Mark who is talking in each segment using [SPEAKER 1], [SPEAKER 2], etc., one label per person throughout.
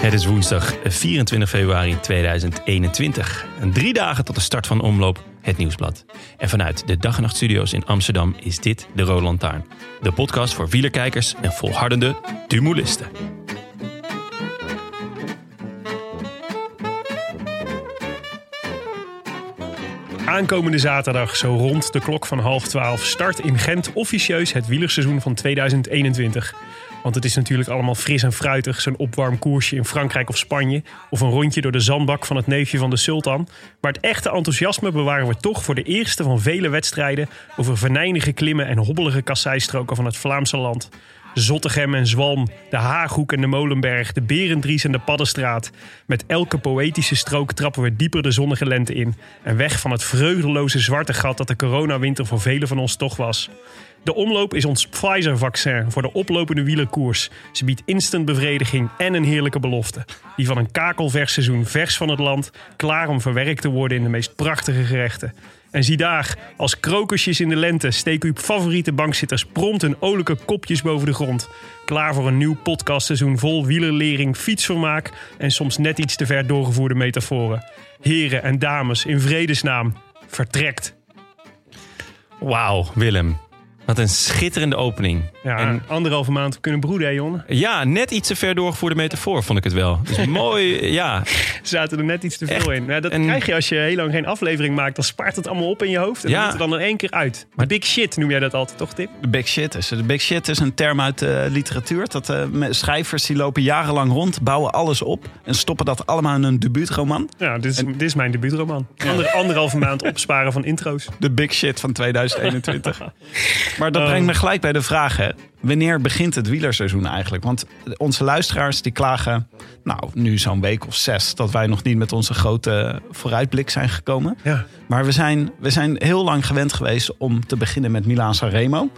[SPEAKER 1] Het is woensdag 24 februari 2021. En drie dagen tot de start van de omloop Het Nieuwsblad. En vanuit de Dag en Nacht Studio's in Amsterdam is dit de Rode Lantaarn. De podcast voor wielerkijkers en volhardende dumulisten.
[SPEAKER 2] Aankomende zaterdag, zo rond de klok van half twaalf, start in Gent officieus het wielerseizoen van 2021. Want het is natuurlijk allemaal fris en fruitig, zo'n opwarmkoersje in Frankrijk of Spanje. Of een rondje door de zandbak van het neefje van de sultan. Maar het echte enthousiasme bewaren we toch voor de eerste van vele wedstrijden over venijnige klimmen en hobbelige kasseistroken van het Vlaamse land. Zottegem en Zwalm, de Haaghoek en de Molenberg, de Berendries en de Paddenstraat. Met elke poëtische strook trappen we dieper de zonnige lente in. En weg van het vreugdeloze zwarte gat dat de coronawinter voor velen van ons toch was. De omloop is ons Pfizer-vaccin voor de oplopende wielerkoers. Ze biedt instant bevrediging en een heerlijke belofte. Die van een kakelvers seizoen vers van het land, klaar om verwerkt te worden in de meest prachtige gerechten. En zie daar, als krokusjes in de lente steken uw favoriete bankzitters prompt hun olijke kopjes boven de grond. Klaar voor een nieuw podcastseizoen vol wielerlering, fietsvermaak en soms net iets te ver doorgevoerde metaforen. Heren en dames, in vredesnaam, vertrekt.
[SPEAKER 1] Wauw, Willem. Wat een schitterende opening.
[SPEAKER 2] Ja,
[SPEAKER 1] En-
[SPEAKER 2] anderhalve maand kunnen broeden, hè, jongen.
[SPEAKER 1] ja, net iets te ver doorgevoerde metafoor vond ik het wel. Dus mooi, ja.
[SPEAKER 2] zaten er net iets te veel in. Ja, dat
[SPEAKER 1] En-
[SPEAKER 2] krijg je als je heel lang geen aflevering maakt. Dan spaart het allemaal op in je hoofd. En
[SPEAKER 1] Ja.
[SPEAKER 2] dan moet het dan in één keer uit. Maar big shit noem jij dat altijd, toch, Tim?
[SPEAKER 3] De big shit is. De big shit is een term uit de literatuur. Dat eh, me- schrijvers die lopen jarenlang rond, bouwen alles op en stoppen dat allemaal in een debuutroman.
[SPEAKER 2] Ja, dit is, dit is mijn debuutroman. Ander, anderhalve maand opsparen van intro's.
[SPEAKER 3] De big shit van 2021. maar dat
[SPEAKER 2] Oh.
[SPEAKER 3] brengt me gelijk bij de vraag: hè. wanneer begint het wielerseizoen eigenlijk? Want onze luisteraars die klagen, nou nu zo'n week of zes, dat wij nog niet met onze grote vooruitblik zijn gekomen.
[SPEAKER 2] Ja.
[SPEAKER 3] Maar we zijn, we zijn heel lang gewend geweest om te beginnen met Milaan Sanremo.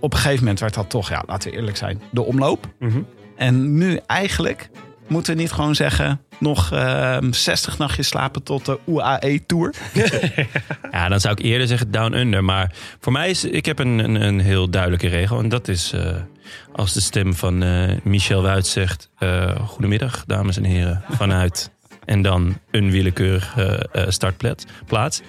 [SPEAKER 3] Op een gegeven moment werd dat toch, ja, laten we eerlijk zijn, de omloop.
[SPEAKER 2] Mhm.
[SPEAKER 3] En nu eigenlijk moeten we niet gewoon zeggen... nog ehm 60 nachtjes slapen tot de E UAE-tour.
[SPEAKER 1] Ja, dan zou ik eerder zeggen down under. Maar voor mij is, ik heb een, een, een heel duidelijke regel. En dat is eh, als de stem van eh, Michel Wuit zegt... eh, Goedemiddag, dames en heren, vanuit... En dan een willekeurige eh, eh, startplaats. plaats.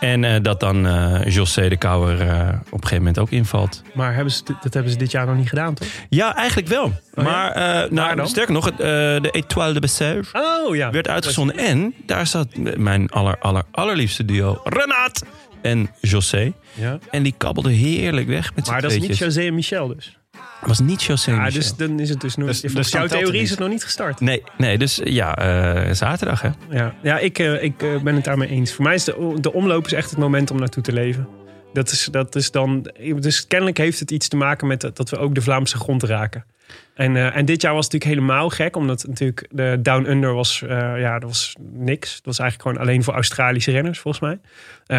[SPEAKER 1] En eh, dat dan eh José de Kouwer eh, op een gegeven moment ook invalt.
[SPEAKER 2] Maar hebben ze, dit- dat hebben ze dit jaar nog niet gedaan, toch?
[SPEAKER 1] Ja, eigenlijk wel. Maar eh,
[SPEAKER 2] Oh Waar
[SPEAKER 1] nou,
[SPEAKER 2] dan?
[SPEAKER 1] sterker nog, het, eh, de Étoile de Bessège
[SPEAKER 2] Oh, ja.
[SPEAKER 1] werd uitgezonden. En daar zat mijn aller, aller, allerliefste duo Renaat en José.
[SPEAKER 2] Ja.
[SPEAKER 1] En die kabbelde heerlijk weg met
[SPEAKER 2] Maar
[SPEAKER 1] zijn
[SPEAKER 2] dat is niet
[SPEAKER 1] tweetjes.
[SPEAKER 2] José en Michel dus.
[SPEAKER 1] Dat was niet José
[SPEAKER 2] Ja,
[SPEAKER 1] Michel.
[SPEAKER 2] dus dan is het dus nog...
[SPEAKER 3] Dus-
[SPEAKER 2] volgens
[SPEAKER 3] dus dan
[SPEAKER 2] jouw
[SPEAKER 3] telt het
[SPEAKER 2] theorie is
[SPEAKER 3] niet.
[SPEAKER 2] het nog niet gestart.
[SPEAKER 1] Nee, nee, dus ja, eh, zaterdag hè.
[SPEAKER 2] Ja, ja ik, eh, ik eh, ben het daarmee eens. Voor mij is de, de omloop is echt het moment om naartoe te leven. Dat is, dat is dan, dus kennelijk heeft het iets te maken met dat, dat we ook de Vlaamse grond raken. En, eh, en dit jaar was het natuurlijk helemaal gek, omdat natuurlijk de Down Under was, eh, ja, dat was niks. Dat was eigenlijk gewoon alleen voor Australische renners, volgens mij.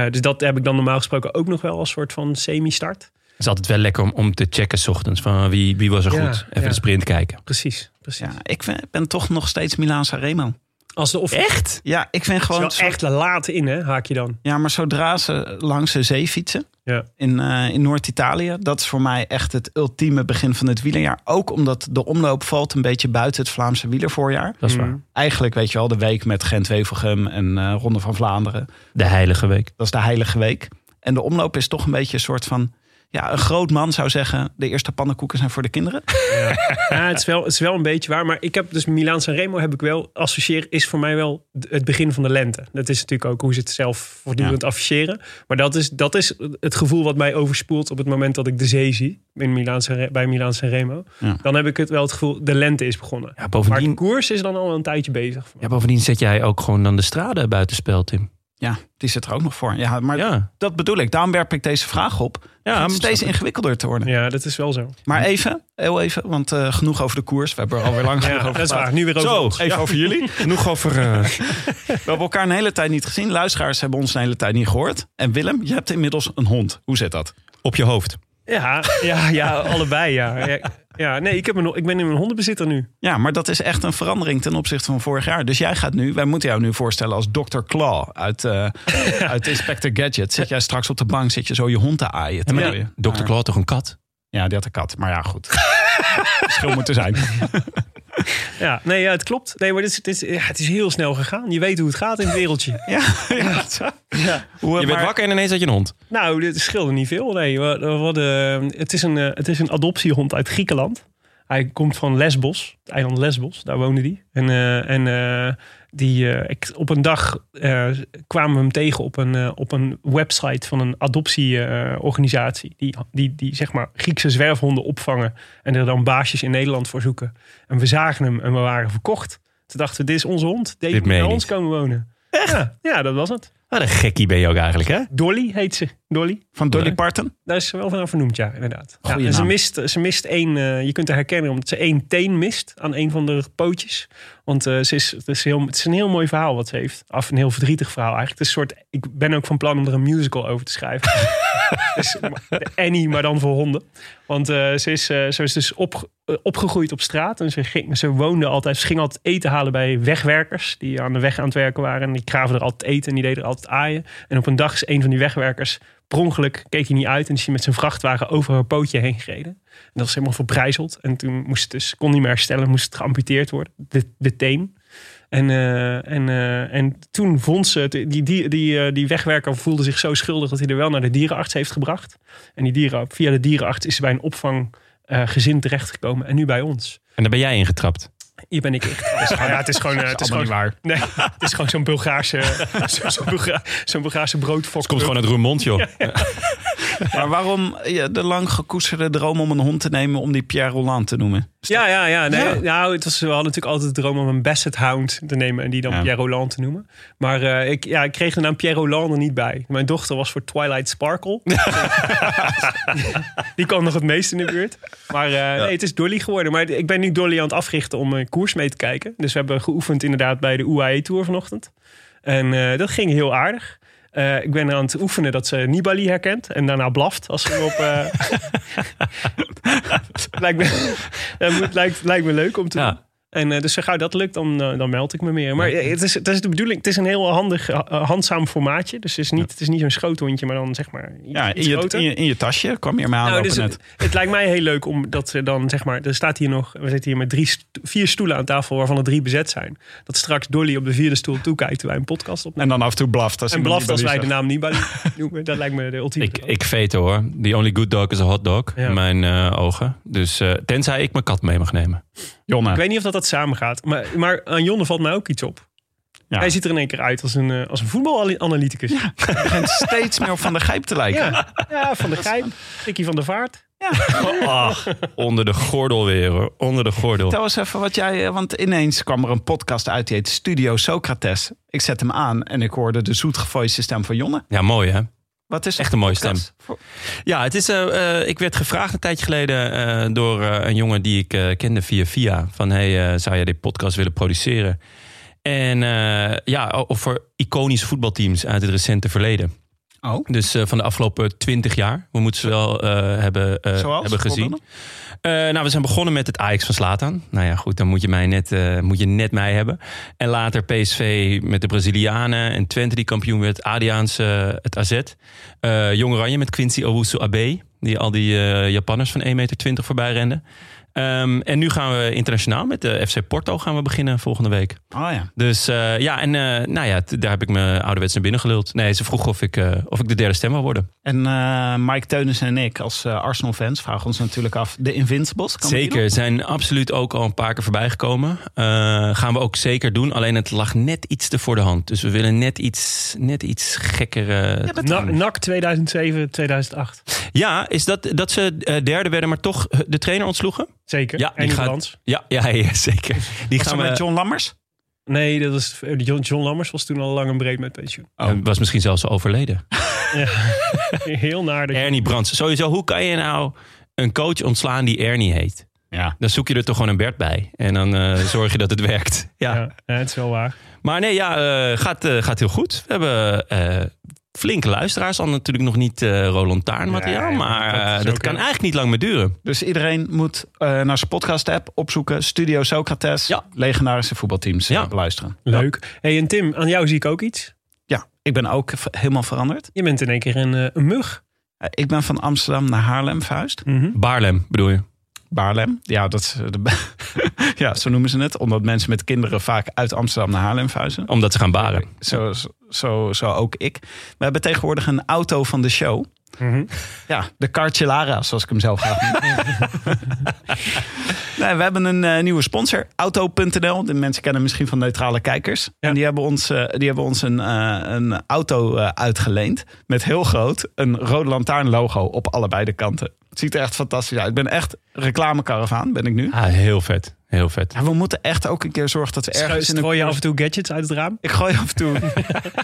[SPEAKER 2] Eh, dus dat heb ik dan normaal gesproken ook nog wel als soort van semi-start.
[SPEAKER 1] Het is altijd wel lekker om, om te checken 's ochtends van wie, wie was er
[SPEAKER 2] Ja,
[SPEAKER 1] goed. Even
[SPEAKER 2] ja.
[SPEAKER 1] de sprint kijken.
[SPEAKER 2] Precies, precies.
[SPEAKER 3] Dus Ja, ik vind- ben toch nog steeds Milaan Sanremo.
[SPEAKER 2] Als de officier
[SPEAKER 1] Echt?
[SPEAKER 3] Ja, ik vind
[SPEAKER 2] is
[SPEAKER 3] gewoon...
[SPEAKER 2] wel
[SPEAKER 3] zo-
[SPEAKER 2] echt laat in, hè, haak je dan.
[SPEAKER 3] Ja, maar zodra ze langs de zee fietsen
[SPEAKER 2] Ja.
[SPEAKER 3] in, eh, in Noord-Italië... dat is voor mij echt het ultieme begin van het wielerjaar. Ook omdat de omloop valt een beetje buiten het Vlaamse wielervoorjaar.
[SPEAKER 1] Dat is
[SPEAKER 2] Mm.
[SPEAKER 1] waar.
[SPEAKER 3] Eigenlijk weet je wel, de week met Gent-Wevelgem en eh, Ronde van Vlaanderen.
[SPEAKER 1] De heilige week.
[SPEAKER 3] Dat is de heilige week. En de omloop is toch een beetje een soort van... Ja, een groot man zou zeggen, de eerste pannenkoeken zijn voor de kinderen.
[SPEAKER 2] Ja, het, is wel, het is wel een beetje waar. Maar ik heb dus Milaan Sanremo heb ik wel associeer is voor mij wel d- het begin van de lente. Dat is natuurlijk ook hoe ze het zelf voortdurend afficheren. Maar dat is, dat is het gevoel wat mij overspoelt op het moment dat ik de zee zie in Milaan Sanre- bij Milaan Sanremo.
[SPEAKER 3] Ja.
[SPEAKER 2] Dan heb ik het wel het gevoel de lente is begonnen.
[SPEAKER 1] Ja,
[SPEAKER 2] Maar de
[SPEAKER 1] bovendien,
[SPEAKER 2] koers is dan al een tijdje bezig.
[SPEAKER 1] ja, bovendien zet jij ook gewoon dan de straden buitenspel, Tim.
[SPEAKER 3] Ja, die zit er ook nog voor. Ja, maar
[SPEAKER 1] Ja,
[SPEAKER 3] dat bedoel ik. Daarom werp ik deze vraag op.
[SPEAKER 1] ja
[SPEAKER 3] Ja,
[SPEAKER 1] maar-
[SPEAKER 3] het steeds ingewikkelder te worden.
[SPEAKER 2] Ja, dat is wel zo.
[SPEAKER 3] Maar even, heel even, want eh, genoeg over de koers. We hebben er alweer lang genoeg
[SPEAKER 2] Ja,
[SPEAKER 3] over
[SPEAKER 2] dat is
[SPEAKER 3] gepraat.
[SPEAKER 2] waar. Nu weer over.
[SPEAKER 3] Zo,
[SPEAKER 2] ons.
[SPEAKER 3] even over jullie.
[SPEAKER 1] Genoeg over... eh,
[SPEAKER 3] We hebben elkaar een hele tijd niet gezien. Luisteraars hebben ons een hele tijd niet gehoord. En Willem, je hebt inmiddels een hond. Hoe zit dat?
[SPEAKER 1] op je hoofd.
[SPEAKER 2] Ja, ja, ja allebei. Ja. Ja, ja, nee, ik, heb een, ik ben in een hondenbezitter nu.
[SPEAKER 3] Ja, maar dat is echt een verandering ten opzichte van vorig jaar. Dus jij gaat nu, wij moeten jou nu voorstellen als Dr. Claw uit, eh, uit Inspector Gadget. Zit jij straks op de bank, zit je zo je hond te aaien.
[SPEAKER 1] Ja, maar
[SPEAKER 3] terwijl je-
[SPEAKER 1] Dr. Claw had toch een kat?
[SPEAKER 3] Ja, die had een kat. Maar ja, goed. Verschil moet er zijn.
[SPEAKER 2] Ja, nee, ja, het klopt. Nee, maar dit is, dit is, ja, het is heel snel gegaan. Je weet hoe het gaat in het wereldje.
[SPEAKER 3] Ja, ja.
[SPEAKER 2] Ja.
[SPEAKER 3] Hoe,
[SPEAKER 1] Je bent
[SPEAKER 3] maar-
[SPEAKER 1] wakker en ineens had je een hond.
[SPEAKER 2] Nou, dit scheelde niet veel. Nee, we, we hadden- het, is een, eh, het is een adoptiehond uit Griekenland. Hij komt van Lesbos, het eiland Lesbos. Daar woonde hij. En, eh, en eh, die, eh, ik, op een dag eh, kwamen we hem tegen op een, eh, op een website van een adoptieorganisatie. die, die, die zeg maar Griekse zwerfhonden opvangen. En er dan baasjes in Nederland voor zoeken. En we zagen hem en we waren verkocht. Toen dachten we, dit is onze hond. Deze
[SPEAKER 1] Dit
[SPEAKER 2] moet bij
[SPEAKER 1] meen je
[SPEAKER 2] ons komen wonen. Ja, ja, dat was het.
[SPEAKER 1] Wat een gekkie ben je ook eigenlijk, hè?
[SPEAKER 2] Dolly heet ze. Dolly.
[SPEAKER 3] Van Dolly
[SPEAKER 1] Leuk.
[SPEAKER 3] Parton?
[SPEAKER 2] Daar is ze wel van vernoemd, ja, inderdaad. Ja,
[SPEAKER 3] Goeie
[SPEAKER 2] en ze
[SPEAKER 3] naam.
[SPEAKER 2] mist, ze mist één, eh, je kunt haar herkennen omdat ze één teen mist aan een van de pootjes. Want eh, ze is, het, is heel, het is een heel mooi verhaal wat ze heeft. Af een heel verdrietig verhaal eigenlijk. Het is een soort, ik ben ook van plan om er een musical over te schrijven. dus, de Annie, maar dan voor honden. Want eh, ze, is, eh, ze is dus op, eh, opgegroeid op straat. En ze, ging, ze woonde altijd, ze ging altijd eten halen bij wegwerkers. Die aan de weg aan het werken waren. En die kraven er altijd eten en die deden er altijd aaien. En op een dag is een van die wegwerkers per ongeluk keek hij niet uit en is hij met zijn vrachtwagen over haar pootje heen gereden. En dat was helemaal verbrijzeld. En toen moest het dus, kon niet meer herstellen, moest het geamputeerd worden, de, de teen. En, eh, en, eh, en toen vond ze, het, die, die, die, eh, die wegwerker voelde zich zo schuldig dat hij er wel naar de dierenarts heeft gebracht. En die dieren, via de dierenarts is ze bij een opvang eh, gezin terechtgekomen en nu bij ons.
[SPEAKER 1] En daar ben jij ingetrapt.
[SPEAKER 2] Hier ben ik echt. Ja, het is gewoon, eh, het is gewoon,
[SPEAKER 3] waar.
[SPEAKER 2] nee, het is gewoon zo'n Bulgaarse, zo- zo'n Bulga- zo'n Bulgaarse broodfok.
[SPEAKER 1] Komt gewoon uit Roermond, joh.
[SPEAKER 3] Maar waarom eh, de lang gekoesterde droom om een hond te nemen om die Pierre Roland te noemen?
[SPEAKER 2] Ja, ja, ja. Nee,
[SPEAKER 3] Ja.
[SPEAKER 2] Nou, het was, we hadden natuurlijk altijd de droom om een Basset Hound te nemen en die dan
[SPEAKER 3] Ja.
[SPEAKER 2] Pierre Roland te noemen. Maar eh, ik, ja, ik kreeg de naam Pierre Roland er niet bij. Mijn dochter was voor Twilight Sparkle. die kwam nog het meest in de buurt. Maar eh, nee, het is Dolly geworden. Maar ik ben nu Dolly aan het africhten om een koers mee te kijken. Dus we hebben geoefend inderdaad bij de UAE Tour vanochtend. En eh, dat ging heel aardig. Eh, ik ben aan het oefenen dat ze Nibali herkent en daarna blaft als ze hem op. eh lijkt, me, dat moet- lijkt, lijkt me leuk om te doen.
[SPEAKER 1] Ja.
[SPEAKER 2] En eh, dus zo gauw dat lukt, dan, eh, dan meld ik me meer. Maar eh, het, is, het is de bedoeling, het is een heel handig, eh, handzaam formaatje. Dus het is niet, het is niet zo'n schoothondje, maar dan zeg maar iets,
[SPEAKER 3] Ja, in
[SPEAKER 2] iets
[SPEAKER 3] je,
[SPEAKER 2] groter.
[SPEAKER 3] in je, in je tasje kwam je maar
[SPEAKER 2] Nou,
[SPEAKER 3] aanlopen
[SPEAKER 2] dus
[SPEAKER 3] net.
[SPEAKER 2] het, het lijkt mij heel leuk om dat ze dan, zeg maar, er staat hier nog, we zitten hier met drie, st- vier stoelen aan tafel waarvan er drie bezet zijn. Dat straks Dolly op de vierde stoel toekijkt terwijl wij een podcast opnemen.
[SPEAKER 3] En dan af en toe blaft. Als
[SPEAKER 2] En
[SPEAKER 3] iemand
[SPEAKER 2] blaft als wij
[SPEAKER 3] Nibali
[SPEAKER 2] de naam niet bij noemen. Dat lijkt me de ultieme.
[SPEAKER 1] Ik, ik veet hoor. The only good dog is a hot dog.
[SPEAKER 2] Ja.
[SPEAKER 1] In mijn eh, ogen. Dus eh, tenzij ik mijn kat mee mag nemen.
[SPEAKER 3] zegt. Jonne.
[SPEAKER 2] Ik weet niet of dat, dat samen gaat. Maar, maar aan Jonne valt mij ook iets op.
[SPEAKER 3] Ja.
[SPEAKER 2] Hij ziet er in één keer uit als een, eh, als een voetbalanalyticus. Ja.
[SPEAKER 3] begint steeds meer op Van de Gijp te lijken.
[SPEAKER 2] Ja. van de Grijp. Tikkie van de Vaart.
[SPEAKER 1] Ach, Ah, onder de gordel weer hoor. Onder de gordel.
[SPEAKER 3] Vertel eens even wat jij... eh, Want ineens kwam er een podcast uit die heet Studio Socrates. Ik zet hem aan en ik hoorde de zoetgevoelige stem van Jonne.
[SPEAKER 1] Ja, mooi hè?
[SPEAKER 3] Wat is dat?
[SPEAKER 1] Echt een mooie stem.
[SPEAKER 3] podcast? Voor-
[SPEAKER 1] Ja, het is, eh, eh, ik werd gevraagd een tijdje geleden eh, door eh, een jongen die ik eh, kende via via. Van, hey, eh, zou jij dit podcast willen produceren? En eh, ja, o- over iconische voetbalteams uit het recente verleden.
[SPEAKER 3] Oh,
[SPEAKER 1] Dus eh, van de afgelopen twintig jaar. We moeten ze wel eh, hebben, eh,
[SPEAKER 3] zoals?
[SPEAKER 1] hebben gezien.
[SPEAKER 3] Voorbeelden?
[SPEAKER 1] Eh, nou, we zijn begonnen met het Ajax van Slatan. Nou ja, goed, dan moet je, mij net, eh, moet je net mij hebben. En later PSV met de Brazilianen en Twente die kampioen werd. Adiaanse, eh, het AZ. Eh Jong Oranje met Quincy Owusu Abe. Die al die eh, Japanners van 1,20 meter voorbij renden. Eh, Ehm, en nu gaan we internationaal met de FC Porto gaan we beginnen volgende week.
[SPEAKER 3] Oh ja.
[SPEAKER 1] Dus eh, ja, en eh, nou ja, t- daar heb ik me ouderwets naar binnen geluld. Nee, ze vroeg of ik, eh, of ik de derde stem wil worden.
[SPEAKER 3] En eh, Mike Teunis en ik als eh, Arsenal-fans vragen ons natuurlijk af... de Invincibles, kan die nog?
[SPEAKER 1] Zeker, zijn absoluut ook al een paar keer voorbij gekomen. Eh, gaan we ook zeker doen, alleen het lag net iets te voor de hand. Dus we willen net iets, net iets eh, gekkere... Ja,
[SPEAKER 2] Na- NAC 2007, 2008.
[SPEAKER 1] is dat, dat ze eh, derde werden, maar toch de trainer ontsloegen?
[SPEAKER 2] Zeker.
[SPEAKER 1] Ja,
[SPEAKER 2] en
[SPEAKER 1] die gaat-
[SPEAKER 2] Nederlands.
[SPEAKER 1] Ja, ja, ja zeker. Die
[SPEAKER 3] Was
[SPEAKER 1] gaan
[SPEAKER 3] dat
[SPEAKER 1] we...
[SPEAKER 3] met John Lammers?
[SPEAKER 2] Nee, dat was, eh, John, John Lammers was toen al lang en breed met pensioen.
[SPEAKER 1] Eh, Was misschien zelfs al overleden.
[SPEAKER 2] Ja. Heel naar de...
[SPEAKER 1] Ernie Brands. Sowieso, hoe kan je nou een coach ontslaan die Ernie heet?
[SPEAKER 3] Ja.
[SPEAKER 1] Dan zoek je er toch gewoon een Bert bij. En dan eh, zorg je dat het werkt. Ja.
[SPEAKER 2] Ja, ja, het is wel waar.
[SPEAKER 1] Maar nee, ja, eh, gaat, eh, gaat heel goed. We hebben eh, flinke luisteraars. Al natuurlijk nog niet eh Roland Taarn materiaal.
[SPEAKER 2] Nee,
[SPEAKER 1] maar
[SPEAKER 2] dat
[SPEAKER 1] eh,
[SPEAKER 2] is
[SPEAKER 1] dat,
[SPEAKER 2] ook,
[SPEAKER 1] kan
[SPEAKER 2] hè.
[SPEAKER 1] eigenlijk niet lang meer duren.
[SPEAKER 3] Dus iedereen moet eh, naar zijn podcast-app opzoeken. Studio Socrates.
[SPEAKER 1] Ja.
[SPEAKER 3] Legendarische voetbalteams
[SPEAKER 1] Ja.
[SPEAKER 3] ja. beluisteren.
[SPEAKER 2] Leuk. hey, en Tim, aan jou zie ik ook iets.
[SPEAKER 3] Ja, ik ben ook v- helemaal veranderd.
[SPEAKER 2] Je bent in één keer een, eh, een mug.
[SPEAKER 3] Eh, ik ben van Amsterdam naar Haarlem verhuisd.
[SPEAKER 1] Baarlem bedoel je?
[SPEAKER 3] Baarlem. Ja, dat is, eh, de- ja, zo noemen ze het. Omdat mensen met kinderen vaak uit Amsterdam naar Haarlem verhuizen.
[SPEAKER 1] Omdat ze gaan baren.
[SPEAKER 3] Zo, zo, zo ook ik. We hebben tegenwoordig een auto van de show.
[SPEAKER 2] Mhm.
[SPEAKER 3] Ja, de Carcellara, zoals ik hem zelf ga noemen. nee, we hebben een eh, nieuwe sponsor, Auto.nl. De mensen kennen misschien van neutrale kijkers. En die hebben ons, eh, die hebben ons een, eh, een auto eh, uitgeleend. Met heel groot een rode lantaarn logo op allebei de kanten. Het ziet er echt fantastisch uit. Ik ben echt reclamekaravaan, ben ik nu.
[SPEAKER 1] Ah, heel vet. Heel vet.
[SPEAKER 3] Ja, we moeten echt ook een keer zorgen dat we ergens in een...
[SPEAKER 2] Gooi je af en toe gadgets uit het raam?
[SPEAKER 3] Ik gooi af en toe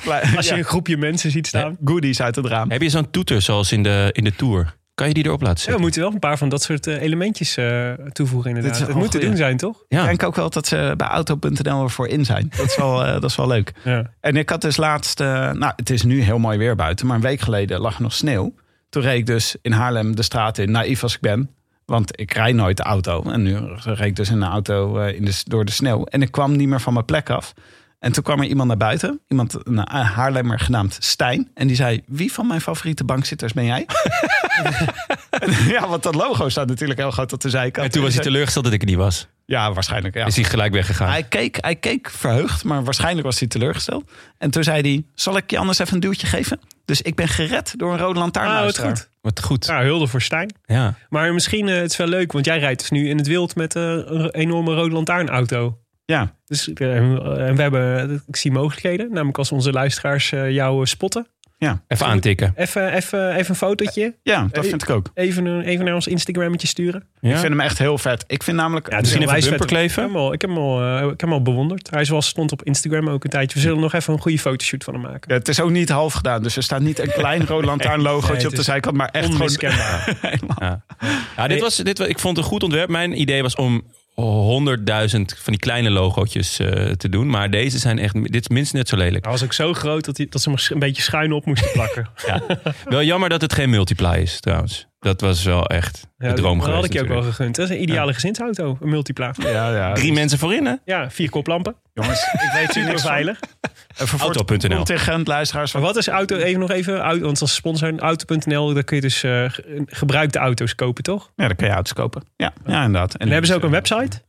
[SPEAKER 3] klein-
[SPEAKER 2] Als je
[SPEAKER 3] ja,
[SPEAKER 2] een groepje mensen ziet staan.
[SPEAKER 3] goodies uit het raam.
[SPEAKER 1] Heb je zo'n toeter zoals in de, in de Tour? Kan je die erop laten
[SPEAKER 2] Ja, we
[SPEAKER 1] zetten?
[SPEAKER 2] moeten wel een paar van dat soort eh, elementjes eh, toevoegen inderdaad.
[SPEAKER 3] Dit is
[SPEAKER 2] Het
[SPEAKER 3] wel
[SPEAKER 2] moet te
[SPEAKER 3] goeie.
[SPEAKER 2] doen zijn, toch?
[SPEAKER 1] Ja.
[SPEAKER 3] Ik denk ook wel dat ze bij auto.nl ervoor in zijn. Dat is wel, eh, dat is wel leuk.
[SPEAKER 2] Ja.
[SPEAKER 3] En ik had dus laatst, eh, nou het is nu heel mooi weer buiten, maar een week geleden lag er nog sneeuw. Toen reed ik dus in Haarlem de straat in, naïef als ik ben. Want ik rijd nooit de auto. En nu reed ik dus in een auto eh, in de, door de sneeuw. En ik kwam niet meer van mijn plek af. En toen kwam er iemand naar buiten. Iemand, een eh, Haarlemmer genaamd Stijn. En die zei, wie van mijn favoriete bankzitters ben jij? En ja, want dat logo staat natuurlijk heel groot op de zijkant.
[SPEAKER 1] En toen was hij
[SPEAKER 3] hij
[SPEAKER 1] teleurgesteld dat ik er niet was.
[SPEAKER 3] Ja, waarschijnlijk. Ja.
[SPEAKER 1] Is hij gelijk weggegaan.
[SPEAKER 3] Hij keek, hij keek verheugd, maar waarschijnlijk was hij teleurgesteld. En toen zei hij, zal ik je anders even een duwtje geven? Dus ik ben gered door een rode lantaarn.
[SPEAKER 2] Ah, wat goed.
[SPEAKER 1] Oh, Wat goed.
[SPEAKER 2] Nou, hulde voor Stijn.
[SPEAKER 1] Ja.
[SPEAKER 2] Maar misschien, eh, het is wel leuk, want jij rijdt dus nu in het wild met eh, een enorme rode lantaarnauto.
[SPEAKER 3] Ja,
[SPEAKER 2] Dus eh, en we hebben, eh, ik zie mogelijkheden. Namelijk als onze luisteraars eh, jou spotten.
[SPEAKER 1] Even aantikken.
[SPEAKER 2] Even, even, even een fotootje.
[SPEAKER 3] ja dat
[SPEAKER 2] Hey.
[SPEAKER 3] vind ik ook.
[SPEAKER 2] Even, een- even naar ons Instagrammetje sturen.
[SPEAKER 3] Ik
[SPEAKER 1] Ja.
[SPEAKER 3] vind hem echt heel vet. Ik vind namelijk...
[SPEAKER 2] Ja,
[SPEAKER 1] Misschien
[SPEAKER 2] is wel
[SPEAKER 1] even
[SPEAKER 2] wijs vet. Ik heb
[SPEAKER 1] bumperkleven.
[SPEAKER 2] hem al, ik heb hem al, eh, ik heb hem al bewonderd. Hij is wel stond op Instagram ook een tijdje. We zullen nog even een goede fotoshoot van hem maken.
[SPEAKER 3] het is ook niet half gedaan, dus er staat niet een klein rode lantaarn logootje
[SPEAKER 2] Nee, het
[SPEAKER 3] op de
[SPEAKER 2] is
[SPEAKER 3] zijkant, maar echt gewoon...
[SPEAKER 2] Onmiskenbaar.
[SPEAKER 1] Ja, dit
[SPEAKER 2] Nee.
[SPEAKER 1] was, dit, wa- ik vond het een goed ontwerp. Mijn idee was om 100.000 van die kleine logootjes eh, te doen. Maar deze zijn echt, dit is minstens net zo lelijk.
[SPEAKER 2] Hij was ook zo groot dat, hij, dat ze hem een beetje schuin op moesten plakken.
[SPEAKER 1] Wel jammer dat het geen multiply is trouwens. Dat was wel echt de
[SPEAKER 2] Ja,
[SPEAKER 1] droom
[SPEAKER 2] dat
[SPEAKER 1] geweest.
[SPEAKER 2] had ik je ook wel
[SPEAKER 1] natuurlijk.
[SPEAKER 2] gegund. Dat is een ideale gezinsauto, een multipla.
[SPEAKER 3] Ja, ja. dus
[SPEAKER 1] Drie mensen voorin hè?
[SPEAKER 2] Ja, vier koplampen.
[SPEAKER 3] Jongens, ik weet hier
[SPEAKER 2] Super
[SPEAKER 3] niks van.
[SPEAKER 2] veilig.
[SPEAKER 3] En voor
[SPEAKER 1] Auto.nl.
[SPEAKER 3] Contingent luisteraars
[SPEAKER 2] Maar
[SPEAKER 3] van...
[SPEAKER 2] wat is auto, even nog even, auto- want als sponsor auto.nl, daar kun je dus eh, ge- gebruikte auto's kopen, toch? En
[SPEAKER 3] Ja, dan kun je auto's kopen. Ja, ja inderdaad. En, dus,
[SPEAKER 2] hebben ze ook een website?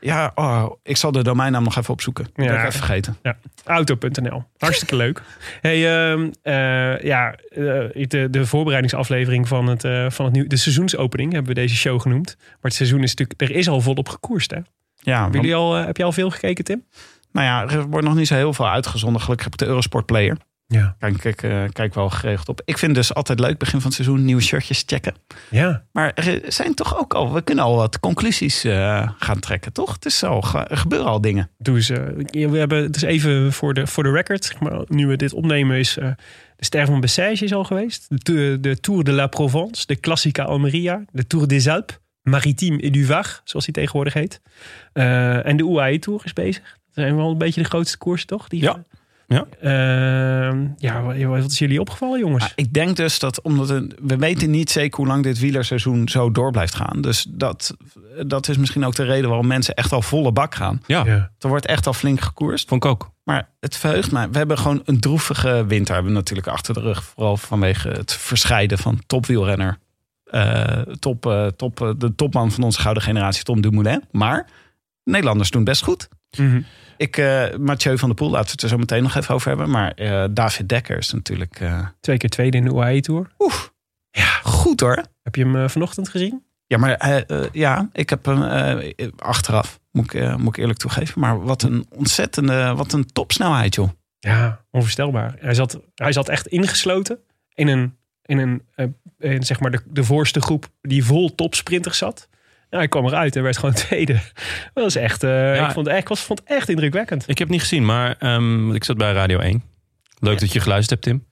[SPEAKER 3] Ja, oh, ik zal de domeinnaam nog even opzoeken. Dat
[SPEAKER 2] Ja.
[SPEAKER 3] heb ik even vergeten.
[SPEAKER 2] Auto.nl. Hartstikke leuk. Hey, ehm, eh, ja, eh, de, de voorbereidingsaflevering van, het, eh, van het nieuw, de seizoensopening hebben we deze show genoemd. Maar het seizoen is natuurlijk, er is al volop gekoerst. Hè? Hebben
[SPEAKER 3] Ja, want-
[SPEAKER 2] Jullie al, eh, heb je al veel gekeken, Tim?
[SPEAKER 3] Nou ja, er wordt nog niet zo heel veel uitgezonden. Gelukkig heb ik de Eurosport Player.
[SPEAKER 2] Ja.
[SPEAKER 3] Kijk, kijk, eh, kijk wel geregeld op. Ik vind dus altijd leuk begin van het seizoen nieuwe shirtjes checken.
[SPEAKER 2] Ja.
[SPEAKER 3] Maar er zijn toch ook al, we kunnen al wat conclusies eh, gaan trekken, toch? Het is al, ge- er gebeuren al dingen.
[SPEAKER 2] Doe ze. Ja, We hebben, dus even voor de, voor de record, zeg maar, nu we dit opnemen, is eh, de Ster van Bessèges is al geweest. De, Tour- de Tour de la Provence, de Classica Almeria, de Tour des Alpes, Maritime et du Var, zoals die tegenwoordig heet. Eh, en de UAE Tour is bezig. Dat zijn wel een beetje de grootste koersen, toch? Die,
[SPEAKER 1] Ja. Ja.
[SPEAKER 2] Eh, ja, wa- wat is jullie opgevallen, jongens?
[SPEAKER 3] Maar ik denk dus dat, omdat we, we weten niet zeker hoe lang dit wielerseizoen zo door blijft gaan. Dus dat, dat is misschien ook de reden waarom mensen echt al volle bak gaan.
[SPEAKER 1] Ja,
[SPEAKER 2] Ja.
[SPEAKER 3] Er wordt echt al flink gekoerst.
[SPEAKER 1] vond ik ook.
[SPEAKER 3] Maar het verheugt mij. We hebben gewoon een droevige winter hebben we natuurlijk achter de rug. Vooral vanwege het verscheiden van topwielrenner eh, top, eh, top, eh, de topman van onze gouden generatie, Tom Dumoulin. Maar Nederlanders doen best goed.
[SPEAKER 2] Mhm.
[SPEAKER 3] Ik, eh, Mathieu van der Poel, laten we het er zo meteen nog even over hebben. Maar eh, David Dekker is natuurlijk eh,
[SPEAKER 2] Twee keer tweede in de UAE Tour.
[SPEAKER 3] goed hoor.
[SPEAKER 2] Heb je hem eh, vanochtend gezien?
[SPEAKER 3] Ja, maar eh, eh, ja, ik heb hem eh, achteraf, moet ik, eh, moet ik eerlijk toegeven. Maar wat een ontzettende, wat een topsnelheid joh.
[SPEAKER 2] Ja, onvoorstelbaar. Hij zat, hij zat echt ingesloten in een, in een eh, in, zeg maar de, de voorste groep die vol topsprinter zat. Nou, hij kwam eruit en werd gewoon tweede. Dat was echt, eh,
[SPEAKER 1] Ja.
[SPEAKER 2] ik vond, het echt- ik was, vond het echt indrukwekkend.
[SPEAKER 1] Ik heb het niet gezien, maar ehm, want ik zat bij Radio 1. Leuk dat je geluisterd hebt, Tim.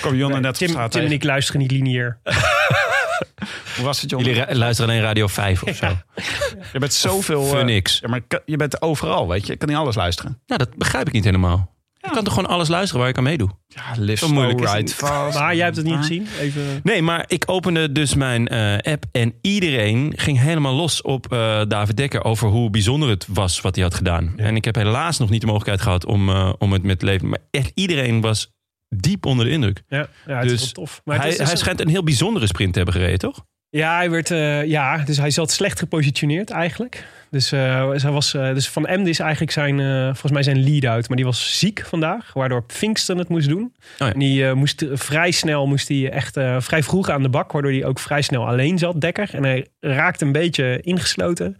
[SPEAKER 3] Kom Jonne net op
[SPEAKER 2] Tim,
[SPEAKER 3] straat
[SPEAKER 2] Tim en
[SPEAKER 3] tegen.
[SPEAKER 2] ik luisteren niet lineair.
[SPEAKER 3] Hoe was het Jonne?
[SPEAKER 1] Jullie ra- luisteren alleen Radio 5 of zo. Nou,
[SPEAKER 3] je bent zoveel...
[SPEAKER 1] Voor
[SPEAKER 3] eh,
[SPEAKER 1] niks.
[SPEAKER 3] ja, maar ik kan- je bent overal, weet je. Ik kan niet alles luisteren.
[SPEAKER 1] Nou, dat begrijp ik niet helemaal. Je kan toch gewoon alles luisteren waar ik aan meedoe?
[SPEAKER 3] Ja, live
[SPEAKER 1] Zo moeilijk is het niet.
[SPEAKER 3] fast.
[SPEAKER 2] Maar jij hebt het niet gezien? Even...
[SPEAKER 1] Nee, maar ik opende dus mijn eh, app en iedereen ging helemaal los op eh, David Dekker over hoe bijzonder het was wat hij had gedaan. En ik heb helaas nog niet de mogelijkheid gehad om, eh, om het met leven. Maar echt iedereen was diep onder de indruk.
[SPEAKER 2] Ja, ja het
[SPEAKER 1] Dus
[SPEAKER 2] is wel tof. Maar het
[SPEAKER 1] hij
[SPEAKER 2] is dus
[SPEAKER 1] hij
[SPEAKER 2] een-
[SPEAKER 1] schijnt een heel bijzondere sprint te hebben gereden, toch?
[SPEAKER 2] Ja, hij werd, eh, ja, dus hij zat slecht gepositioneerd eigenlijk. Dus, eh, dus hij was, eh, dus Van Emden is eigenlijk zijn, eh, volgens mij zijn lead-out. Maar die was ziek vandaag, waardoor Pfingsten het moest doen.
[SPEAKER 1] Oh ja.
[SPEAKER 2] En die eh, moest eh, vrij snel, moest hij echt eh, vrij vroeg aan de bak. Waardoor hij ook vrij snel alleen zat, Dekker. En hij raakte een beetje ingesloten.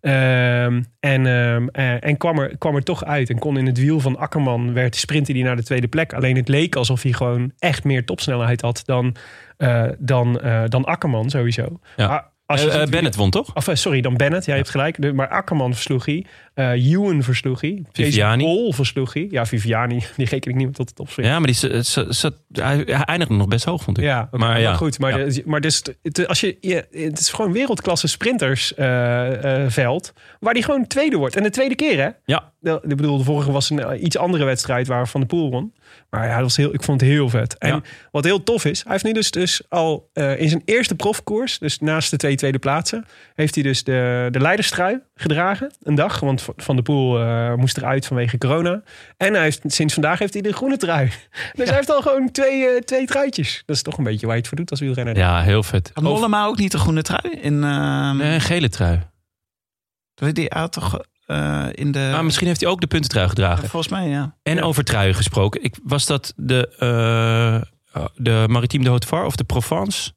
[SPEAKER 2] Ehm, en ehm, eh, en kwam, er, kwam er toch uit. En kon in het wiel van Akkerman, werd sprintte hij naar de tweede plek. Alleen het leek alsof hij gewoon echt meer topsnelheid had dan, eh, dan, eh, dan Akkerman sowieso.
[SPEAKER 1] Ja.
[SPEAKER 2] Maar als je
[SPEAKER 1] Eh, eh,
[SPEAKER 2] natuurlijk-
[SPEAKER 1] Bennett won, toch?
[SPEAKER 2] Of, eh, sorry, dan Bennett. Ja, je hebt gelijk. De- maar Akkerman versloeg hij. Eh Ewan versloeg hij.
[SPEAKER 1] Viviani.
[SPEAKER 2] Jason Bol versloeg hij. Ja, Viviani. Die reken ik niet meer tot de topsprinter.
[SPEAKER 1] Ja, maar die, z- z- zat- hij, hij eindigde nog best hoog, vond ik.
[SPEAKER 2] Ja, oké,
[SPEAKER 1] Maar
[SPEAKER 2] maar
[SPEAKER 1] ja.
[SPEAKER 2] goed. Maar,
[SPEAKER 1] Ja.
[SPEAKER 2] de- maar dus, het, als je, je- het is gewoon wereldklasse sprintersveld. veld waar die gewoon tweede wordt. En de tweede keer, hè?
[SPEAKER 1] Ja.
[SPEAKER 2] De, ik bedoel, de vorige was een eh, iets andere wedstrijd waar Van de Poel won. Maar ja, dat was heel, ik vond het heel vet. En
[SPEAKER 1] Ja.
[SPEAKER 2] wat heel tof is, hij heeft nu dus, dus al eh, in zijn eerste profkoers, dus naast de twee tweede plaatsen, heeft hij dus de, de leiderstrui gedragen. Een dag, want Van- Van de Poel eh, moest eruit vanwege corona. En hij heeft, sinds vandaag heeft hij de groene trui. Dus hij heeft al gewoon twee, eh, twee truitjes. Dat is toch een beetje waar je het voor doet als wielrenner.
[SPEAKER 1] Ja, heel vet.
[SPEAKER 3] Had Mollema ook niet de groene trui? In, eh,
[SPEAKER 1] Nee, een gele trui.
[SPEAKER 3] weet Die had toch eh, in de...
[SPEAKER 2] Ah,
[SPEAKER 1] Maar misschien heeft hij ook de puntentrui gedragen.
[SPEAKER 3] volgens mij, ja.
[SPEAKER 1] En over truien gesproken. Ik, was dat de, eh, de Maritime de Haute Var of de Provence?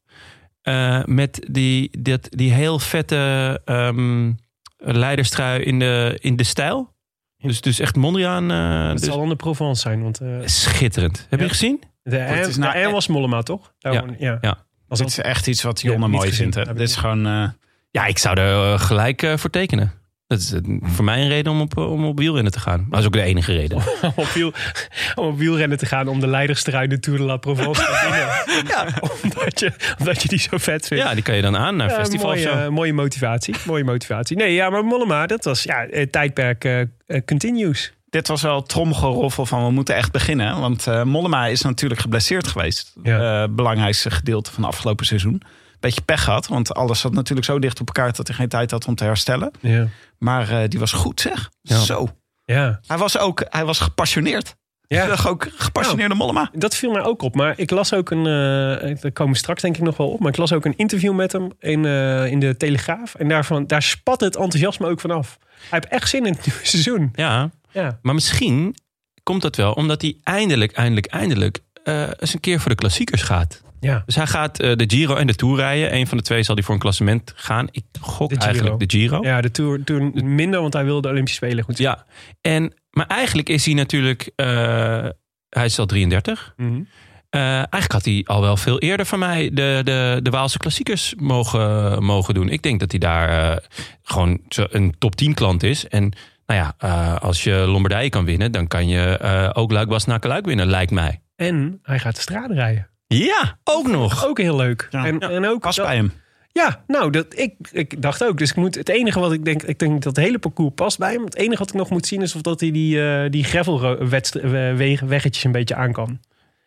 [SPEAKER 1] Eh, met die, dat, die heel vette ehm leiderstrui in de, in de stijl. Dus, dus echt Mondriaan. eh,
[SPEAKER 2] Het
[SPEAKER 1] dus-
[SPEAKER 2] zal dan de Provence zijn, want eh,
[SPEAKER 1] Schitterend. Heb je
[SPEAKER 2] Ja.
[SPEAKER 1] gezien?
[SPEAKER 2] de,
[SPEAKER 3] het is
[SPEAKER 2] M,
[SPEAKER 3] nou
[SPEAKER 2] de M
[SPEAKER 3] echt-
[SPEAKER 2] was Mollema, toch? Daarom- ja.
[SPEAKER 1] Ja.
[SPEAKER 2] Was
[SPEAKER 3] Dit
[SPEAKER 2] dat-
[SPEAKER 3] is echt iets wat
[SPEAKER 2] Ja,
[SPEAKER 3] Jonne
[SPEAKER 2] niet
[SPEAKER 3] mooi
[SPEAKER 2] gezien.
[SPEAKER 3] vindt. Hè?
[SPEAKER 2] Heb ik
[SPEAKER 3] Dit is
[SPEAKER 2] niet.
[SPEAKER 3] gewoon... eh,
[SPEAKER 1] Ja, ik zou er eh, gelijk eh, voor tekenen. Dat is eh, voor mij een reden om op, eh, om op wielrennen te gaan. Maar dat is ook de enige reden.
[SPEAKER 2] om op, wiel, om op wielrennen te gaan om de leiderstrui de Tour de la Provence te winnen. omdat, je, omdat je die zo vet vindt.
[SPEAKER 1] Ja, die kan je dan aan naar
[SPEAKER 2] Ja,
[SPEAKER 1] festival
[SPEAKER 2] mooie,
[SPEAKER 1] of zo.
[SPEAKER 2] eh, mooie motivatie. Mooie motivatie. Nee, ja, maar Mollema, dat was ja, eh, tijdperk eh, eh, continues.
[SPEAKER 3] dit was wel tromgeroffel van we moeten echt beginnen. Want eh, Mollema is natuurlijk geblesseerd geweest.
[SPEAKER 2] Ja.
[SPEAKER 3] Eh, belangrijkste gedeelte van het afgelopen seizoen. Beetje pech gehad, want alles zat natuurlijk zo dicht op elkaar... dat hij geen tijd had om te herstellen.
[SPEAKER 2] Ja.
[SPEAKER 3] Maar eh, die was goed, zeg.
[SPEAKER 1] Ja.
[SPEAKER 3] Zo.
[SPEAKER 2] ja.
[SPEAKER 3] Hij was ook hij was gepassioneerd.
[SPEAKER 2] Ja.
[SPEAKER 3] Ja. Ook gepassioneerde Mollema.
[SPEAKER 2] Dat viel mij ook op. Maar ik las ook een. eh daar komen we straks denk ik nog wel op. Maar ik las ook een interview met hem in, eh, in de Telegraaf. En daarvan, daar spat het enthousiasme ook vanaf. Hij heeft echt zin in het nieuwe seizoen.
[SPEAKER 1] Ja,
[SPEAKER 2] Ja.
[SPEAKER 1] Maar misschien komt dat wel omdat hij eindelijk, eindelijk, eindelijk eh, eens een keer voor de klassiekers gaat.
[SPEAKER 2] ja.
[SPEAKER 1] Dus hij gaat eh, de Giro en de Tour rijden. Eén van de twee zal hij voor een klassement gaan. Ik gok
[SPEAKER 2] De Giro.
[SPEAKER 1] eigenlijk de
[SPEAKER 3] Oh.
[SPEAKER 1] Giro. Ja.
[SPEAKER 2] Ja, de Tour, tour minder, want hij wilde de Olympische Spelen goed.
[SPEAKER 1] En, maar eigenlijk is hij natuurlijk... eh, hij is al 33.
[SPEAKER 2] Mhm.
[SPEAKER 1] Eh, eigenlijk had hij al wel veel eerder van mij de, de, de Waalse klassiekers mogen, mogen doen. Ik denk dat hij daar eh, gewoon zo een top 10 klant is. En nou ja, eh, als je Lombardije kan winnen, dan kan je eh, ook Luik na Luik winnen, lijkt mij.
[SPEAKER 2] En hij gaat de straat rijden.
[SPEAKER 1] Ja, ook nog.
[SPEAKER 2] Ook heel leuk.
[SPEAKER 3] Ja.
[SPEAKER 2] En, en ook
[SPEAKER 3] Pas
[SPEAKER 2] dat-
[SPEAKER 3] bij hem.
[SPEAKER 2] Ja, nou, dat, ik, ik dacht ook. Dus ik moet, het enige wat ik denk, ik denk dat het hele parcours past bij hem. Het enige wat ik nog moet zien is of dat hij die, eh die gravelweggetjes een beetje aan kan.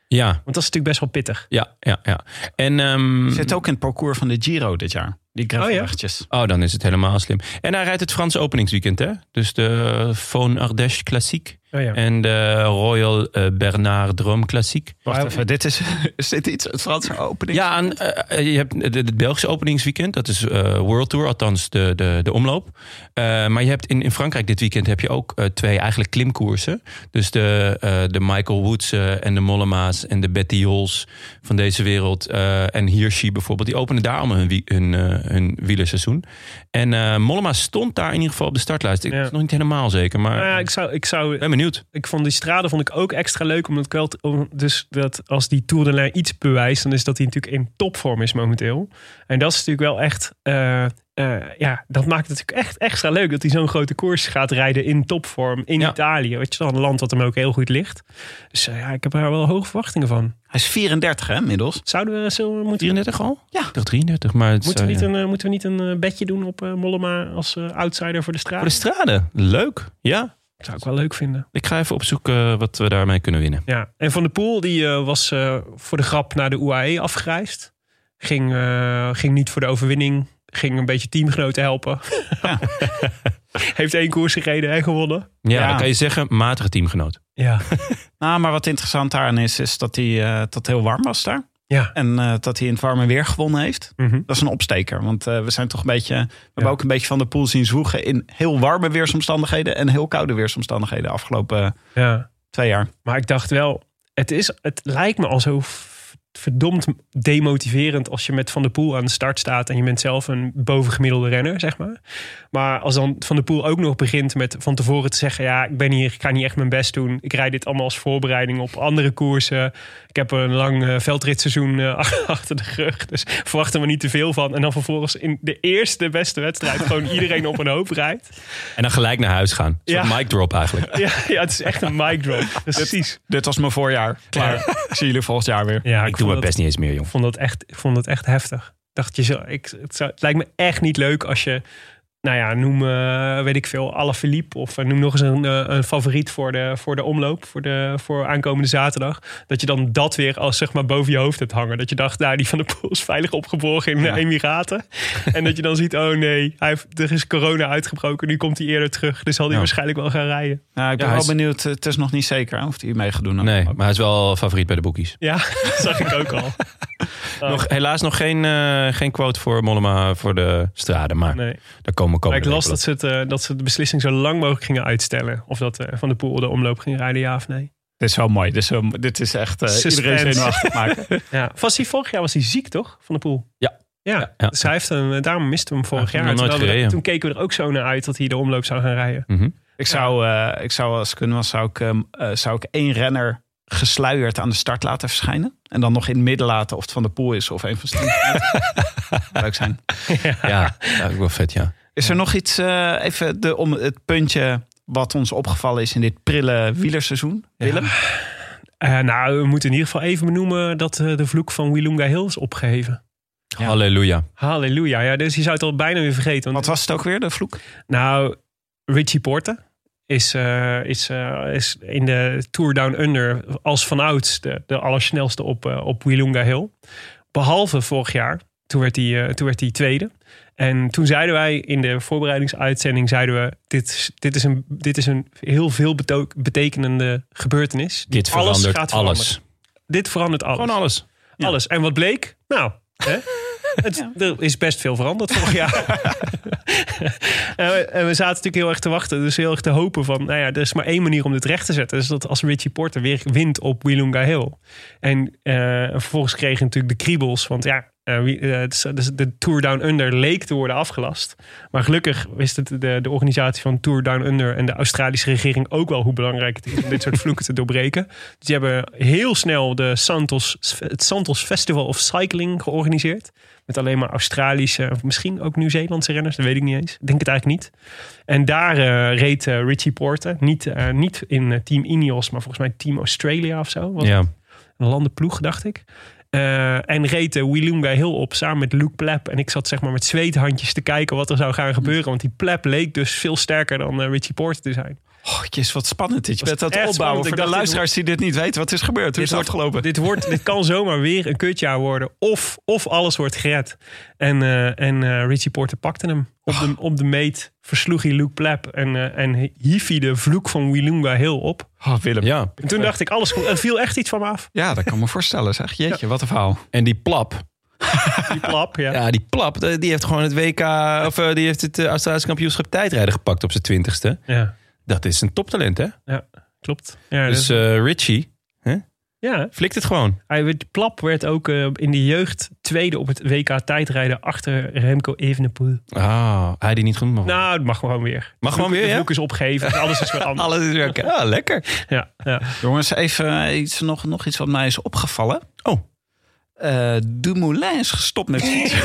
[SPEAKER 1] Ja,
[SPEAKER 2] Want dat is natuurlijk best wel pittig.
[SPEAKER 1] ja, ja, ja. En, ehm,
[SPEAKER 3] Zit ook in het parcours van de Giro dit jaar. Die gravelwegjes.
[SPEAKER 1] oh, dan is het helemaal slim. En hij rijdt het Franse openingsweekend, hè? Dus de Von Ardèche Classique.
[SPEAKER 2] Oh ja.
[SPEAKER 1] en de Royal eh, Bernard Drum Klassiek.
[SPEAKER 3] Wacht even, dit is, is dit iets, het Franse opening?
[SPEAKER 1] Ja, en, eh, eh, je hebt het- het Belgische openingsweekend. Dat is eh, World Tour, althans de, de, de omloop. Eh, maar je hebt in, in Frankrijk dit weekend heb je ook eh, twee eigenlijk klimkoersen. Dus de, eh, de Michael Woods eh, en de Mollema's en de Betty Jols van deze wereld. eh, en Hirschi bijvoorbeeld. Die openen daar allemaal hun, wie- hun, eh, hun wielerseizoen. En eh Mollema stond daar in ieder geval op de startlijst. Ik
[SPEAKER 2] Ja.
[SPEAKER 1] was nog niet helemaal zeker, maar
[SPEAKER 2] Nou ja, ik
[SPEAKER 1] ik
[SPEAKER 2] zou, ik
[SPEAKER 1] ben
[SPEAKER 2] zou
[SPEAKER 1] benieuwd.
[SPEAKER 2] ik vond die strade vond ik ook extra leuk. Omdat ik wel t- om- dus dat als die Tour de Lijn iets bewijst, dan is dat hij natuurlijk in topvorm is momenteel. En dat is natuurlijk wel echt. eh, eh, ja, dat maakt het natuurlijk echt extra leuk dat hij zo'n grote koers gaat rijden in topvorm in
[SPEAKER 1] Ja.
[SPEAKER 2] Italië. Weet je wel, een land wat hem ook heel goed ligt. Dus eh, ja, ik heb daar wel hoge verwachtingen van.
[SPEAKER 3] Hij is 34 hè, inmiddels.
[SPEAKER 2] Zouden we, zullen we- moeten,
[SPEAKER 1] 33 al?
[SPEAKER 3] Ja.
[SPEAKER 1] Ik dacht 33, maar het
[SPEAKER 2] moeten,
[SPEAKER 1] zou-
[SPEAKER 2] we niet
[SPEAKER 1] ja.
[SPEAKER 2] een, eh, moeten we niet een eh, bedje doen op eh, Mollema als eh, outsider voor de straat?
[SPEAKER 1] Voor de straden. Leuk. Ja.
[SPEAKER 2] Zou ik wel leuk vinden.
[SPEAKER 1] Ik ga even opzoeken wat we daarmee kunnen winnen.
[SPEAKER 2] Ja, en Van der Poel die eh, was eh, voor de grap naar de UAE afgereisd. Ging, eh, ging niet voor de overwinning. Ging een beetje teamgenoten helpen. Heeft één koers gereden en gewonnen.
[SPEAKER 1] Ja,
[SPEAKER 3] Ja.
[SPEAKER 1] dan kan je zeggen, matige teamgenoot.
[SPEAKER 2] Ja,
[SPEAKER 3] Nou, maar wat interessant daarin is, is dat hij eh, dat het heel warm was daar.
[SPEAKER 2] ja.
[SPEAKER 3] En eh, dat hij in het warme weer gewonnen heeft.
[SPEAKER 2] Mhm.
[SPEAKER 3] Dat is een opsteker, want eh, we zijn toch een beetje... We
[SPEAKER 2] Ja.
[SPEAKER 3] hebben ook een beetje van de pool zien zwoegen in heel warme weersomstandigheden... en heel koude weersomstandigheden de afgelopen
[SPEAKER 2] ja.
[SPEAKER 3] twee jaar.
[SPEAKER 2] Maar ik dacht wel, het, is, het lijkt me al zo v- verdomd demotiverend als je met Van der Poel aan de start staat en je bent zelf een bovengemiddelde renner, zeg maar. Maar als dan Van der Poel ook nog begint met van tevoren te zeggen, ja, ik ben hier, ik ga niet echt mijn best doen. Ik rijd dit allemaal als voorbereiding op andere koersen. Ik heb een lang eh, veldritseizoen eh, achter de rug, dus verwacht er maar niet te veel van. En dan vervolgens in de eerste beste wedstrijd gewoon iedereen op een hoop rijdt.
[SPEAKER 1] En dan gelijk naar huis gaan. Een soort
[SPEAKER 2] Ja.
[SPEAKER 1] mic drop eigenlijk.
[SPEAKER 2] Ja, ja, het is echt een mic drop. Precies.
[SPEAKER 3] Dit was mijn voorjaar. Klaar. Ik zie jullie volgend jaar weer.
[SPEAKER 2] Ja,
[SPEAKER 1] ik doe
[SPEAKER 2] vond
[SPEAKER 1] mijn
[SPEAKER 2] dat-
[SPEAKER 1] best niet eens meer,
[SPEAKER 2] Ik
[SPEAKER 1] jong.
[SPEAKER 2] vond dat echt, ik vond dat echt heftig. Ik Dacht je zo, ik, het, zou, het lijkt me echt niet leuk als je, nou ja, noem, eh, weet ik veel, Alaphilippe of eh, noem nog eens een, eh, een favoriet voor de, voor de omloop, voor, de, voor aankomende zaterdag. Dat je dan dat weer als zeg maar boven je hoofd hebt hangen. Dat je dacht, nou, die van de Poel is veilig opgeborgen in de
[SPEAKER 3] Ja.
[SPEAKER 2] Emiraten. en dat je dan ziet, oh nee, hij heeft, er is corona uitgebroken, nu komt hij eerder terug. Dus zal hij
[SPEAKER 1] Ja.
[SPEAKER 2] waarschijnlijk wel gaan rijden.
[SPEAKER 3] Nou, ik ben
[SPEAKER 1] Ja, hij
[SPEAKER 3] wel
[SPEAKER 1] is-
[SPEAKER 3] benieuwd. Het is nog niet zeker hè, of hij mee gaat doen. aan de
[SPEAKER 1] Nee,
[SPEAKER 3] afloop.
[SPEAKER 1] maar hij is wel favoriet bij de boekies.
[SPEAKER 2] Ja, dat zag ik ook al.
[SPEAKER 3] Oh.
[SPEAKER 1] Nog, helaas nog geen, eh, geen quote voor Mollema voor de straden. Maar
[SPEAKER 2] Nee.
[SPEAKER 1] daar komen we
[SPEAKER 2] Maar
[SPEAKER 1] komende
[SPEAKER 2] ik las
[SPEAKER 1] week
[SPEAKER 2] dat ze, het, eh, dat ze de beslissing zo lang mogelijk gingen uitstellen. Of dat eh, Van de Poel de omloop ging rijden, ja of nee.
[SPEAKER 3] Dit is wel mooi. Dit is, wel- dit is echt eh, iedereen
[SPEAKER 2] Suspense.
[SPEAKER 3] zenuwachtig maken.
[SPEAKER 2] Ja. Was hij vorig jaar was hij ziek, toch? Van de Poel?
[SPEAKER 1] Ja.
[SPEAKER 2] Ja,
[SPEAKER 1] Ja.
[SPEAKER 2] Dus hij heeft hem, eh, daarom misten we hem vorig
[SPEAKER 1] Hij heeft
[SPEAKER 2] jaar.
[SPEAKER 1] nog nooit
[SPEAKER 2] Terwijl we-
[SPEAKER 1] gereden.
[SPEAKER 2] toen keken we er ook zo naar uit dat hij de omloop zou gaan rijden.
[SPEAKER 1] wel. Mhm.
[SPEAKER 3] Ik zou, eh, ik zou als het kunnen was, zou ik, ehm, eh, zou ik één renner gesluierd aan de start laten verschijnen. En dan nog in het midden laten of het van de pool is of een van zijn. Leuk zijn.
[SPEAKER 1] Ja, ja, ook wel vet, ja.
[SPEAKER 3] Is er nog iets, eh, even de, om het puntje wat ons opgevallen is in dit prille wielerseizoen? Willem?
[SPEAKER 2] Eh, nou, we moeten in ieder geval even benoemen dat eh, de vloek van Wilunga Hill is opgeheven.
[SPEAKER 3] Ja.
[SPEAKER 1] Halleluja.
[SPEAKER 2] Halleluja. Ja, dus je zou het al bijna weer vergeten.
[SPEAKER 3] Wat
[SPEAKER 2] Want,
[SPEAKER 3] was het ook weer, de vloek?
[SPEAKER 2] nou, Richie Porte is, eh, is, eh, is in de Tour Down Under als vanouds de, de allersnelste op, eh, op Wilunga Hill. Behalve vorig jaar. Toen werd hij, eh, toen werd hij tweede. En toen zeiden wij in de voorbereidingsuitzending: zeiden we, dit, is- dit, is, een, dit is een heel veel beto- betekenende gebeurtenis.
[SPEAKER 1] Dit verandert alles.
[SPEAKER 2] veranderen. Dit verandert alles.
[SPEAKER 1] Gewoon alles.
[SPEAKER 3] Ja.
[SPEAKER 2] Alles. En wat bleek? Nou, hè? Het, er is best veel veranderd vorig jaar. en, we, en we zaten natuurlijk heel erg te wachten. Dus heel erg te hopen van, nou ja, er is maar één manier om dit recht te zetten. Dus dat als Richie Porter weer wint op Wilunga Hill. En eh, vervolgens kregen natuurlijk de kriebels. Want ja, eh, wie- eh, het is- dus de Tour Down Under leek te worden afgelast. Maar gelukkig wist het de, de organisatie van Tour Down Under en de Australische regering ook wel hoe belangrijk het is om dit soort vloeken te doorbreken. Dus die hebben heel snel de Santos, het Santos Festival of Cycling georganiseerd. Met alleen maar Australische, of misschien ook Nieuw-Zeelandse renners, dat weet ik niet eens. Ik denk het eigenlijk niet. En daar eh, reed eh, Richie Porte, niet, eh, niet in eh, Team Ineos, maar volgens mij Team Australia of zo. Wat
[SPEAKER 1] Ja.
[SPEAKER 2] een landenploeg, dacht ik. Eh, en reed eh, Wilunga heel op samen met Luke Plep. En ik zat zeg maar met zweethandjes te kijken wat er zou gaan gebeuren. Want die Plep leek dus veel sterker dan eh, Richie Porte te zijn.
[SPEAKER 3] Oh, jezus, wat spannend dit. Je
[SPEAKER 2] Was
[SPEAKER 3] bent dat
[SPEAKER 2] echt
[SPEAKER 3] opbouwen.
[SPEAKER 2] spannend.
[SPEAKER 3] Voor
[SPEAKER 2] Ik dacht,
[SPEAKER 3] de
[SPEAKER 2] dit
[SPEAKER 3] luisteraars die dit niet weten, wat is gebeurd? Hoe is
[SPEAKER 2] Dit wordt-
[SPEAKER 3] het afgelopen?
[SPEAKER 2] Dit, wordt, dit kan zomaar weer een kutjaar worden. Of, of alles wordt gered. En, eh, en eh, Richie Porter pakte hem. Op de, op de meet versloeg hij Luke Plap. En, eh, en hief hij de vloek van Wilunga heel op.
[SPEAKER 3] Oh, Willem. Ja.
[SPEAKER 1] Ja,
[SPEAKER 2] En toen dacht ik, alles, er viel echt iets van me af.
[SPEAKER 3] dat kan me voorstellen. Zeg, jeetje, wat een verhaal.
[SPEAKER 1] en die plap.
[SPEAKER 2] Die klap, ja.
[SPEAKER 1] Ja, die plap, eh, die heeft gewoon het WK... of eh, die heeft het eh, Australische kampioenschap tijdrijden gepakt op zijn twintigste.
[SPEAKER 2] Ja,
[SPEAKER 1] Dat is een toptalent, hè?
[SPEAKER 2] klopt. Ja,
[SPEAKER 1] Dus
[SPEAKER 2] dus,
[SPEAKER 1] eh, Richie
[SPEAKER 2] ja.
[SPEAKER 1] flikt het gewoon.
[SPEAKER 2] Hij werd, Plap werd ook eh, in de jeugd tweede op het WK tijdrijden achter Remco Evenepoel.
[SPEAKER 1] Ah, hij die niet genoemd mag worden.
[SPEAKER 2] Nou, het mag gewoon weer.
[SPEAKER 1] Mag gewoon weer,
[SPEAKER 2] De
[SPEAKER 1] ja?
[SPEAKER 2] boek is opgegeven. Alles is weer anders.
[SPEAKER 1] Alles is weer oké. Ah, lekker.
[SPEAKER 2] Ja, ja.
[SPEAKER 3] Jongens, even eh, iets, nog, nog iets wat mij is opgevallen.
[SPEAKER 1] Oh.
[SPEAKER 3] Eh, Dumoulin is gestopt met fietsen.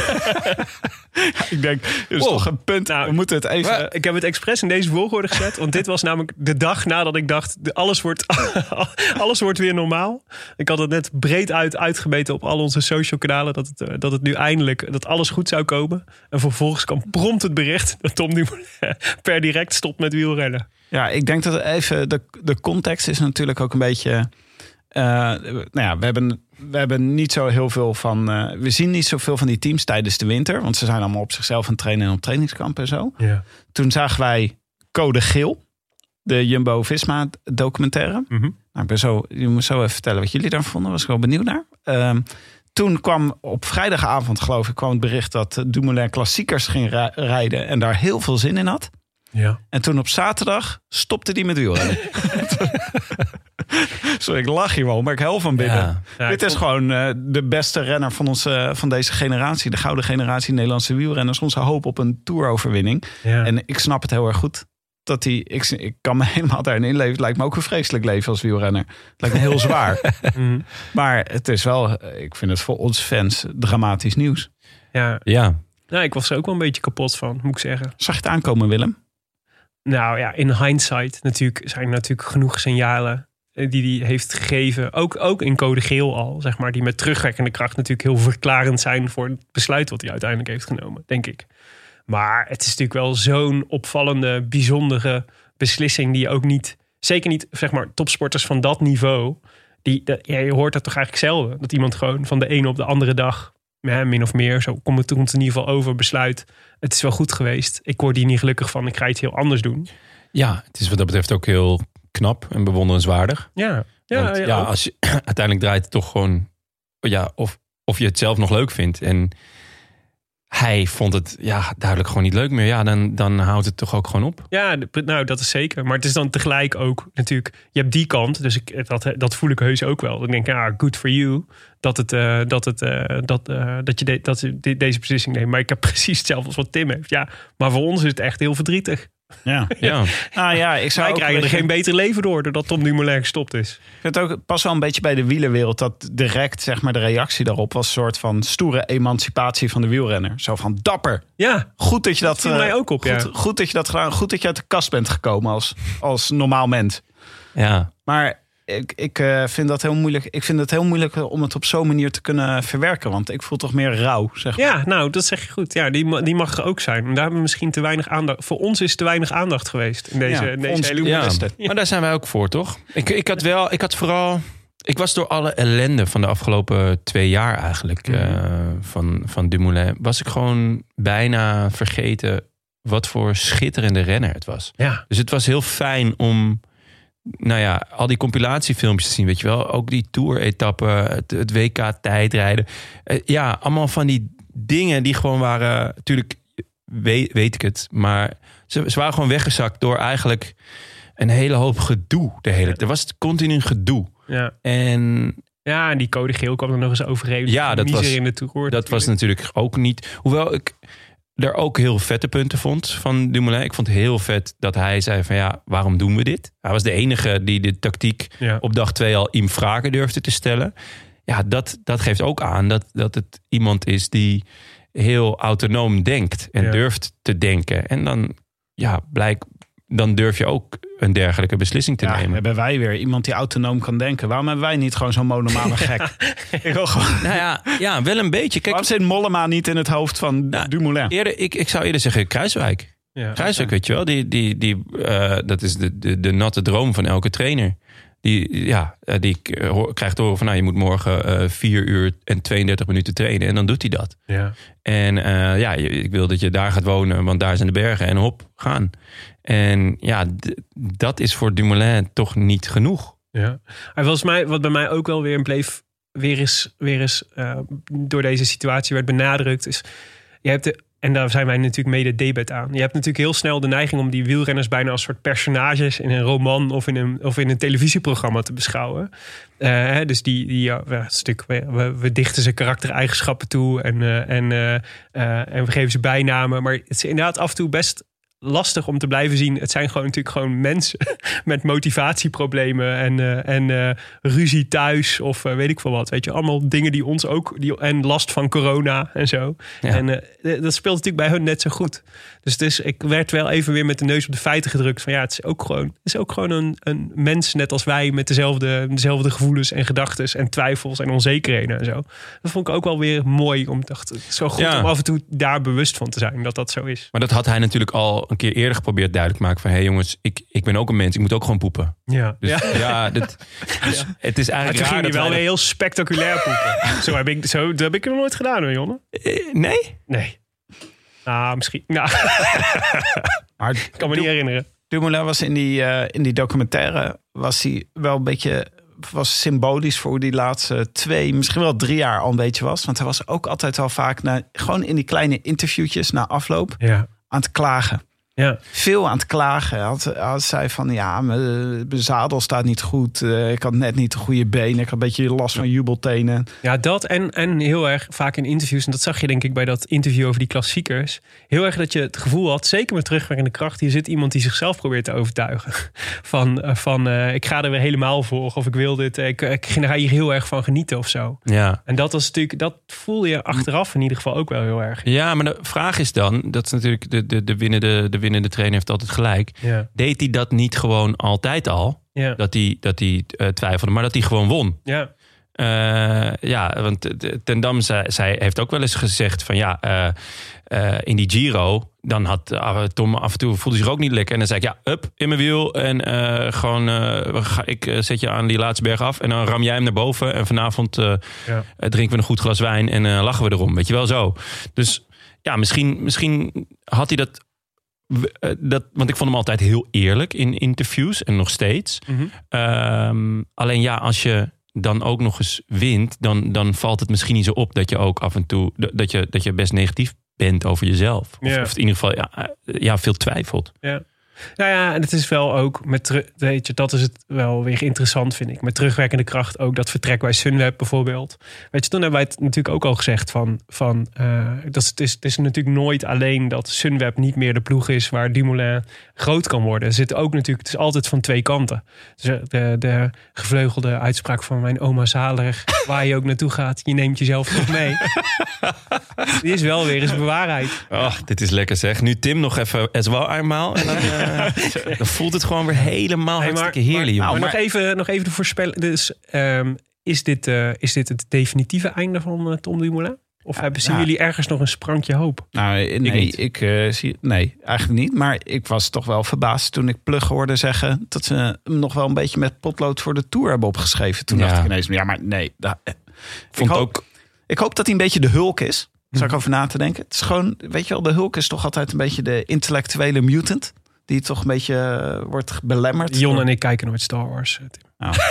[SPEAKER 3] ik denk, er is
[SPEAKER 1] Wow.
[SPEAKER 3] toch een punt.
[SPEAKER 2] Nou,
[SPEAKER 3] we moeten het even...
[SPEAKER 2] Maar ik heb het expres in deze volgorde gezet. Want dit was namelijk de dag nadat ik dacht... de- alles wordt, alles wordt weer normaal. Ik had het net breed uit uitgemeten op al onze social kanalen... Dat het, eh, dat het nu eindelijk, dat alles goed zou komen. En vervolgens kwam prompt het bericht... dat Tom nu per direct stopt met wielrennen.
[SPEAKER 3] Ja, ik denk dat even de, de context is natuurlijk ook een beetje. eh, nou ja, we hebben, we hebben niet zo heel veel van. eh, we zien niet zoveel van die teams tijdens de winter. Want ze zijn allemaal op zichzelf aan het trainen en op trainingskampen en zo.
[SPEAKER 2] Ja.
[SPEAKER 3] Toen zagen wij Code Geel, de Jumbo Visma documentaire.
[SPEAKER 2] Mhm.
[SPEAKER 3] Nou, ik ben zo, je moet zo even vertellen wat jullie daarvan vonden. Was ik wel benieuwd naar. Ehm, toen kwam op vrijdagavond, geloof ik, kwam het bericht dat Dumoulin klassiekers ging ri- rijden. En daar heel veel zin in had.
[SPEAKER 2] ja.
[SPEAKER 3] En toen op zaterdag stopte hij met wielrennen. Sorry, ik lach hier wel, maar ik hel van binnen.
[SPEAKER 1] Ja.
[SPEAKER 2] Ja,
[SPEAKER 3] Dit
[SPEAKER 2] ik
[SPEAKER 3] is gewoon eh, de beste renner van, onze, van deze generatie. De gouden generatie Nederlandse wielrenners. Onze hoop op een toeroverwinning.
[SPEAKER 2] Ja.
[SPEAKER 3] En ik snap het heel erg goed. Dat hij, ik, ik kan me helemaal daarin inleven. Het lijkt me ook een vreselijk leven als wielrenner. Het lijkt me heel zwaar.
[SPEAKER 2] Mhm.
[SPEAKER 3] Maar het is wel, eh, ik vind het voor ons fans dramatisch nieuws.
[SPEAKER 2] ja.
[SPEAKER 1] Ja.
[SPEAKER 2] Nou, ik was er ook wel een beetje kapot van, moet ik zeggen.
[SPEAKER 3] Zag je het aankomen, Willem?
[SPEAKER 2] Nou ja, in hindsight natuurlijk zijn er natuurlijk genoeg signalen eh, die hij heeft gegeven. Ook, ook in code geel al, zeg maar. Die met terugwerkende kracht natuurlijk heel verklarend zijn voor het besluit wat hij uiteindelijk heeft genomen, denk ik. Maar het is natuurlijk wel zo'n opvallende, bijzondere beslissing die je ook niet... Zeker niet, zeg maar, topsporters van dat niveau. Die, dat- ja, je hoort dat toch eigenlijk zelden. Dat iemand gewoon van de ene op de andere dag, hè, min of meer, zo komt het, komt het in ieder geval over, besluit... Het is wel goed geweest. Ik word hier niet gelukkig van. Ik ga iets heel anders doen.
[SPEAKER 1] ja, het is wat dat betreft ook heel knap en bewonderenswaardig.
[SPEAKER 2] Ja, ja,
[SPEAKER 1] Want,
[SPEAKER 2] ja,
[SPEAKER 1] ja,
[SPEAKER 2] ook.
[SPEAKER 1] als je, uiteindelijk draait het toch gewoon... Ja, of, of je het zelf nog leuk vindt. En hij vond het ja, duidelijk gewoon niet leuk meer. Ja, dan, dan houdt het toch ook gewoon op.
[SPEAKER 2] ja de- nou dat is zeker. Maar het is dan tegelijk ook natuurlijk, je hebt die kant, dus ik, dat, dat voel ik heus ook wel. Dan denk ik, ja, good for you dat, het, eh, dat, het, eh, dat, eh, dat je de- dat ze de- deze beslissing neemt. Maar ik heb precies hetzelfde als wat Tim heeft. Ja, maar voor ons is het echt heel verdrietig.
[SPEAKER 3] Ja.
[SPEAKER 1] Ja,
[SPEAKER 3] Nou ja, ik zou
[SPEAKER 2] Wij
[SPEAKER 3] ook
[SPEAKER 2] krijgen
[SPEAKER 3] een
[SPEAKER 2] er
[SPEAKER 3] beetje-
[SPEAKER 2] geen beter leven door doordat Tom Dumoulin gestopt is.
[SPEAKER 3] Ik vind het ook pas wel een beetje bij de wielerwereld dat direct zeg maar, de reactie daarop was een soort van stoere emancipatie van de wielrenner. Zo van dapper.
[SPEAKER 2] Ja,
[SPEAKER 3] Goed dat je dat,
[SPEAKER 2] viel
[SPEAKER 3] eh,
[SPEAKER 2] mij ook op,
[SPEAKER 3] Goed,
[SPEAKER 2] ja.
[SPEAKER 3] goed dat je dat gedaan. Goed dat je uit de kast bent gekomen als, als normaal mens.
[SPEAKER 1] ja.
[SPEAKER 3] Maar ik, ik eh, vind dat heel moeilijk. Ik vind het heel moeilijk eh, om het op zo'n manier te kunnen verwerken. Want ik voel toch meer rauw. Zeg maar.
[SPEAKER 2] ja nou dat zeg je goed. Ja, die, ma- die mag er ook zijn. En Daar hebben we misschien te weinig aandacht. Voor ons is te weinig aandacht geweest in deze,
[SPEAKER 3] Ja,
[SPEAKER 2] in
[SPEAKER 3] voor
[SPEAKER 2] deze
[SPEAKER 3] ons-
[SPEAKER 2] hele
[SPEAKER 1] Ja,
[SPEAKER 3] moesten.
[SPEAKER 1] maar daar zijn wij ook voor, toch? Ik, ik had wel, ik had vooral. Ik was door alle ellende van de afgelopen twee jaar eigenlijk. eh, van, van Dumoulin. Was ik gewoon bijna vergeten. wat voor schitterende renner het was.
[SPEAKER 2] Ja,
[SPEAKER 1] Dus het was heel fijn om. Nou ja, al die compilatiefilmpjes te zien, weet je wel. Ook die tour-etappen, het, het WK-tijdrijden. Eh, ja, allemaal van die dingen die gewoon waren... Natuurlijk weet, weet ik het, maar ze, ze waren gewoon weggezakt... door eigenlijk een hele hoop gedoe. De hele, er was continu gedoe.
[SPEAKER 2] ja.
[SPEAKER 1] En
[SPEAKER 2] Ja, en die code geel kwam er nog eens overheen.
[SPEAKER 1] Ja,
[SPEAKER 2] Die
[SPEAKER 1] dat
[SPEAKER 2] miser
[SPEAKER 1] was-
[SPEAKER 2] in de toehoor.
[SPEAKER 1] Dat was natuurlijk ook niet. Hoewel ik er ook heel vette punten vond van Dumoulin. Ik vond het heel vet dat hij zei van ja, waarom doen we dit? Hij was de enige die de tactiek
[SPEAKER 2] Ja.
[SPEAKER 1] op dag twee al in vragen durfde te stellen. Ja, dat, dat geeft ook aan dat, dat het iemand is die heel autonoom denkt en
[SPEAKER 2] Ja.
[SPEAKER 1] durft te denken. En dan, ja, blijk, dan durf je ook een dergelijke beslissing te
[SPEAKER 3] Ja,
[SPEAKER 1] nemen.
[SPEAKER 3] hebben wij weer iemand die autonoom kan denken. Waarom hebben wij niet gewoon zo'n monomane gek? Ik wil gewoon,
[SPEAKER 1] Nou ja, ja, wel een beetje. Kijk,
[SPEAKER 3] waarom zit Mollema niet in het hoofd van
[SPEAKER 1] Nou,
[SPEAKER 3] Dumoulin?
[SPEAKER 1] eerder, ik, ik zou eerder zeggen Kruiswijk.
[SPEAKER 2] Ja.
[SPEAKER 1] Kruiswijk, weet je wel, die, die, die, eh, dat is de, de, de natte droom van elke trainer. Die, ja, eh, die k- hoor- krijgt te horen van nou, je moet morgen eh 4 uur en 32 minuten trainen. En dan doet hij dat.
[SPEAKER 2] Ja.
[SPEAKER 1] En eh, ja, je- ik wil dat je daar gaat wonen, want daar zijn de bergen. En hop, gaan. En ja, d- dat is voor Dumoulin toch niet genoeg.
[SPEAKER 2] Ja. En volgens mij, wat bij mij ook wel weer bleef, weer eens, weer eens eh, door deze situatie werd benadrukt, is je hebt de, en daar zijn wij natuurlijk mede debet aan. Je hebt natuurlijk heel snel de neiging om die wielrenners bijna als soort personages in een roman of in een, of in een televisieprogramma te beschouwen. Eh, hè, dus die, die ja, we- het stuk, we, we- we dichten ze karaktereigenschappen toe en, eh, en, eh, eh, en we geven ze bijnamen. Maar het is inderdaad af en toe best lastig om te blijven zien. Het zijn gewoon natuurlijk gewoon mensen met motivatieproblemen en, eh, en eh, ruzie thuis of eh, weet ik veel wat. Weet je, allemaal dingen die ons ook die, en last van corona en zo.
[SPEAKER 1] Ja.
[SPEAKER 2] En eh, d- dat speelt natuurlijk bij hun net zo goed. Dus het is, ik werd wel even weer met de neus op de feiten gedrukt. Van ja, het is ook gewoon, het is ook gewoon een, een mens net als wij met dezelfde, dezelfde gevoelens en gedachten en twijfels en onzekerheden en zo. Dat vond ik ook wel weer mooi. Om, dacht, het is zo goed
[SPEAKER 1] Ja.
[SPEAKER 2] om af en toe daar bewust van te zijn dat dat zo is.
[SPEAKER 1] Maar dat had hij natuurlijk al een keer eerder geprobeerd duidelijk te maken. Van hé hey jongens, ik, ik ben ook een mens, ik moet ook gewoon poepen.
[SPEAKER 2] Ja.
[SPEAKER 1] Dus ja, dit, dus het is
[SPEAKER 2] Maar toen
[SPEAKER 1] eigenlijk
[SPEAKER 2] ging
[SPEAKER 1] raar
[SPEAKER 2] hij
[SPEAKER 1] dat
[SPEAKER 2] wel weer
[SPEAKER 1] wij
[SPEAKER 2] heel spectaculair poepen. zo heb ik, zo, dat heb ik nog nooit gedaan hoor, Jonne.
[SPEAKER 1] dat- Eh, Nee?
[SPEAKER 2] Nee. Ah, misschien. Nou,
[SPEAKER 3] Maar
[SPEAKER 2] ik kan me niet herinneren.
[SPEAKER 3] Dumoulin was in die, eh, in die documentaire was hij wel een beetje was symbolisch voor hoe die laatste twee, misschien wel drie jaar al een beetje was. Want hij was ook altijd wel vaak na, gewoon in die kleine interviewtjes na afloop
[SPEAKER 2] Ja.
[SPEAKER 3] aan het klagen.
[SPEAKER 2] Ja.
[SPEAKER 3] Veel aan het klagen. Hij Had, had zei van ja, mijn mijn zadel staat niet goed. Eh, Ik had net niet de goede benen. Ik had een beetje last van jubeltenen.
[SPEAKER 2] ja, dat en, en heel erg vaak in interviews. En dat zag je denk ik bij dat interview over die klassiekers. Heel erg dat je het gevoel had, zeker met terugwerkende kracht. Hier zit iemand die zichzelf probeert te overtuigen. Van, eh, van eh, ik ga er weer helemaal voor. Of ik wil dit. eh, Ik, ik ga hier heel erg van genieten of zo.
[SPEAKER 1] Ja.
[SPEAKER 2] En dat was natuurlijk, dat voel je achteraf in ieder geval ook wel heel erg.
[SPEAKER 1] Ja, maar de vraag is dan, dat is natuurlijk de, de, de, winnende, de winnende trainer heeft altijd gelijk.
[SPEAKER 2] Ja.
[SPEAKER 1] Deed hij dat niet gewoon altijd al?
[SPEAKER 2] Ja.
[SPEAKER 1] Dat hij, dat hij eh, twijfelde, maar dat hij gewoon won.
[SPEAKER 2] Ja.
[SPEAKER 1] Eh, ja, want eh, de- Ten Dam zei, zij heeft ook wel eens gezegd van ja, eh, eh, in die Giro, dan had eh, Tom af en toe voelde zich ook niet lekker. En dan zei ik ja, up in mijn wiel en eh, gewoon eh, we ga- ik eh, zet je aan die laatste berg af en dan ram jij hem naar boven. En vanavond eh,
[SPEAKER 2] Ja.
[SPEAKER 1] eh, drinken we een goed glas wijn en eh, lachen we erom, weet je wel zo. Dus ja, misschien, misschien had hij dat, eh, dat, want ik vond hem altijd heel eerlijk in interviews en nog steeds.
[SPEAKER 2] Mhm.
[SPEAKER 1] Ehm, alleen ja, als je dan ook nog eens wint, dan, dan valt het misschien niet zo op dat je ook af en toe d- dat je, dat je best negatief bent over jezelf. Of,
[SPEAKER 2] Ja.
[SPEAKER 1] of in ieder geval ja, eh, ja, veel twijfelt.
[SPEAKER 2] Nou ja, en het is wel ook met teru- weet je, dat is het wel weer interessant, vind ik. Met terugwerkende kracht ook dat vertrek bij Sunweb bijvoorbeeld. Weet je, toen hebben wij het natuurlijk ook al gezegd van, van eh, dat is- het, is, het is natuurlijk nooit alleen dat Sunweb niet meer de ploeg is waar Dumoulin groot kan worden. Er zit ook natuurlijk, het is altijd van twee kanten. Dus eh, de, de gevleugelde uitspraak van mijn oma Zalig, waar je ook naartoe gaat, je neemt jezelf toch mee. Die is wel weer eens bewaarheid.
[SPEAKER 1] Ach, dit is lekker zeg. Nu Tim nog even as well eenmaal. En dan, eh, dan voelt het gewoon weer helemaal
[SPEAKER 2] Hey, maar-
[SPEAKER 1] hartstikke heerlijk,
[SPEAKER 2] maar,
[SPEAKER 1] jongen.
[SPEAKER 2] maar nog even, nog even de voorspelling. Dus, ehm, is, dit, eh, is dit het definitieve einde van eh, Tom Dumoulin? Of hebben, zien
[SPEAKER 3] ja.
[SPEAKER 2] jullie ergens nog een sprankje hoop?
[SPEAKER 3] Nou, eh, nee,
[SPEAKER 1] niet.
[SPEAKER 3] ik, eh, zie, nee, eigenlijk niet. Maar ik was toch wel verbaasd toen ik Plug hoorde zeggen... dat ze hem nog wel een beetje met potlood voor de Tour hebben opgeschreven. Toen
[SPEAKER 1] Ja.
[SPEAKER 3] dacht ik ineens, ja, maar nee. da- eh.
[SPEAKER 1] Vond
[SPEAKER 3] ik, hoop,
[SPEAKER 1] ook Mhm.
[SPEAKER 3] ik hoop dat hij een beetje de hulk is. Zal ik over na te denken. Het is gewoon, weet je wel, de hulk is toch altijd een beetje de intellectuele mutant... die toch een beetje eh, wordt belemmerd.
[SPEAKER 2] Jon en ik kijken nooit Star Wars. eh, Tim.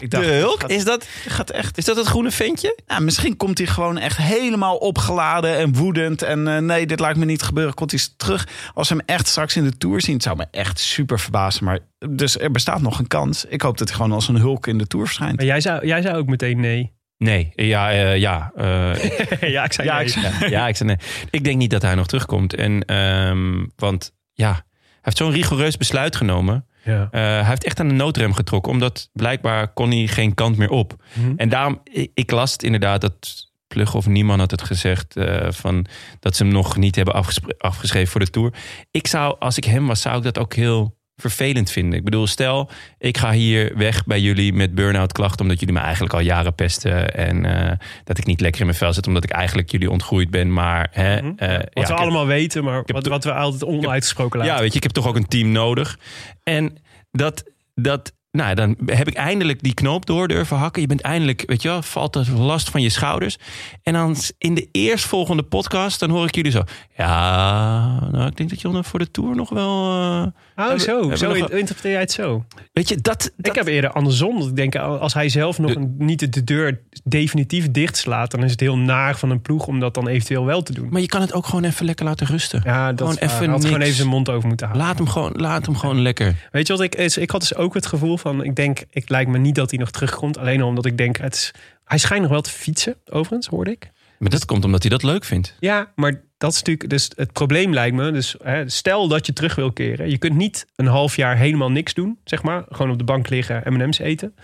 [SPEAKER 3] ik
[SPEAKER 1] de
[SPEAKER 3] dacht,
[SPEAKER 1] hulk.
[SPEAKER 3] gaat-
[SPEAKER 1] Is dat,
[SPEAKER 3] gaat echt
[SPEAKER 1] is dat het groene ventje?
[SPEAKER 3] nou, misschien komt hij gewoon echt helemaal opgeladen en woedend. En eh, nee, dit laat me niet gebeuren. Komt hij terug. Als we hem echt straks in de Tour zien, het zou me echt super verbazen. Maar dus er bestaat nog een kans. Ik hoop dat hij gewoon als een hulk in de Tour verschijnt.
[SPEAKER 2] Maar jij zei, jij zei ook meteen nee.
[SPEAKER 1] Nee, ja, eh, ja. eh,
[SPEAKER 2] ja, ik zei
[SPEAKER 1] Ja,
[SPEAKER 2] nee.
[SPEAKER 1] ik zei, ja, ik zei nee. Ik denk niet dat hij nog terugkomt. En, ehm, want ja, hij heeft zo'n rigoureus besluit genomen.
[SPEAKER 2] Ja.
[SPEAKER 1] Eh, hij heeft echt aan de noodrem getrokken. Omdat blijkbaar kon hij geen kant meer op.
[SPEAKER 2] Mhm.
[SPEAKER 1] En daarom, ik, ik las het inderdaad dat Plug of Niemand had het gezegd. eh, van, dat ze hem nog niet hebben afgespre- afgeschreven voor de Tour. Ik zou, als ik hem was, zou ik dat ook heel vervelend vinden. Ik bedoel, stel, ik ga hier weg bij jullie met burn-out klachten... omdat jullie me eigenlijk al jaren pesten... en eh, dat ik niet lekker in mijn vel zit... omdat ik eigenlijk jullie ontgroeid ben, maar... Hè,
[SPEAKER 2] Mhm.
[SPEAKER 1] eh, ja,
[SPEAKER 2] Wat
[SPEAKER 1] ik
[SPEAKER 2] we
[SPEAKER 1] heb-
[SPEAKER 2] allemaal weten, maar
[SPEAKER 1] heb
[SPEAKER 2] wat,
[SPEAKER 1] to-
[SPEAKER 2] wat we altijd onuitgesproken laten.
[SPEAKER 1] ja, weet je, ik heb toch ook een team nodig. En dat, dat, nou, ja, dan heb ik eindelijk die knoop door durven hakken. Je bent eindelijk, weet je wel, valt de last van je schouders. En dan s- in de eerstvolgende podcast, dan hoor ik jullie zo. Ja, nou, ik denk dat Jonne voor de tour nog wel. eh,
[SPEAKER 2] oh,
[SPEAKER 1] Hebben-
[SPEAKER 2] zo.
[SPEAKER 1] hebben
[SPEAKER 2] zo
[SPEAKER 1] we nog
[SPEAKER 2] in- interpreteer jij het zo.
[SPEAKER 1] weet je, dat.
[SPEAKER 2] Ik heb eerder andersom. dat Ik denk, als hij zelf nog
[SPEAKER 1] De-
[SPEAKER 2] een- niet de deur definitief dicht slaat... dan is het heel naar van een ploeg om dat dan eventueel wel te doen.
[SPEAKER 1] Maar je kan het ook gewoon even lekker laten rusten.
[SPEAKER 2] Ja, dat
[SPEAKER 1] Gewoon
[SPEAKER 2] is waar.
[SPEAKER 1] even
[SPEAKER 2] Hij had gewoon
[SPEAKER 1] niks.
[SPEAKER 2] even zijn mond over moeten halen.
[SPEAKER 1] Laat hem gewoon, laat hem gewoon lekker.
[SPEAKER 2] Weet je wat ik is? Ik had dus ook het gevoel van: ik denk, ik lijkt me niet dat hij nog terugkomt. Alleen al omdat ik denk, het is, hij schijnt nog wel te fietsen, overigens, hoorde ik.
[SPEAKER 1] Maar dat komt omdat hij dat leuk vindt.
[SPEAKER 2] Ja, maar dat is natuurlijk, dus het probleem lijkt me. Dus hè, stel dat je terug wil keren. Je kunt niet een half jaar helemaal niks doen, zeg maar. Gewoon op de bank liggen, MM's eten.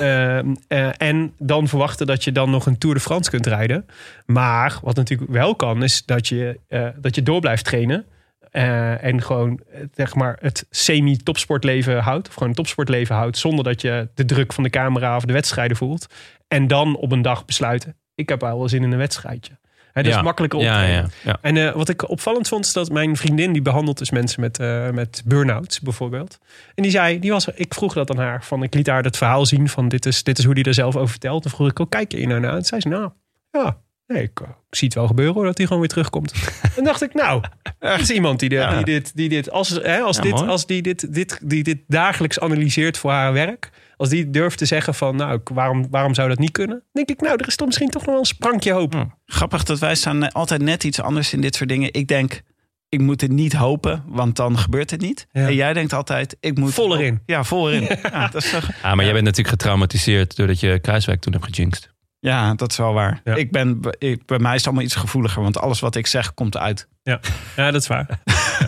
[SPEAKER 2] Ehm, eh, en dan verwachten dat je dan nog een Tour de France kunt rijden. Maar wat natuurlijk wel kan, is dat je, eh, dat je door blijft trainen. Eh, en gewoon eh, zeg maar, het semi-topsportleven houdt. Of gewoon een topsportleven houdt. Zonder dat je de druk van de camera of de wedstrijden voelt. En dan op een dag besluiten. Ik heb wel zin in een wedstrijdje. Hè, dat
[SPEAKER 1] Ja.
[SPEAKER 2] is makkelijker
[SPEAKER 1] Ja,
[SPEAKER 2] optreden.
[SPEAKER 1] ja, ja.
[SPEAKER 2] En eh, wat ik opvallend vond, is dat mijn vriendin... die behandelt dus mensen met, eh, met burn-out bijvoorbeeld. En die zei, die was, ik vroeg dat aan haar. Van, ik liet haar dat verhaal zien van dit is, dit is hoe die er zelf over vertelt. Dan vroeg ik ook, kijk je hier nou naar? En zei ze, nou, ja, nee, ik, eh, ik zie het wel gebeuren hoor, dat hij gewoon weer terugkomt. en dacht ik, nou, er is iemand die, de,
[SPEAKER 1] Ja.
[SPEAKER 2] die dit, die dit, als, hè, als,
[SPEAKER 1] Ja,
[SPEAKER 2] dit,
[SPEAKER 1] mooi.
[SPEAKER 2] als die, dit, dit, die dit dagelijks analyseert voor haar werk. Als die durft te zeggen van, nou, ik- waarom, waarom zou dat niet kunnen? Dan denk ik, nou, er is toch misschien toch nog wel een sprankje hoop.
[SPEAKER 3] Grappig dat wij staan eh, altijd net iets anders in dit soort dingen. Ik denk, ik moet het niet hopen, want dan gebeurt het niet.
[SPEAKER 2] Ja.
[SPEAKER 3] En jij denkt altijd, ik moet...
[SPEAKER 2] Vol erin.
[SPEAKER 3] Ja, vol erin. ja, dat is toch...
[SPEAKER 1] Ah, maar jij bent natuurlijk getraumatiseerd doordat je Kruiswijk toen hebt gejinxed.
[SPEAKER 3] Ja, dat is wel waar.
[SPEAKER 2] Ja.
[SPEAKER 3] Ik ben, ik, bij mij is het allemaal iets gevoeliger, want alles wat ik zeg komt uit.
[SPEAKER 2] Ja, dat is waar.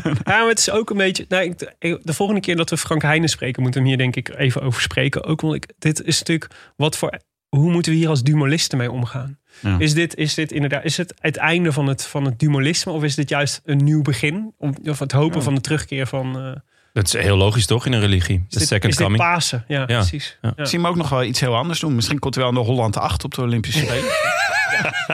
[SPEAKER 2] ja, maar het is ook een beetje. Nou, ik- ik- de volgende keer dat we Frank Heijnen spreken, moeten we hem hier denk ik even over spreken. Ook want ik, dit is natuurlijk wat voor. Hoe moeten we hier als dumolisten mee omgaan?
[SPEAKER 3] Ja.
[SPEAKER 2] Is, dit, is dit inderdaad is het, het einde van het, van het dumolisme? Of is dit juist een nieuw begin? Om- Of het hopen
[SPEAKER 3] Ja.
[SPEAKER 2] van de terugkeer van. eh,
[SPEAKER 1] Dat is heel logisch toch in een religie?
[SPEAKER 2] is
[SPEAKER 1] De
[SPEAKER 2] dit,
[SPEAKER 1] second
[SPEAKER 2] is dit
[SPEAKER 1] coming.
[SPEAKER 2] Pasen? Ja, precies.
[SPEAKER 1] ja.
[SPEAKER 2] Ja.
[SPEAKER 3] Ik zie hem ook nog wel iets heel anders doen. Misschien komt hij wel naar Holland 8 op de Olympische Spelen.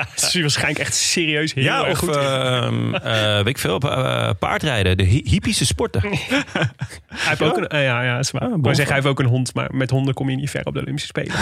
[SPEAKER 2] Het is waarschijnlijk echt serieus heel
[SPEAKER 1] Ja,
[SPEAKER 2] erg
[SPEAKER 1] of
[SPEAKER 2] goed.
[SPEAKER 1] eh, ehm, eh, weet ik veel, pa- eh, paardrijden, de hi- hippische sporten.
[SPEAKER 2] hij heeft ook een, eh, ja, ja, is waar.
[SPEAKER 1] Ja,
[SPEAKER 2] ik wou
[SPEAKER 1] bonfire.
[SPEAKER 2] zeggen, hij heeft ook een hond, maar met honden kom je niet ver op de Olympische Spelen.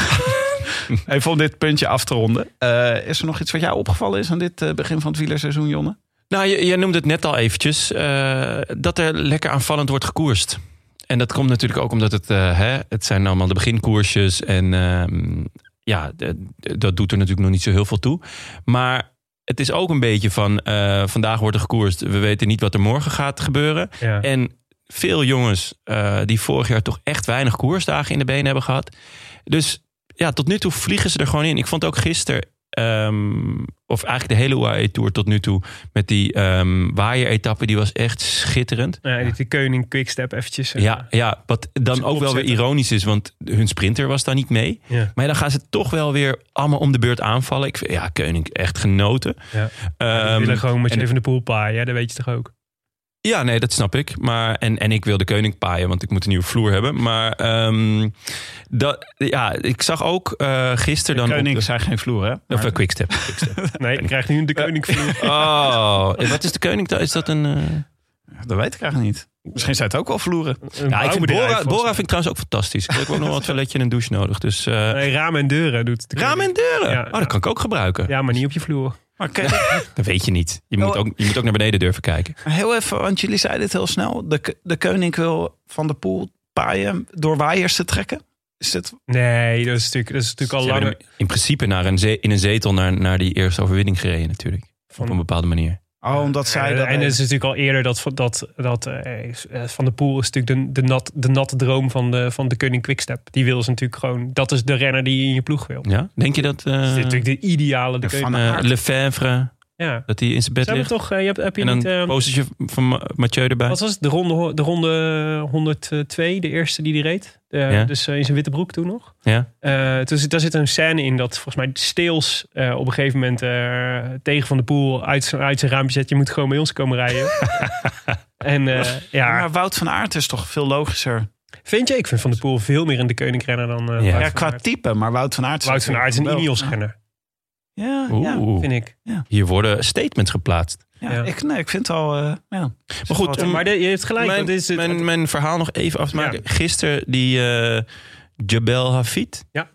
[SPEAKER 3] Even om dit puntje af te ronden. Eh, is er nog iets wat jou opgevallen is aan dit eh, begin van het wielerseizoen, Jonne?
[SPEAKER 1] Nou, je, je noemde het net al eventjes, eh, dat er lekker aanvallend wordt gekoerst. En dat komt natuurlijk ook omdat het, eh, hè, het zijn allemaal de beginkoersjes. En ehm, ja, d- d- dat doet er natuurlijk nog niet zo heel veel toe. Maar het is ook een beetje van, eh, vandaag wordt er gekoerst. We weten niet wat er morgen gaat gebeuren.
[SPEAKER 2] Ja.
[SPEAKER 1] En veel jongens eh, die vorig jaar toch echt weinig koersdagen in de benen hebben gehad. Dus ja, tot nu toe vliegen ze er gewoon in. Ik vond ook gisteren, ehm, of eigenlijk de hele UAE-tour tot nu toe... met die ehm waaier-etappe, die was echt schitterend.
[SPEAKER 2] Nou Ja, die Keuning Quickstep eventjes. eh,
[SPEAKER 1] Ja, ja, wat dan
[SPEAKER 2] kop
[SPEAKER 1] ook wel weer
[SPEAKER 2] zetten.
[SPEAKER 1] ironisch is, want hun sprinter was daar niet mee.
[SPEAKER 2] ja.
[SPEAKER 1] Maar dan gaan ze toch wel weer allemaal om de beurt aanvallen. Ik, vind- ja, Keuning, echt genoten.
[SPEAKER 2] Ja.
[SPEAKER 1] Ehm,
[SPEAKER 2] willen gewoon met
[SPEAKER 1] en-
[SPEAKER 2] je even de pool paaien, hè? dat weet je toch ook?
[SPEAKER 1] Ja, nee, dat snap ik. Maar, en, en ik wil de koning paaien, want ik moet een nieuwe vloer hebben. Maar ehm, dat, ja, ik zag ook eh gisteren dan... op
[SPEAKER 3] Koning
[SPEAKER 1] de-
[SPEAKER 3] zijn geen vloer, hè?
[SPEAKER 1] of eh, quickstep. quickstep.
[SPEAKER 2] Nee, ik krijg nu de koninkvloer.
[SPEAKER 1] Oh, eh, wat is de koning? dan? Is dat een... eh,
[SPEAKER 3] Dat weet ik eigenlijk niet. Misschien zijn het ook wel vloeren.
[SPEAKER 1] Ja, ik vind Bora, Bora vind ik trouwens ook fantastisch. Ik heb ook nog wel een toiletje en een douche nodig. Dus eh
[SPEAKER 2] Nee, ramen en deuren doet de
[SPEAKER 1] ramen en deuren.
[SPEAKER 2] Ja,
[SPEAKER 1] oh, dat
[SPEAKER 2] ja.
[SPEAKER 1] kan ik ook gebruiken.
[SPEAKER 2] Ja, maar niet op je vloer.
[SPEAKER 3] Maar kijk,
[SPEAKER 1] Dat weet je niet. Je moet,
[SPEAKER 3] Oh.
[SPEAKER 1] ook, je moet ook naar beneden durven kijken.
[SPEAKER 3] heel even, want jullie zeiden het heel snel. De, k- de koning wil van de poel paaien door waaiers te trekken. Is het
[SPEAKER 2] Nee, dat is natuurlijk, dat is natuurlijk al
[SPEAKER 1] Ze hebben
[SPEAKER 2] langer.
[SPEAKER 1] hem in principe naar een ze- in een zetel naar, naar die eerste overwinning gereden natuurlijk.
[SPEAKER 2] Van-
[SPEAKER 1] Op een bepaalde manier.
[SPEAKER 3] Oh, omdat zij
[SPEAKER 2] en
[SPEAKER 3] dat...
[SPEAKER 2] Eh, en het is natuurlijk al eerder dat, dat, dat eh, eh, Van der Poel is natuurlijk de, de, nat, de natte droom van de, van de Koning Quickstep. Die wil ze natuurlijk gewoon, dat is de renner die je in je ploeg wil.
[SPEAKER 1] Ja? Denk je dat... eh,
[SPEAKER 2] Dat is natuurlijk de ideale de
[SPEAKER 3] Van
[SPEAKER 2] Keuning.
[SPEAKER 1] Van eh, Lefebvre,
[SPEAKER 2] Ja.
[SPEAKER 1] Dat hij in zijn bed
[SPEAKER 2] Ze hebben
[SPEAKER 1] ligt.
[SPEAKER 2] toch, eh, je hebt, heb je
[SPEAKER 1] en een
[SPEAKER 2] niet... eh,
[SPEAKER 1] postertje van Ma- Mathieu erbij.
[SPEAKER 2] wat was het? De ronde, ho- de ronde 102, de eerste die die reed. Eh,
[SPEAKER 1] Ja.
[SPEAKER 2] Dus eh, in zijn witte broek toen nog.
[SPEAKER 1] Ja.
[SPEAKER 2] Eh, toen zit- daar zit een scène in dat volgens mij Steels eh, op een gegeven moment eh, tegen Van de Poel uit, zijn- uit zijn raampje zet. Je moet gewoon bij ons komen rijden. en eh, ja,
[SPEAKER 3] Maar Wout van Aert is toch veel logischer.
[SPEAKER 2] vind je? Ik vind Van de Poel veel meer in de Koning-renner dan eh,
[SPEAKER 1] Ja.
[SPEAKER 2] Wout
[SPEAKER 3] Ja,
[SPEAKER 2] van
[SPEAKER 3] qua
[SPEAKER 2] Aert.
[SPEAKER 3] type, maar Wout van Aert...
[SPEAKER 2] Wout van Aert is een
[SPEAKER 3] Wel.
[SPEAKER 2] Ineos-renner,
[SPEAKER 3] Ja, ja,
[SPEAKER 1] Oeh.
[SPEAKER 2] vind ik.
[SPEAKER 1] Hier worden statements geplaatst.
[SPEAKER 3] ja.
[SPEAKER 2] Ja.
[SPEAKER 3] Ik, nee, ik vind het al... eh, ja.
[SPEAKER 1] Maar goed,
[SPEAKER 3] Wat-
[SPEAKER 1] om-
[SPEAKER 2] Maar de- je hebt gelijk.
[SPEAKER 1] mijn,
[SPEAKER 2] want dit is het-
[SPEAKER 1] mijn, mijn verhaal nog even af te maken. Gisteren die eh, Jabel Hafid.
[SPEAKER 2] Ja.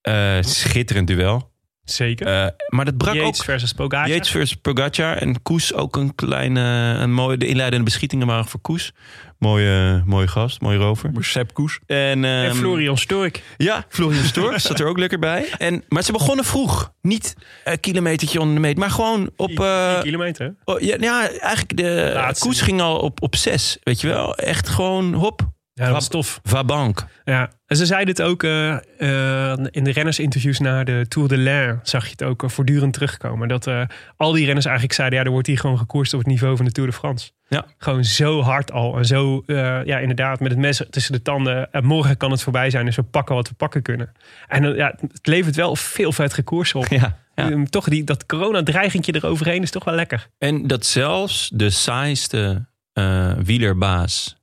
[SPEAKER 1] Eh, schitterend duel.
[SPEAKER 2] zeker.
[SPEAKER 1] Eh, maar dat brak
[SPEAKER 2] Yates
[SPEAKER 1] ook
[SPEAKER 2] versus Pogacar.
[SPEAKER 1] Yates versus Pogacar. En Koes ook een kleine... Een mooie, de inleidende beschietingen waren voor Koes. Mooie, mooie gast, mooie rover.
[SPEAKER 3] Sepp Koes.
[SPEAKER 1] En, ehm,
[SPEAKER 2] en Florian Stork.
[SPEAKER 1] Ja, Florian Stork zat er ook lekker bij. En, maar ze begonnen vroeg. Niet een kilometertje onder de meet, maar gewoon op...
[SPEAKER 2] Vier-
[SPEAKER 1] eh,
[SPEAKER 2] vier kilometer.
[SPEAKER 1] oh, ja, ja, eigenlijk de
[SPEAKER 2] Laatste.
[SPEAKER 1] Koes ging al op, op zes, weet je wel. Echt gewoon, hop,
[SPEAKER 2] Ja, dat is tof.
[SPEAKER 1] vabank.
[SPEAKER 2] Ja, en ze zeiden het ook eh, eh, in de rennersinterviews na de Tour de l'Ain. Zag je het ook eh, voortdurend terugkomen. Dat eh, al die renners eigenlijk zeiden, ja, er wordt hier gewoon gekoerst op het niveau van de Tour de France.
[SPEAKER 1] Ja.
[SPEAKER 2] Gewoon zo hard al. En zo, eh, ja, inderdaad, met het mes tussen de tanden. En morgen kan het voorbij zijn, dus we pakken wat we pakken kunnen. En eh, ja, het levert wel veel vet koers op.
[SPEAKER 1] Ja, ja.
[SPEAKER 2] Eh, Toch die, dat corona-dreigentje eroverheen is toch wel lekker.
[SPEAKER 1] En dat zelfs de saaiste eh, wielerbaas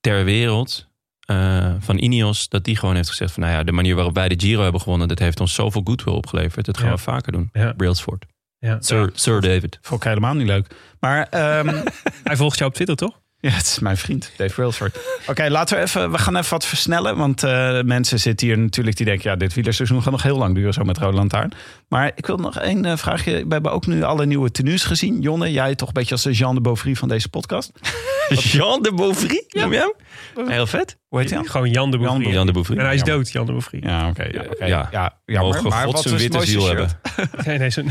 [SPEAKER 1] ter wereld eh, van Ineos, dat die gewoon heeft gezegd van nou ja, de manier waarop wij de Giro hebben gewonnen, dat heeft ons zoveel goodwill opgeleverd. Dat gaan
[SPEAKER 2] Ja.
[SPEAKER 1] we vaker doen.
[SPEAKER 2] Ja.
[SPEAKER 1] Brailsford.
[SPEAKER 2] Ja.
[SPEAKER 1] Sir, Sir David.
[SPEAKER 3] Vond ik helemaal niet leuk. Maar ehm,
[SPEAKER 2] Hij volgt jou op Twitter, toch?
[SPEAKER 3] ja, het is mijn vriend, Dave Brailsford. Oké, laten we even, we gaan even wat versnellen. Want eh, mensen zitten hier natuurlijk die denken, ja, dit wielerseizoen gaat nog heel lang duren zo met Roland Lantaarn. Maar ik wil nog één eh, vraagje. We hebben ook nu alle nieuwe tenues gezien. Jonne, jij toch een beetje als de Jean de Beaufry van deze podcast.
[SPEAKER 1] Jean de Beauvry? Noem je hem? Heel vet.
[SPEAKER 3] Hoe heet hij? dan?
[SPEAKER 2] Gewoon Jan de Boer.
[SPEAKER 1] Jan de Beauvry.
[SPEAKER 2] En hij is
[SPEAKER 3] Jammer.
[SPEAKER 2] dood, Jan de Boer.
[SPEAKER 3] Ja, oké. ja, oké.
[SPEAKER 1] Ja.
[SPEAKER 3] ja, jammer.
[SPEAKER 1] Mogen
[SPEAKER 3] maar
[SPEAKER 1] God
[SPEAKER 3] wat
[SPEAKER 1] zijn
[SPEAKER 3] is het
[SPEAKER 1] witte
[SPEAKER 3] mooiste
[SPEAKER 1] ziel
[SPEAKER 3] shirt?
[SPEAKER 1] hebben.
[SPEAKER 2] Nee, nee, zo'n-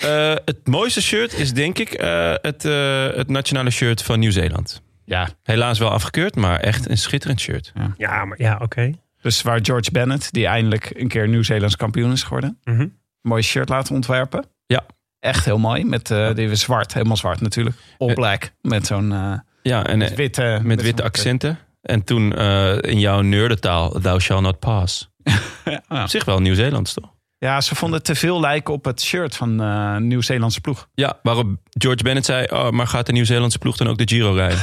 [SPEAKER 2] ja.
[SPEAKER 1] Eh, het mooiste shirt is denk ik eh, het, eh, het nationale shirt van Nieuw-Zeeland.
[SPEAKER 3] Ja,
[SPEAKER 1] Helaas wel afgekeurd, maar echt een schitterend shirt.
[SPEAKER 2] ja, maar ja, oké.
[SPEAKER 3] dus waar George Bennett, die eindelijk een keer Nieuw-Zeelands kampioen is geworden.
[SPEAKER 2] Mhm.
[SPEAKER 3] mooi shirt laten ontwerpen.
[SPEAKER 1] Ja.
[SPEAKER 3] Echt heel mooi. Met eh die was zwart, helemaal zwart natuurlijk. All
[SPEAKER 1] Eh,
[SPEAKER 3] black. Met zo'n eh,
[SPEAKER 1] Ja, en eh,
[SPEAKER 3] met witte.
[SPEAKER 1] met witte
[SPEAKER 3] zo'n-
[SPEAKER 1] accenten. En toen eh, in jouw nerdentaal, thou shall not pass.
[SPEAKER 3] Ja.
[SPEAKER 1] Op zich wel Nieuw-Zeelands, toch?
[SPEAKER 3] Ja, ze vonden het te veel lijken op het shirt van eh Nieuw-Zeelandse ploeg.
[SPEAKER 1] Ja, waarop George Bennett zei, oh, maar gaat de Nieuw-Zeelandse ploeg dan ook de Giro rijden?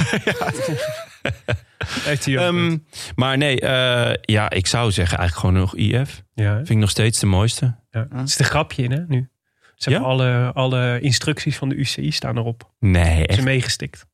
[SPEAKER 2] Heeft hij ook
[SPEAKER 1] Ehm,
[SPEAKER 2] goed.
[SPEAKER 1] maar nee, eh, ja, ik zou zeggen eigenlijk gewoon nog IF.
[SPEAKER 2] ja,
[SPEAKER 1] Vind ik nog steeds de mooiste.
[SPEAKER 2] ja. Het is de grapje in, hè, nu. Ze hebben alle, alle instructies van de UCI staan erop.
[SPEAKER 1] Nee,
[SPEAKER 2] Ze
[SPEAKER 1] echt.
[SPEAKER 2] meegestikt.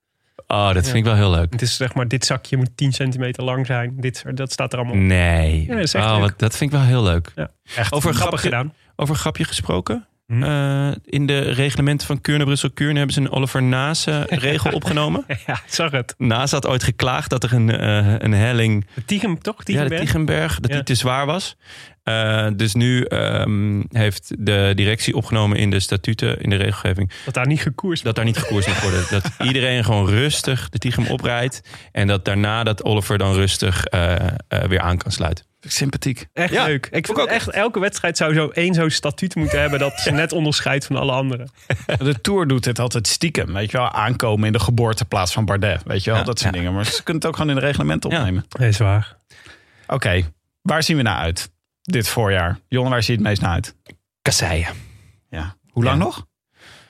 [SPEAKER 1] Oh, dat vind ik wel heel leuk.
[SPEAKER 2] Het is zeg maar, dit zakje moet 10 centimeter lang zijn. Dit, dat staat er allemaal
[SPEAKER 1] Mm,
[SPEAKER 2] op.
[SPEAKER 1] Nee.
[SPEAKER 2] Oh. Ja, dat is echt
[SPEAKER 1] Oh,
[SPEAKER 2] leuk.
[SPEAKER 1] wat- dat vind ik wel heel leuk.
[SPEAKER 3] Echt
[SPEAKER 1] Over
[SPEAKER 2] Grappig
[SPEAKER 1] grapje,
[SPEAKER 2] gedaan.
[SPEAKER 1] Over grapje gesproken.
[SPEAKER 2] Hm.
[SPEAKER 1] Eh, in de reglementen van Keurne, Brussel, Keurne hebben ze een Oliver Nase regel opgenomen.
[SPEAKER 2] Ja, ik zag het.
[SPEAKER 1] Nase had ooit geklaagd dat er een, eh, een helling
[SPEAKER 2] De Tigem, toch?
[SPEAKER 1] Ja,
[SPEAKER 2] Tiegenberg?
[SPEAKER 1] de Tigenberg, dat
[SPEAKER 2] Ja.
[SPEAKER 1] die te zwaar was. Eh, dus nu ehm, heeft de directie opgenomen in de statuten, in de regelgeving,
[SPEAKER 2] Dat daar niet gekoerst
[SPEAKER 1] dat daar niet gekoerst mag worden. Dat iedereen gewoon rustig de Tigem oprijdt. En dat daarna dat Oliver dan rustig eh, eh, weer aan kan sluiten.
[SPEAKER 3] sympathiek.
[SPEAKER 2] Echt
[SPEAKER 1] Ja,
[SPEAKER 2] leuk. Ik
[SPEAKER 1] vond
[SPEAKER 2] vind
[SPEAKER 1] ik ook
[SPEAKER 2] echt, elke wedstrijd zou zo één zo'n statuut moeten hebben... dat ze net onderscheidt van alle anderen.
[SPEAKER 3] De Tour doet het altijd stiekem. Weet je wel, aankomen in de geboorteplaats van Bardet. Weet je wel,
[SPEAKER 1] Ja,
[SPEAKER 3] dat soort
[SPEAKER 1] ja.
[SPEAKER 3] dingen. Maar ze kunnen het ook gewoon in de reglementen
[SPEAKER 1] Ja.
[SPEAKER 3] opnemen.
[SPEAKER 2] Nee, is waar.
[SPEAKER 3] Oké, waar zien we naar uit dit voorjaar? Jonne, waar zie je het meest naar uit?
[SPEAKER 1] Kasseien.
[SPEAKER 3] Ja. Hoe lang
[SPEAKER 1] Ja.
[SPEAKER 3] nog?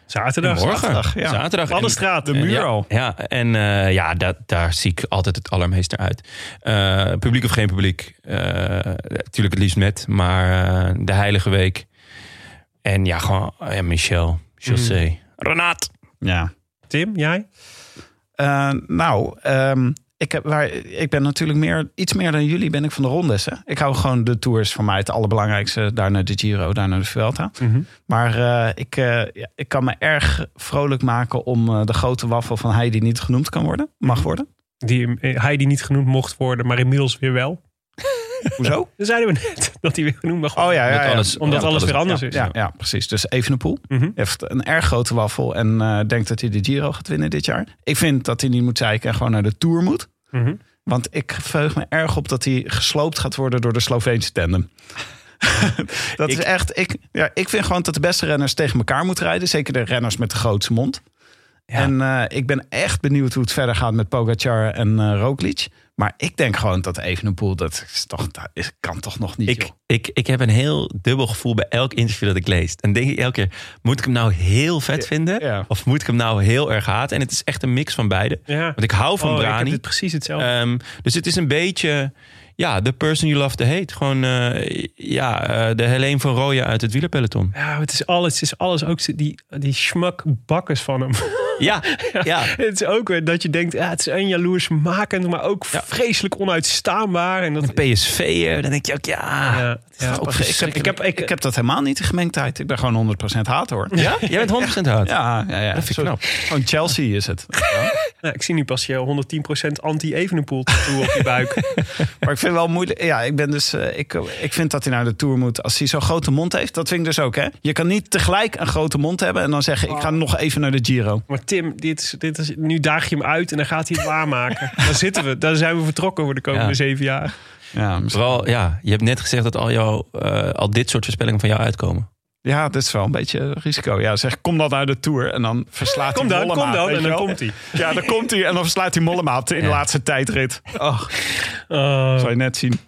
[SPEAKER 2] Zaterdag.
[SPEAKER 3] zaterdag,
[SPEAKER 1] Morgen,
[SPEAKER 3] ja.
[SPEAKER 1] zaterdag.
[SPEAKER 2] Alle
[SPEAKER 1] En-
[SPEAKER 2] straat.
[SPEAKER 3] De muur
[SPEAKER 1] ja,
[SPEAKER 3] al.
[SPEAKER 1] Ja, en eh, ja, dat, daar zie ik altijd het allermeest naar uit. Eh, publiek of geen publiek? eh, Natuurlijk het liefst met, maar eh, de Heilige Week. En ja, gewoon eh, ja, Michel, José, Renat.
[SPEAKER 3] Ja.
[SPEAKER 2] Tim, jij?
[SPEAKER 3] Eh, nou, ehm, ik, heb, waar, ik ben natuurlijk meer, iets meer dan jullie ben ik van de rondes. Hè? Ik hou gewoon de tours voor mij het allerbelangrijkste. Daar naar de Giro, daar naar de Vuelta.
[SPEAKER 1] Mhm.
[SPEAKER 3] Maar eh, ik, eh, ja, ik kan me erg vrolijk maken om eh, de grote waffel van hij die niet genoemd kan worden. Mag worden.
[SPEAKER 2] Die, eh, hij die niet genoemd mocht worden, maar inmiddels weer wel.
[SPEAKER 3] Hoezo?
[SPEAKER 2] Dan zeiden we net dat hij weer genoemd mag worden.
[SPEAKER 3] Oh ja, ja,
[SPEAKER 1] Omdat
[SPEAKER 3] ja.
[SPEAKER 1] alles-
[SPEAKER 2] Omdat
[SPEAKER 1] ja,
[SPEAKER 2] alles weer anders is.
[SPEAKER 3] Ja, ja, precies. Dus even een poel.
[SPEAKER 2] Mhm.
[SPEAKER 3] Heeft een erg grote waffel en eh, denkt dat hij de Giro gaat winnen dit jaar. Ik vind dat hij niet moet zeiken en gewoon naar de Tour moet.
[SPEAKER 2] Mhm.
[SPEAKER 3] Want ik verheug me erg op dat hij gesloopt gaat worden door de Sloveense tandem. dat
[SPEAKER 1] Ik-
[SPEAKER 3] is echt. Ik, ja, ik vind gewoon dat de beste renners tegen elkaar moeten rijden. Zeker de renners met de grootste mond. En eh, ik ben echt benieuwd hoe het verder gaat met Pogacar en eh Roglic. Maar ik denk gewoon dat Evenepoel, dat, is toch, dat is, kan toch nog niet,
[SPEAKER 1] Ik,
[SPEAKER 3] joh.
[SPEAKER 1] ik, ik heb een heel dubbel gevoel bij elk interview dat ik lees. Dan denk ik elke keer, moet ik hem nou heel vet vinden?
[SPEAKER 3] ja.
[SPEAKER 1] Of moet ik hem nou heel erg haten? En het is echt een mix van beide.
[SPEAKER 2] Ja.
[SPEAKER 1] Want ik hou van
[SPEAKER 2] oh, ik heb
[SPEAKER 1] Brani.
[SPEAKER 2] dit precies hetzelfde.
[SPEAKER 1] Ehm, dus het is een beetje, ja, the person you love to hate. Gewoon, eh, ja, eh, de Helene van Rooyen uit het wielerpeloton.
[SPEAKER 2] ja, het is alles, het is alles ook zo- die, die schmakbakkers van hem.
[SPEAKER 1] Ja, ja.
[SPEAKER 2] het is ook weer dat je denkt, ja, het is en jaloersmakend, maar ook
[SPEAKER 1] Ja.
[SPEAKER 2] vreselijk onuitstaanbaar. En dat,
[SPEAKER 1] PSV'er, eh, dan denk je ook, ja.
[SPEAKER 2] ja, ja,
[SPEAKER 1] ook
[SPEAKER 3] Ik heb, ik, heb, ik, heb dat helemaal niet de gemengdheid. Ik ben gewoon 100% haat hoor.
[SPEAKER 1] Ja? Jij bent 100% hard.
[SPEAKER 3] Ja, ja, ja.
[SPEAKER 1] Dat vind ik
[SPEAKER 3] Zo-
[SPEAKER 1] knap.
[SPEAKER 3] Gewoon Chelsea is het.
[SPEAKER 2] nou, ik zie nu pas je 110% anti-Evenepoel tattoo op je buik.
[SPEAKER 3] Maar ik vind wel moeilijk. Ja, ik ben dus. eh, ik, ik vind dat hij naar de tour moet. Als hij zo'n grote mond heeft, dat vind ik dus ook. Hè? Je kan niet tegelijk een grote mond hebben en dan zeggen: ik ga nog even naar de Giro.
[SPEAKER 2] Maar Tim, dit is, dit is, nu daag je hem uit en dan gaat hij het waarmaken. Daar zitten we, daar zijn we vertrokken voor de komende
[SPEAKER 1] Ja.
[SPEAKER 2] zeven jaar.
[SPEAKER 3] Ja, misschien-
[SPEAKER 1] Vooral, ja, je hebt net gezegd dat al, jouw, eh, al dit soort voorspellingen van jou uitkomen.
[SPEAKER 3] ja, dat is wel een beetje risico. Ja, zeg: kom dan naar de tour en dan verslaat
[SPEAKER 2] Kom
[SPEAKER 3] hij
[SPEAKER 2] dan,
[SPEAKER 3] Mollema,
[SPEAKER 2] kom dan,
[SPEAKER 3] weet
[SPEAKER 2] en
[SPEAKER 3] je
[SPEAKER 2] dan
[SPEAKER 3] wel.
[SPEAKER 2] komt hij.
[SPEAKER 3] Ja, dan komt hij en dan verslaat hij Mollema in de
[SPEAKER 1] Ja.
[SPEAKER 3] laatste tijdrit. Oh,
[SPEAKER 2] Oh,
[SPEAKER 3] zou je net zien.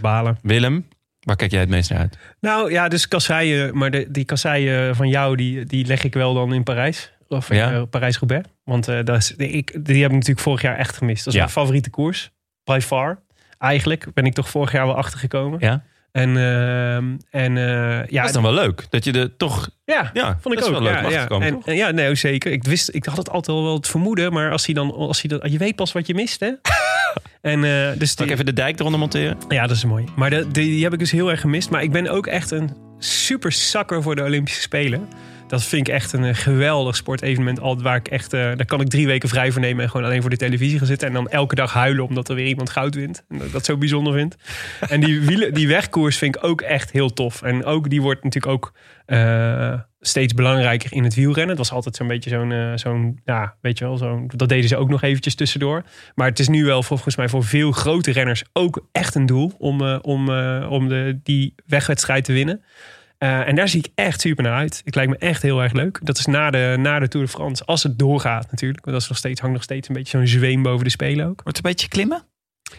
[SPEAKER 2] balen.
[SPEAKER 1] Willem, waar kijk jij het meest naar uit?
[SPEAKER 2] Nou ja, dus kasseien. Maar de, die kasseien van jou, die, die leg ik wel dan in Parijs. Of
[SPEAKER 1] Ja.
[SPEAKER 2] eh, Parijs-Roubaix. Want eh, dat is, ik, die heb ik natuurlijk vorig jaar echt gemist. Dat is
[SPEAKER 1] Ja.
[SPEAKER 2] mijn favoriete koers. By far. Eigenlijk ben ik toch vorig jaar wel achtergekomen.
[SPEAKER 1] Ja.
[SPEAKER 2] En, ehm, en eh, ja,
[SPEAKER 1] Dat is dan wel leuk, dat je er toch...
[SPEAKER 2] ja,
[SPEAKER 1] Ja,
[SPEAKER 2] vond ik
[SPEAKER 1] dat
[SPEAKER 2] ook.
[SPEAKER 1] is wel leuk
[SPEAKER 2] ja,
[SPEAKER 1] om achter
[SPEAKER 2] ja.
[SPEAKER 1] te komen,
[SPEAKER 2] En,
[SPEAKER 1] toch?
[SPEAKER 2] en ja, nee, oh, zeker. Ik, wist, ik had het altijd al wel het vermoeden. Maar als hij dan, als hij dat, je weet pas wat je mist, hè? en eh, dus
[SPEAKER 1] Zal
[SPEAKER 2] die,
[SPEAKER 1] ik even de dijk eronder monteren?
[SPEAKER 2] ja, dat is mooi. Maar de, die, die heb ik dus heel erg gemist. Maar ik ben ook echt een super zakker voor de Olympische Spelen. Dat vind ik echt een eh, geweldig sportevenement. Altijd waar ik echt, eh, daar kan ik drie weken vrij voor nemen en gewoon alleen voor de televisie gaan zitten. En dan elke dag huilen omdat er weer iemand goud wint. En dat ik dat zo bijzonder vind. En die, wielen, die wegkoers vind ik ook echt heel tof. En ook die wordt natuurlijk ook eh, steeds belangrijker in het wielrennen. Het was altijd zo'n beetje zo'n, eh, zo'n, ja, weet je wel, zo'n, dat deden ze ook nog eventjes tussendoor. Maar het is nu wel volgens mij voor veel grote renners ook echt een doel om, eh, om, eh, om de, die wegwedstrijd te winnen. Eh, en daar zie ik echt super naar uit. Het lijkt me echt heel erg leuk. Dat is na de, na de Tour de France, als het doorgaat natuurlijk. Want dat is nog steeds, hangt nog steeds een beetje zo'n zweem boven de spelen ook.
[SPEAKER 3] Wordt een beetje klimmen?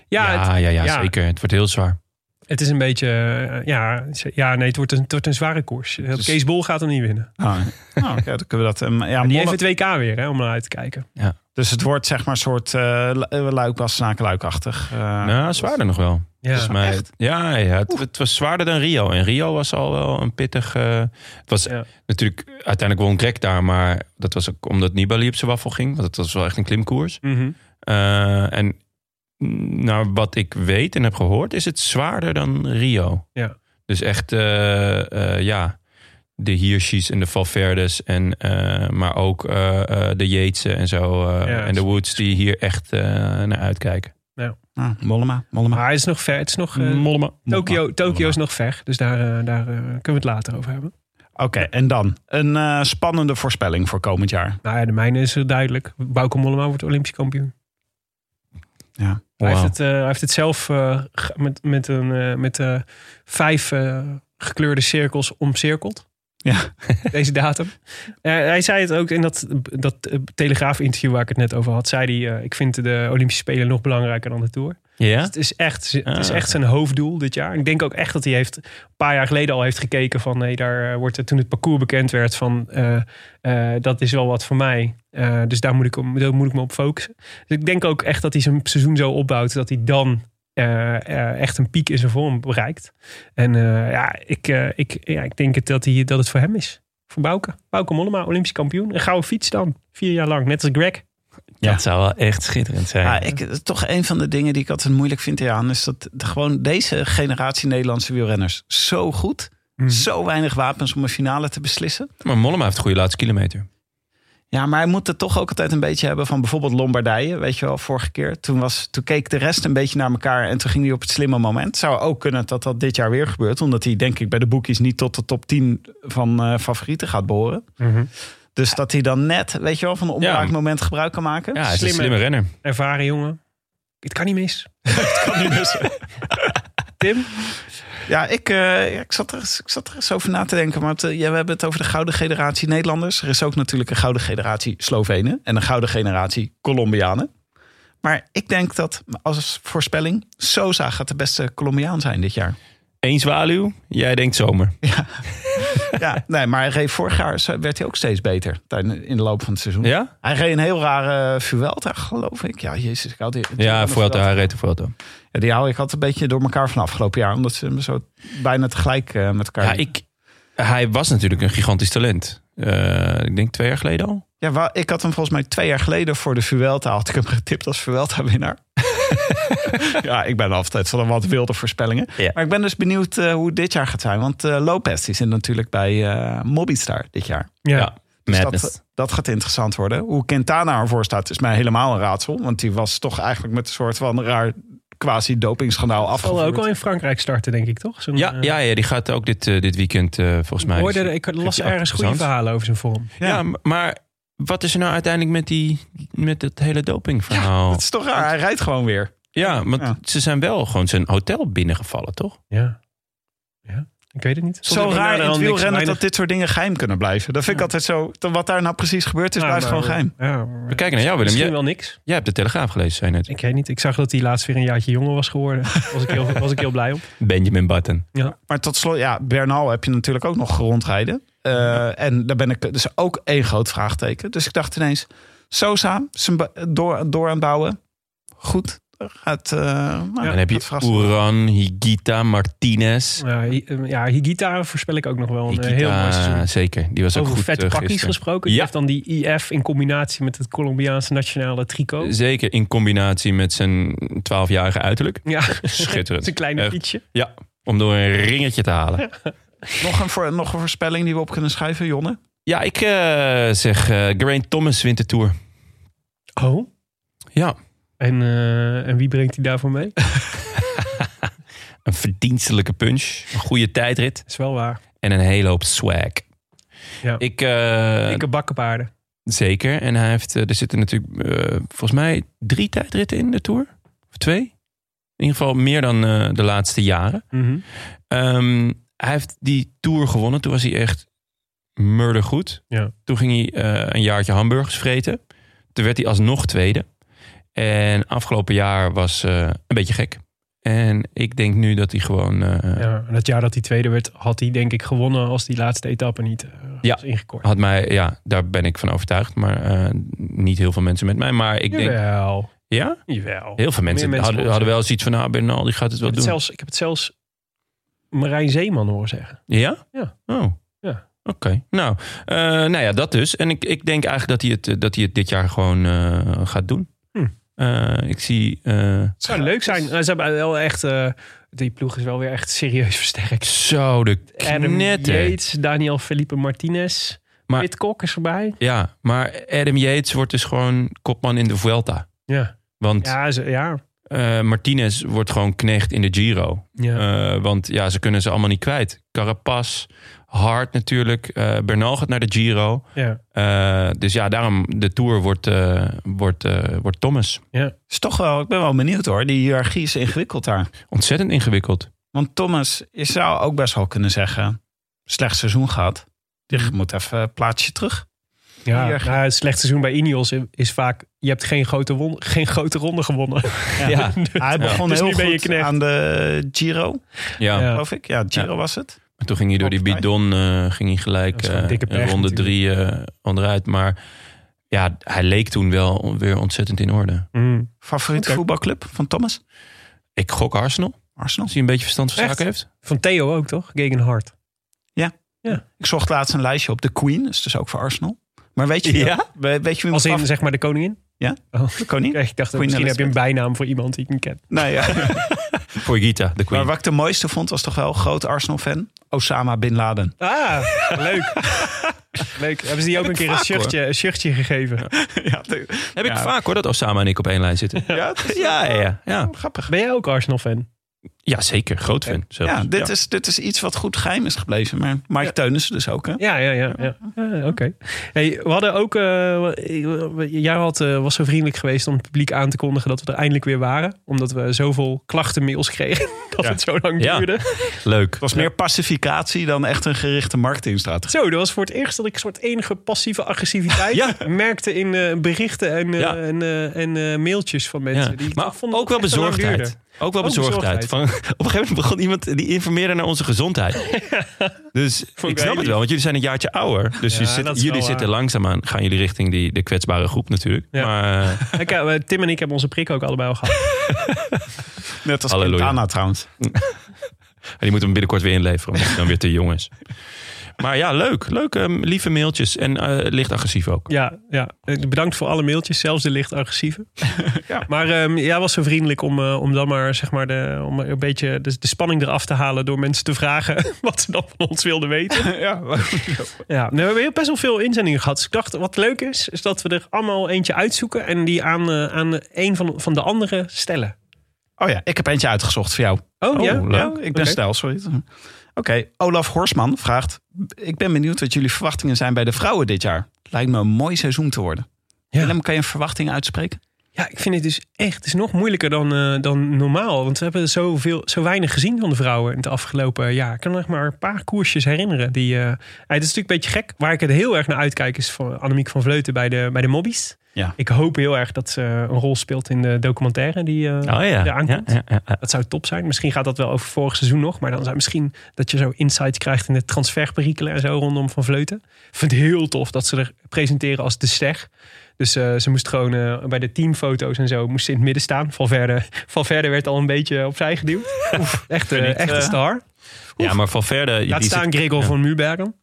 [SPEAKER 2] Ja, het-
[SPEAKER 1] ja, ja, ja,
[SPEAKER 2] ja.
[SPEAKER 1] zeker. Het wordt heel zwaar.
[SPEAKER 2] het is een beetje, eh, ja, ze- ja, nee, het wordt een, het wordt een zware koers.
[SPEAKER 3] Dus-
[SPEAKER 2] Kees Bol gaat hem niet winnen.
[SPEAKER 3] Oh, nou, ja, dan kunnen we dat. ehm, ja,
[SPEAKER 2] Die
[SPEAKER 3] Molle-
[SPEAKER 2] heeft het WK weer, hè, om naar uit te kijken.
[SPEAKER 3] Dus het wordt zeg maar een soort eh luikwas-snakenluikachtig.
[SPEAKER 1] nou, zwaarder nog wel.
[SPEAKER 2] Ja.
[SPEAKER 1] Volgens mij. Ja, ja het, het was zwaarder dan Rio. En Rio was al wel een pittig... eh, het was
[SPEAKER 2] Ja.
[SPEAKER 1] natuurlijk... Uiteindelijk won Greg daar, maar dat was ook omdat Nibali op zijn waffel ging. Want het was wel echt een klimkoers.
[SPEAKER 2] Mhm.
[SPEAKER 1] Eh, en naar wat ik weet en heb gehoord, is het zwaarder dan Rio.
[SPEAKER 2] Ja.
[SPEAKER 1] Dus echt, eh, eh, ja, de Hirschis en de Valverdes, en, eh, maar ook eh, eh, de Jeetsen en zo. eh,
[SPEAKER 2] Ja,
[SPEAKER 1] en de Woods, die hier echt eh, naar uitkijken.
[SPEAKER 3] Ah, Mollema, Mollema.
[SPEAKER 2] Maar het is nog ver, het is nog... eh,
[SPEAKER 1] Mollema.
[SPEAKER 2] Tokio, Tokio is nog ver, dus daar, eh, daar eh, kunnen we het later over hebben.
[SPEAKER 3] Oké, en dan een eh, spannende voorspelling voor komend jaar.
[SPEAKER 2] Nou ja, de mijne is eh, duidelijk. Bauke Mollema wordt Olympisch kampioen. Hij, heeft
[SPEAKER 1] Wauw.
[SPEAKER 2] het, eh, hij heeft het zelf eh, ge- met, met, een, eh, met eh, vijf eh, gekleurde cirkels omcirkeld.
[SPEAKER 3] Ja.
[SPEAKER 2] Deze datum. Eh, hij zei het ook in dat, dat eh, Telegraaf-interview waar ik het net over had. Zei hij, eh, ik vind de Olympische Spelen nog belangrijker dan de Tour.
[SPEAKER 1] Ja?
[SPEAKER 2] Het is, echt, het is
[SPEAKER 1] Ah.
[SPEAKER 2] echt zijn hoofddoel dit jaar. Ik denk ook echt dat hij heeft, een paar jaar geleden al heeft gekeken van... nee, daar eh, wordt het, toen het parcours bekend werd van... eh, eh, dat is wel wat voor mij. Eh, dus daar moet, ik, om- daar moet ik me op focussen. Dus ik denk ook echt dat hij zijn seizoen zo opbouwt... dat hij dan eh, eh, echt een piek in zijn vorm bereikt. En eh, ja, ik, eh, ik, ja, ik denk het dat, hij, dat het voor hem is. Voor Bouke. Bouke Mollema, Olympisch kampioen. Een gouden fiets dan. Vier jaar lang. Net als Greg.
[SPEAKER 3] Ja.
[SPEAKER 1] Dat zou wel echt schitterend zijn.
[SPEAKER 3] Ja, Ah, ik, eh, toch een van de dingen die ik altijd moeilijk vind hieraan... is dat de- gewoon deze generatie Nederlandse wielrenners zo goed...
[SPEAKER 1] Mhm.
[SPEAKER 3] zo weinig wapens om een finale te beslissen.
[SPEAKER 1] Maar Mollema heeft een goede laatste kilometer.
[SPEAKER 3] Ja, maar hij moet het toch ook altijd een beetje hebben van bijvoorbeeld Lombardije. Weet je wel, vorige keer. Toen, was, toen keek de rest een beetje naar elkaar en toen ging hij op het slimme moment. Zou ook kunnen dat dat dit jaar weer gebeurt. Omdat hij denk ik bij de boekies niet tot de top 10 van eh, favorieten gaat behoren.
[SPEAKER 2] Mhm.
[SPEAKER 3] Dus dat hij dan net, weet je wel, van een
[SPEAKER 1] Ja.
[SPEAKER 3] onbelangrijk moment gebruik kan maken.
[SPEAKER 1] Ja, hij is een
[SPEAKER 2] Slimme-
[SPEAKER 1] slimme renner.
[SPEAKER 2] Ervaren jongen. Het kan niet mis. Tim?
[SPEAKER 3] Ja, ik, eh, ik, zat er, eens- ik zat er eens over na te denken. Maar het, eh, ja, we hebben het over de gouden generatie Nederlanders. Er is ook natuurlijk een gouden generatie Slovenen. En een gouden generatie Colombianen. Maar ik denk dat, als voorspelling, Sosa gaat de beste Colombiaan zijn dit jaar.
[SPEAKER 1] Eén zwaluw, jij denkt zomer.
[SPEAKER 3] Ja, nee, maar hij reed vorig jaar werd hij ook steeds beter tijdens- in de loop van het seizoen.
[SPEAKER 1] Ja?
[SPEAKER 3] Hij reed een heel rare eh, Vuelta, geloof ik. Ja, jezus. Ik had die,
[SPEAKER 1] Ja, Vuelta, hij reed de Vuelta.
[SPEAKER 3] Ja, die haal ik altijd een beetje door elkaar van afgelopen jaar. Omdat ze zo bijna tegelijk eh, met elkaar...
[SPEAKER 1] Ja, ik, hij was natuurlijk een gigantisch talent. Eh, ik denk twee jaar geleden al.
[SPEAKER 3] Ja, wa- ik had hem volgens mij twee jaar geleden voor de Vuelta had ik hem getipt als Vuelta-winnaar. ja, ik ben altijd van de wat wilde voorspellingen.
[SPEAKER 1] Ja.
[SPEAKER 3] Maar ik ben dus benieuwd eh, hoe het dit jaar gaat zijn. Want eh, Lopez die zit natuurlijk bij eh Mobistar dit jaar.
[SPEAKER 2] Ja.
[SPEAKER 1] Ja.
[SPEAKER 3] Dus
[SPEAKER 1] Madness.
[SPEAKER 3] dat, dat gaat interessant worden. Hoe Quintana ervoor staat is mij helemaal een raadsel. Want die was toch eigenlijk met een soort van raar quasi-dopingschandaal
[SPEAKER 2] Zal ook al
[SPEAKER 3] afgevoerd.
[SPEAKER 2] in Frankrijk starten, denk ik, toch? Zo'n,
[SPEAKER 1] ja,
[SPEAKER 2] eh,
[SPEAKER 1] ja, ja, die gaat ook dit, eh, dit weekend eh, volgens mij.
[SPEAKER 2] hoorde,
[SPEAKER 1] Dus-
[SPEAKER 2] er- ik
[SPEAKER 1] Geeft
[SPEAKER 2] las
[SPEAKER 1] je
[SPEAKER 2] ergens goede
[SPEAKER 1] interessant.
[SPEAKER 2] verhalen over zijn vorm.
[SPEAKER 1] Ja, m- maar wat is er nou uiteindelijk met, die, met dat hele dopingverhaal? Ja,
[SPEAKER 3] Dat is toch raar. Hij rijdt gewoon weer.
[SPEAKER 1] want
[SPEAKER 3] Ja.
[SPEAKER 1] ze zijn wel gewoon zijn hotel binnengevallen, toch?
[SPEAKER 2] Ja. ja. Ik weet het niet. Soms
[SPEAKER 3] Zo
[SPEAKER 2] heb ik
[SPEAKER 3] raar in
[SPEAKER 2] naderhand
[SPEAKER 3] het
[SPEAKER 2] niks
[SPEAKER 3] wielrennen
[SPEAKER 2] weinig-
[SPEAKER 3] dat dit soort dingen geheim kunnen blijven. Dat vind ik altijd zo. dan Wat daar nou precies gebeurd is,
[SPEAKER 2] Ja,
[SPEAKER 3] blijft
[SPEAKER 2] maar-
[SPEAKER 3] gewoon geheim.
[SPEAKER 2] Ja, maar-
[SPEAKER 1] We kijken naar jou, Willem.
[SPEAKER 2] Misschien
[SPEAKER 1] Jij,
[SPEAKER 2] wel niks.
[SPEAKER 1] jij hebt de Telegraaf gelezen, zei je net.
[SPEAKER 2] Ik weet niet. Ik zag dat hij laatst weer een jaartje jonger was geworden. Was ik heel, was ik heel blij om.
[SPEAKER 1] Benjamin Button.
[SPEAKER 3] Maar tot slot, ja, Bernal heb je natuurlijk ook nog rondrijden. Eh, En daar ben ik dus ook één groot vraagteken. Dus ik dacht ineens, Sosa, zijn ba- door, door aan het bouwen. Goed, gaat... eh, nou,
[SPEAKER 2] Ja,
[SPEAKER 1] en dan heb
[SPEAKER 3] gaat
[SPEAKER 1] je
[SPEAKER 3] verrassen.
[SPEAKER 1] Oeran, Higita, Martinez.
[SPEAKER 2] Ja, Hi- eh, ja, Higita voorspel ik ook nog wel een eh,
[SPEAKER 1] Higita,
[SPEAKER 2] heel mooi seizoen.
[SPEAKER 1] zeker. Die was ook
[SPEAKER 2] Over
[SPEAKER 1] goed
[SPEAKER 2] vette
[SPEAKER 1] eh,
[SPEAKER 2] pakjes
[SPEAKER 1] gisteren.
[SPEAKER 2] gesproken. Die
[SPEAKER 1] Ja.
[SPEAKER 2] heeft dan die IF in combinatie met het Colombiaanse nationale tricot.
[SPEAKER 1] Zeker in combinatie met zijn 12-jarige uiterlijk.
[SPEAKER 2] Ja,
[SPEAKER 1] Schitterend.
[SPEAKER 2] zijn kleine
[SPEAKER 1] Echt.
[SPEAKER 2] fietsje.
[SPEAKER 1] Om door een ringetje te halen.
[SPEAKER 3] Nog, een voor, nog een voorspelling die we op kunnen schrijven, Jonne.
[SPEAKER 1] Ja, ik eh, zeg eh Geraint Thomas wint de Tour.
[SPEAKER 2] Oh.
[SPEAKER 1] Ja.
[SPEAKER 2] En, eh, en wie brengt hij daarvoor mee? Dat
[SPEAKER 1] Een verdienstelijke punch. Een goede tijdrit.
[SPEAKER 2] is wel waar.
[SPEAKER 1] En een hele hoop swag.
[SPEAKER 2] Ja.
[SPEAKER 1] Ik, eh,
[SPEAKER 2] Dikke bakkenpaarden.
[SPEAKER 1] zeker. En hij heeft, eh, er zitten natuurlijk eh, volgens mij drie tijdritten in de Tour. Of twee. In ieder geval meer dan eh, de laatste jaren.
[SPEAKER 2] Mhm.
[SPEAKER 1] Ehm, hij heeft die Tour gewonnen. Toen was hij echt murdergoed.
[SPEAKER 2] Ja.
[SPEAKER 1] Toen ging hij eh, een jaartje hamburgers vreten. Toen werd hij alsnog tweede. En afgelopen jaar was eh, een beetje gek. En ik denk nu dat hij gewoon... eh,
[SPEAKER 2] Ja, en het jaar dat hij tweede werd, had hij denk ik gewonnen als die laatste etappe niet eh,
[SPEAKER 1] Ja.
[SPEAKER 2] was ingekort.
[SPEAKER 1] Had mij, ja, daar ben ik van overtuigd. Maar eh, niet heel veel mensen met mij. Maar ik denk,
[SPEAKER 2] Jawel.
[SPEAKER 1] ja,
[SPEAKER 2] Jawel.
[SPEAKER 1] heel veel mensen,
[SPEAKER 2] mensen
[SPEAKER 1] hadden,
[SPEAKER 2] volgens
[SPEAKER 1] hadden
[SPEAKER 2] mij.
[SPEAKER 1] wel zoiets van... Nou, Bernal, die gaat het wel
[SPEAKER 2] Ik heb het
[SPEAKER 1] doen.
[SPEAKER 2] zelfs, ik heb het zelfs Marijn Zeeman horen zeggen.
[SPEAKER 1] Ja?
[SPEAKER 2] Ja.
[SPEAKER 1] Oh.
[SPEAKER 2] Ja.
[SPEAKER 1] Oké. Nou, eh, nou ja, dat dus. En ik, ik denk eigenlijk dat hij, het, eh, dat hij het dit jaar gewoon eh, gaat doen.
[SPEAKER 2] Hm.
[SPEAKER 1] Eh, ik zie eh,
[SPEAKER 2] Het zou leuk zijn. Nou, Ze hebben wel echt, eh, die ploeg is wel weer echt serieus versterkt.
[SPEAKER 1] zo de
[SPEAKER 2] Adam
[SPEAKER 1] knetter.
[SPEAKER 2] Yates, Daniel Felipe Martinez.
[SPEAKER 1] Maar-
[SPEAKER 2] Maar, Pitcock is voorbij.
[SPEAKER 1] Ja, maar Adam Yates wordt dus gewoon kopman in de Vuelta.
[SPEAKER 2] Ja.
[SPEAKER 1] Want
[SPEAKER 2] Ja, ze, ja.
[SPEAKER 1] eh, Martinez wordt gewoon knecht in de Giro.
[SPEAKER 2] ja.
[SPEAKER 1] Eh, want ja, ze kunnen ze allemaal niet kwijt. Carapaz, Hart natuurlijk. eh, Bernal gaat naar de Giro.
[SPEAKER 2] ja.
[SPEAKER 1] Eh, dus ja, daarom de Tour wordt, eh, wordt, eh, wordt Thomas.
[SPEAKER 3] Is toch wel, ik ben wel benieuwd hoor. Die hiërarchie is ingewikkeld daar.
[SPEAKER 1] Ontzettend ingewikkeld.
[SPEAKER 3] Want Thomas, je zou ook best wel kunnen zeggen... slecht seizoen gehad.
[SPEAKER 2] Hm.
[SPEAKER 3] Je moet even een plaatsje terug.
[SPEAKER 2] ja.
[SPEAKER 3] Hier.
[SPEAKER 2] Nou, het slecht seizoen bij Ineos is vaak... Je hebt geen grote, won- geen grote ronde gewonnen.
[SPEAKER 1] Ja. Ah.
[SPEAKER 3] Hij begon
[SPEAKER 2] Dus
[SPEAKER 3] heel
[SPEAKER 2] nu ben je
[SPEAKER 3] goed
[SPEAKER 2] knecht.
[SPEAKER 3] aan de Giro.
[SPEAKER 1] Ja,
[SPEAKER 2] Ja.
[SPEAKER 3] geloof ik. Ja, Giro
[SPEAKER 1] Ja.
[SPEAKER 3] was het.
[SPEAKER 1] maar toen ging hij door die bidon eh, ging hij
[SPEAKER 2] Dat
[SPEAKER 1] gelijk
[SPEAKER 2] is gewoon
[SPEAKER 1] eh,
[SPEAKER 2] dikke pech
[SPEAKER 1] ronde
[SPEAKER 2] natuurlijk.
[SPEAKER 1] drie eh, onderuit. Maar ja, hij leek toen wel on- weer ontzettend in orde.
[SPEAKER 2] Mm.
[SPEAKER 3] Favoriete
[SPEAKER 2] Oké.
[SPEAKER 3] voetbalclub van Thomas?
[SPEAKER 1] Ik gok Arsenal,
[SPEAKER 3] Arsenal.
[SPEAKER 1] als hij een beetje verstand van
[SPEAKER 2] Echt?
[SPEAKER 1] zaken heeft.
[SPEAKER 2] Van Theo ook, toch? Gegenhard.
[SPEAKER 3] Ik zocht laatst een lijstje op. De Queen is dus ook voor Arsenal. Maar weet je, wie-
[SPEAKER 1] Ja?
[SPEAKER 3] we- weet je wie
[SPEAKER 2] Als
[SPEAKER 3] mijn
[SPEAKER 2] in, zeg maar, de koningin.
[SPEAKER 3] favoriete koning?
[SPEAKER 2] Ja, ik dacht,
[SPEAKER 3] Queen
[SPEAKER 2] misschien heb je een
[SPEAKER 3] Elizabeth.
[SPEAKER 2] bijnaam voor iemand die ik niet ken.
[SPEAKER 3] Nee, ja.
[SPEAKER 1] Voor Gita, de
[SPEAKER 3] Maar
[SPEAKER 1] queen.
[SPEAKER 3] wat ik de mooiste vond, was toch wel groot Arsenal-fan. Osama Bin Laden.
[SPEAKER 2] Ah, leuk. leuk. Hebben ze die ook een keer een
[SPEAKER 1] vaak,
[SPEAKER 2] shirtje, een shirtje gegeven?
[SPEAKER 3] ja, de-
[SPEAKER 1] Heb ik
[SPEAKER 3] Ja.
[SPEAKER 1] vaak hoor, dat Osama en ik op één lijn zitten.
[SPEAKER 3] ja, het is-
[SPEAKER 1] ja, ja, ja.
[SPEAKER 3] grappig.
[SPEAKER 2] Ben jij ook Arsenal-fan?
[SPEAKER 1] Ja, zeker. Groot fan zelfs.
[SPEAKER 3] Ja, dit, Is, dit is iets wat goed geheim is gebleven. Maar Mike Teunissen dus ook, hè?
[SPEAKER 2] Ja, ja, ja. ja. Ja, Ah, Oké. Hey, we hadden ook. eh, jij had, eh, was zo vriendelijk geweest om het publiek aan te kondigen dat we er eindelijk weer waren. Omdat we zoveel klachtenmails kregen dat
[SPEAKER 1] Ja.
[SPEAKER 2] het zo lang
[SPEAKER 1] Ja.
[SPEAKER 2] duurde.
[SPEAKER 1] Leuk.
[SPEAKER 3] Het was meer pacificatie dan echt een gerichte marketingstrategie.
[SPEAKER 2] Zo, dat was voor het eerst dat ik een soort enige passieve agressiviteit
[SPEAKER 1] Ja.
[SPEAKER 2] merkte in eh, berichten en, eh,
[SPEAKER 1] Ja.
[SPEAKER 2] en, eh, en eh, mailtjes van mensen.
[SPEAKER 1] Ja.
[SPEAKER 2] Die ik
[SPEAKER 1] Maar
[SPEAKER 2] toch vond dat
[SPEAKER 1] ook wel
[SPEAKER 2] het echt te lang
[SPEAKER 1] bezorgdheid.
[SPEAKER 2] duurde.
[SPEAKER 1] Ook wel
[SPEAKER 2] Ook
[SPEAKER 1] bezorgdheid.
[SPEAKER 2] bezorgdheid.
[SPEAKER 1] Van, op een gegeven moment begon iemand die informeerde naar onze gezondheid. Dus
[SPEAKER 2] Vond ik
[SPEAKER 1] ik snap
[SPEAKER 2] heel
[SPEAKER 1] het wel, want jullie zijn een jaartje ouder. Dus
[SPEAKER 2] Ja,
[SPEAKER 1] je zit-
[SPEAKER 2] dat is
[SPEAKER 1] jullie
[SPEAKER 2] wel
[SPEAKER 1] zitten
[SPEAKER 2] waar.
[SPEAKER 1] langzaamaan, gaan jullie richting die, de kwetsbare groep natuurlijk.
[SPEAKER 2] Ja.
[SPEAKER 1] Maar eh,
[SPEAKER 2] Ik, eh, Tim en ik hebben onze prik ook allebei al gehad.
[SPEAKER 3] Net als
[SPEAKER 1] Halleluja.
[SPEAKER 3] Quintana trouwens.
[SPEAKER 1] die moeten we binnenkort weer inleveren, omdat hij dan weer te jong is. Maar ja, leuk. Leuk, eh, lieve mailtjes. En eh, licht agressief ook.
[SPEAKER 2] Ja, ja. Eh, bedankt voor alle mailtjes, zelfs de licht agressieve. ja. Maar ehm, jij was zo vriendelijk om, eh, om dan maar, zeg maar de, om een beetje de, de spanning eraf te halen door mensen te vragen wat ze dan van ons wilden weten.
[SPEAKER 3] ja,
[SPEAKER 2] Ja, nou, we hebben heel best wel veel inzendingen gehad. Dus ik dacht, wat leuk is, is dat we er allemaal eentje uitzoeken en die aan, eh, aan een van, van de anderen stellen.
[SPEAKER 3] Oh ja, ik heb eentje uitgezocht voor jou.
[SPEAKER 2] Oh, ja?
[SPEAKER 3] leuk.
[SPEAKER 2] Ja?
[SPEAKER 3] ik ben
[SPEAKER 2] Oké.
[SPEAKER 3] stijl, sorry. Oké, Olaf Horsman vraagt... Ik ben benieuwd wat jullie verwachtingen zijn bij de vrouwen dit jaar. Lijkt me een mooi seizoen te worden.
[SPEAKER 2] Ja.
[SPEAKER 3] Willem, kan je een verwachting uitspreken?
[SPEAKER 2] Ja, ik vind het dus echt het is nog moeilijker dan, eh, dan normaal. Want we hebben zoveel, zo weinig gezien van de vrouwen in het afgelopen jaar. Ik kan nog maar een paar koersjes herinneren. Die, eh, ja, het is natuurlijk een beetje gek. Waar ik het heel erg naar uitkijk is van Annemiek van Vleuten bij de, bij de Mobbies.
[SPEAKER 3] Ja.
[SPEAKER 2] Ik hoop heel erg dat ze een rol speelt in de documentaire die eh,
[SPEAKER 1] Oh ja.
[SPEAKER 2] er aankomt.
[SPEAKER 1] Ja, ja, ja.
[SPEAKER 2] Dat zou top zijn. Misschien gaat dat wel over vorig seizoen nog. Maar dan zou misschien dat je zo insights krijgt in de transferperikelen en zo rondom Van Vleuten. Ik vind het heel tof dat ze er presenteren als de ster. Dus eh, ze moest gewoon eh, bij de teamfoto's en zo moest ze in het midden staan. Valverde, Valverde werd al een beetje opzij geduwd. Oef, echt, eh, echt een star.
[SPEAKER 1] Ja, maar van verder...
[SPEAKER 2] Laat staan Gregor van Mubergen.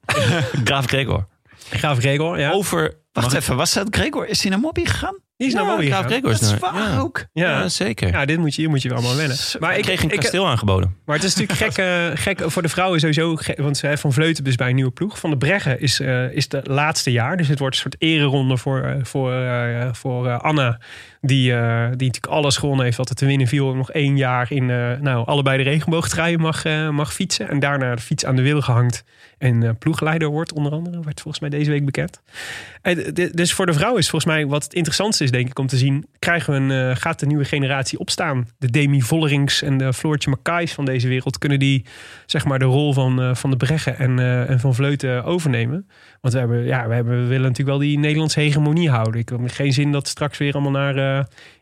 [SPEAKER 1] Graaf Gregor.
[SPEAKER 2] Graaf Gregor, ja.
[SPEAKER 1] Over...
[SPEAKER 3] Wacht
[SPEAKER 1] Mag ik-
[SPEAKER 3] even, was dat Gregor? Is hij naar Mobby gegaan?
[SPEAKER 2] Die is naar Mobby
[SPEAKER 1] Graaf
[SPEAKER 2] gegaan.
[SPEAKER 1] Gregor is
[SPEAKER 3] Dat is
[SPEAKER 1] naar-
[SPEAKER 3] waar
[SPEAKER 1] ja.
[SPEAKER 3] ook.
[SPEAKER 2] Ja.
[SPEAKER 1] Ja, zeker.
[SPEAKER 2] Ja, dit moet je, hier moet je wel allemaal wennen. Maar
[SPEAKER 1] ik kreeg een
[SPEAKER 2] ik,
[SPEAKER 1] kasteel aangeboden.
[SPEAKER 2] Maar het is natuurlijk gek, eh, gek voor de vrouwen sowieso. gek, Want ze van Vleuten dus bij een nieuwe ploeg. Van de Breggen is, eh, is de laatste jaar. Dus het wordt een soort ereronde voor, eh, voor, eh, voor eh, Anna. Die, eh, die natuurlijk alles gewonnen heeft wat er te winnen viel. En nog één jaar in eh, nou, allebei de regenboogtruien mag, eh, mag fietsen. En daarna de fiets aan de wil gehangt. En eh, ploegleider wordt onder andere. Werd volgens mij deze week bekend. En d- d- dus voor de vrouw is volgens mij wat het interessantste is, denk ik, om te zien: krijgen we een, eh, gaat de nieuwe generatie opstaan? De Demi Vollerings en de Floortje Mackays van deze wereld, kunnen die zeg maar de rol van, eh, van de Breggen en, eh, en van Vleuten overnemen? Want we, hebben, ja, we, hebben, we willen natuurlijk wel die Nederlandse hegemonie houden. Ik heb geen zin dat straks weer allemaal naar eh,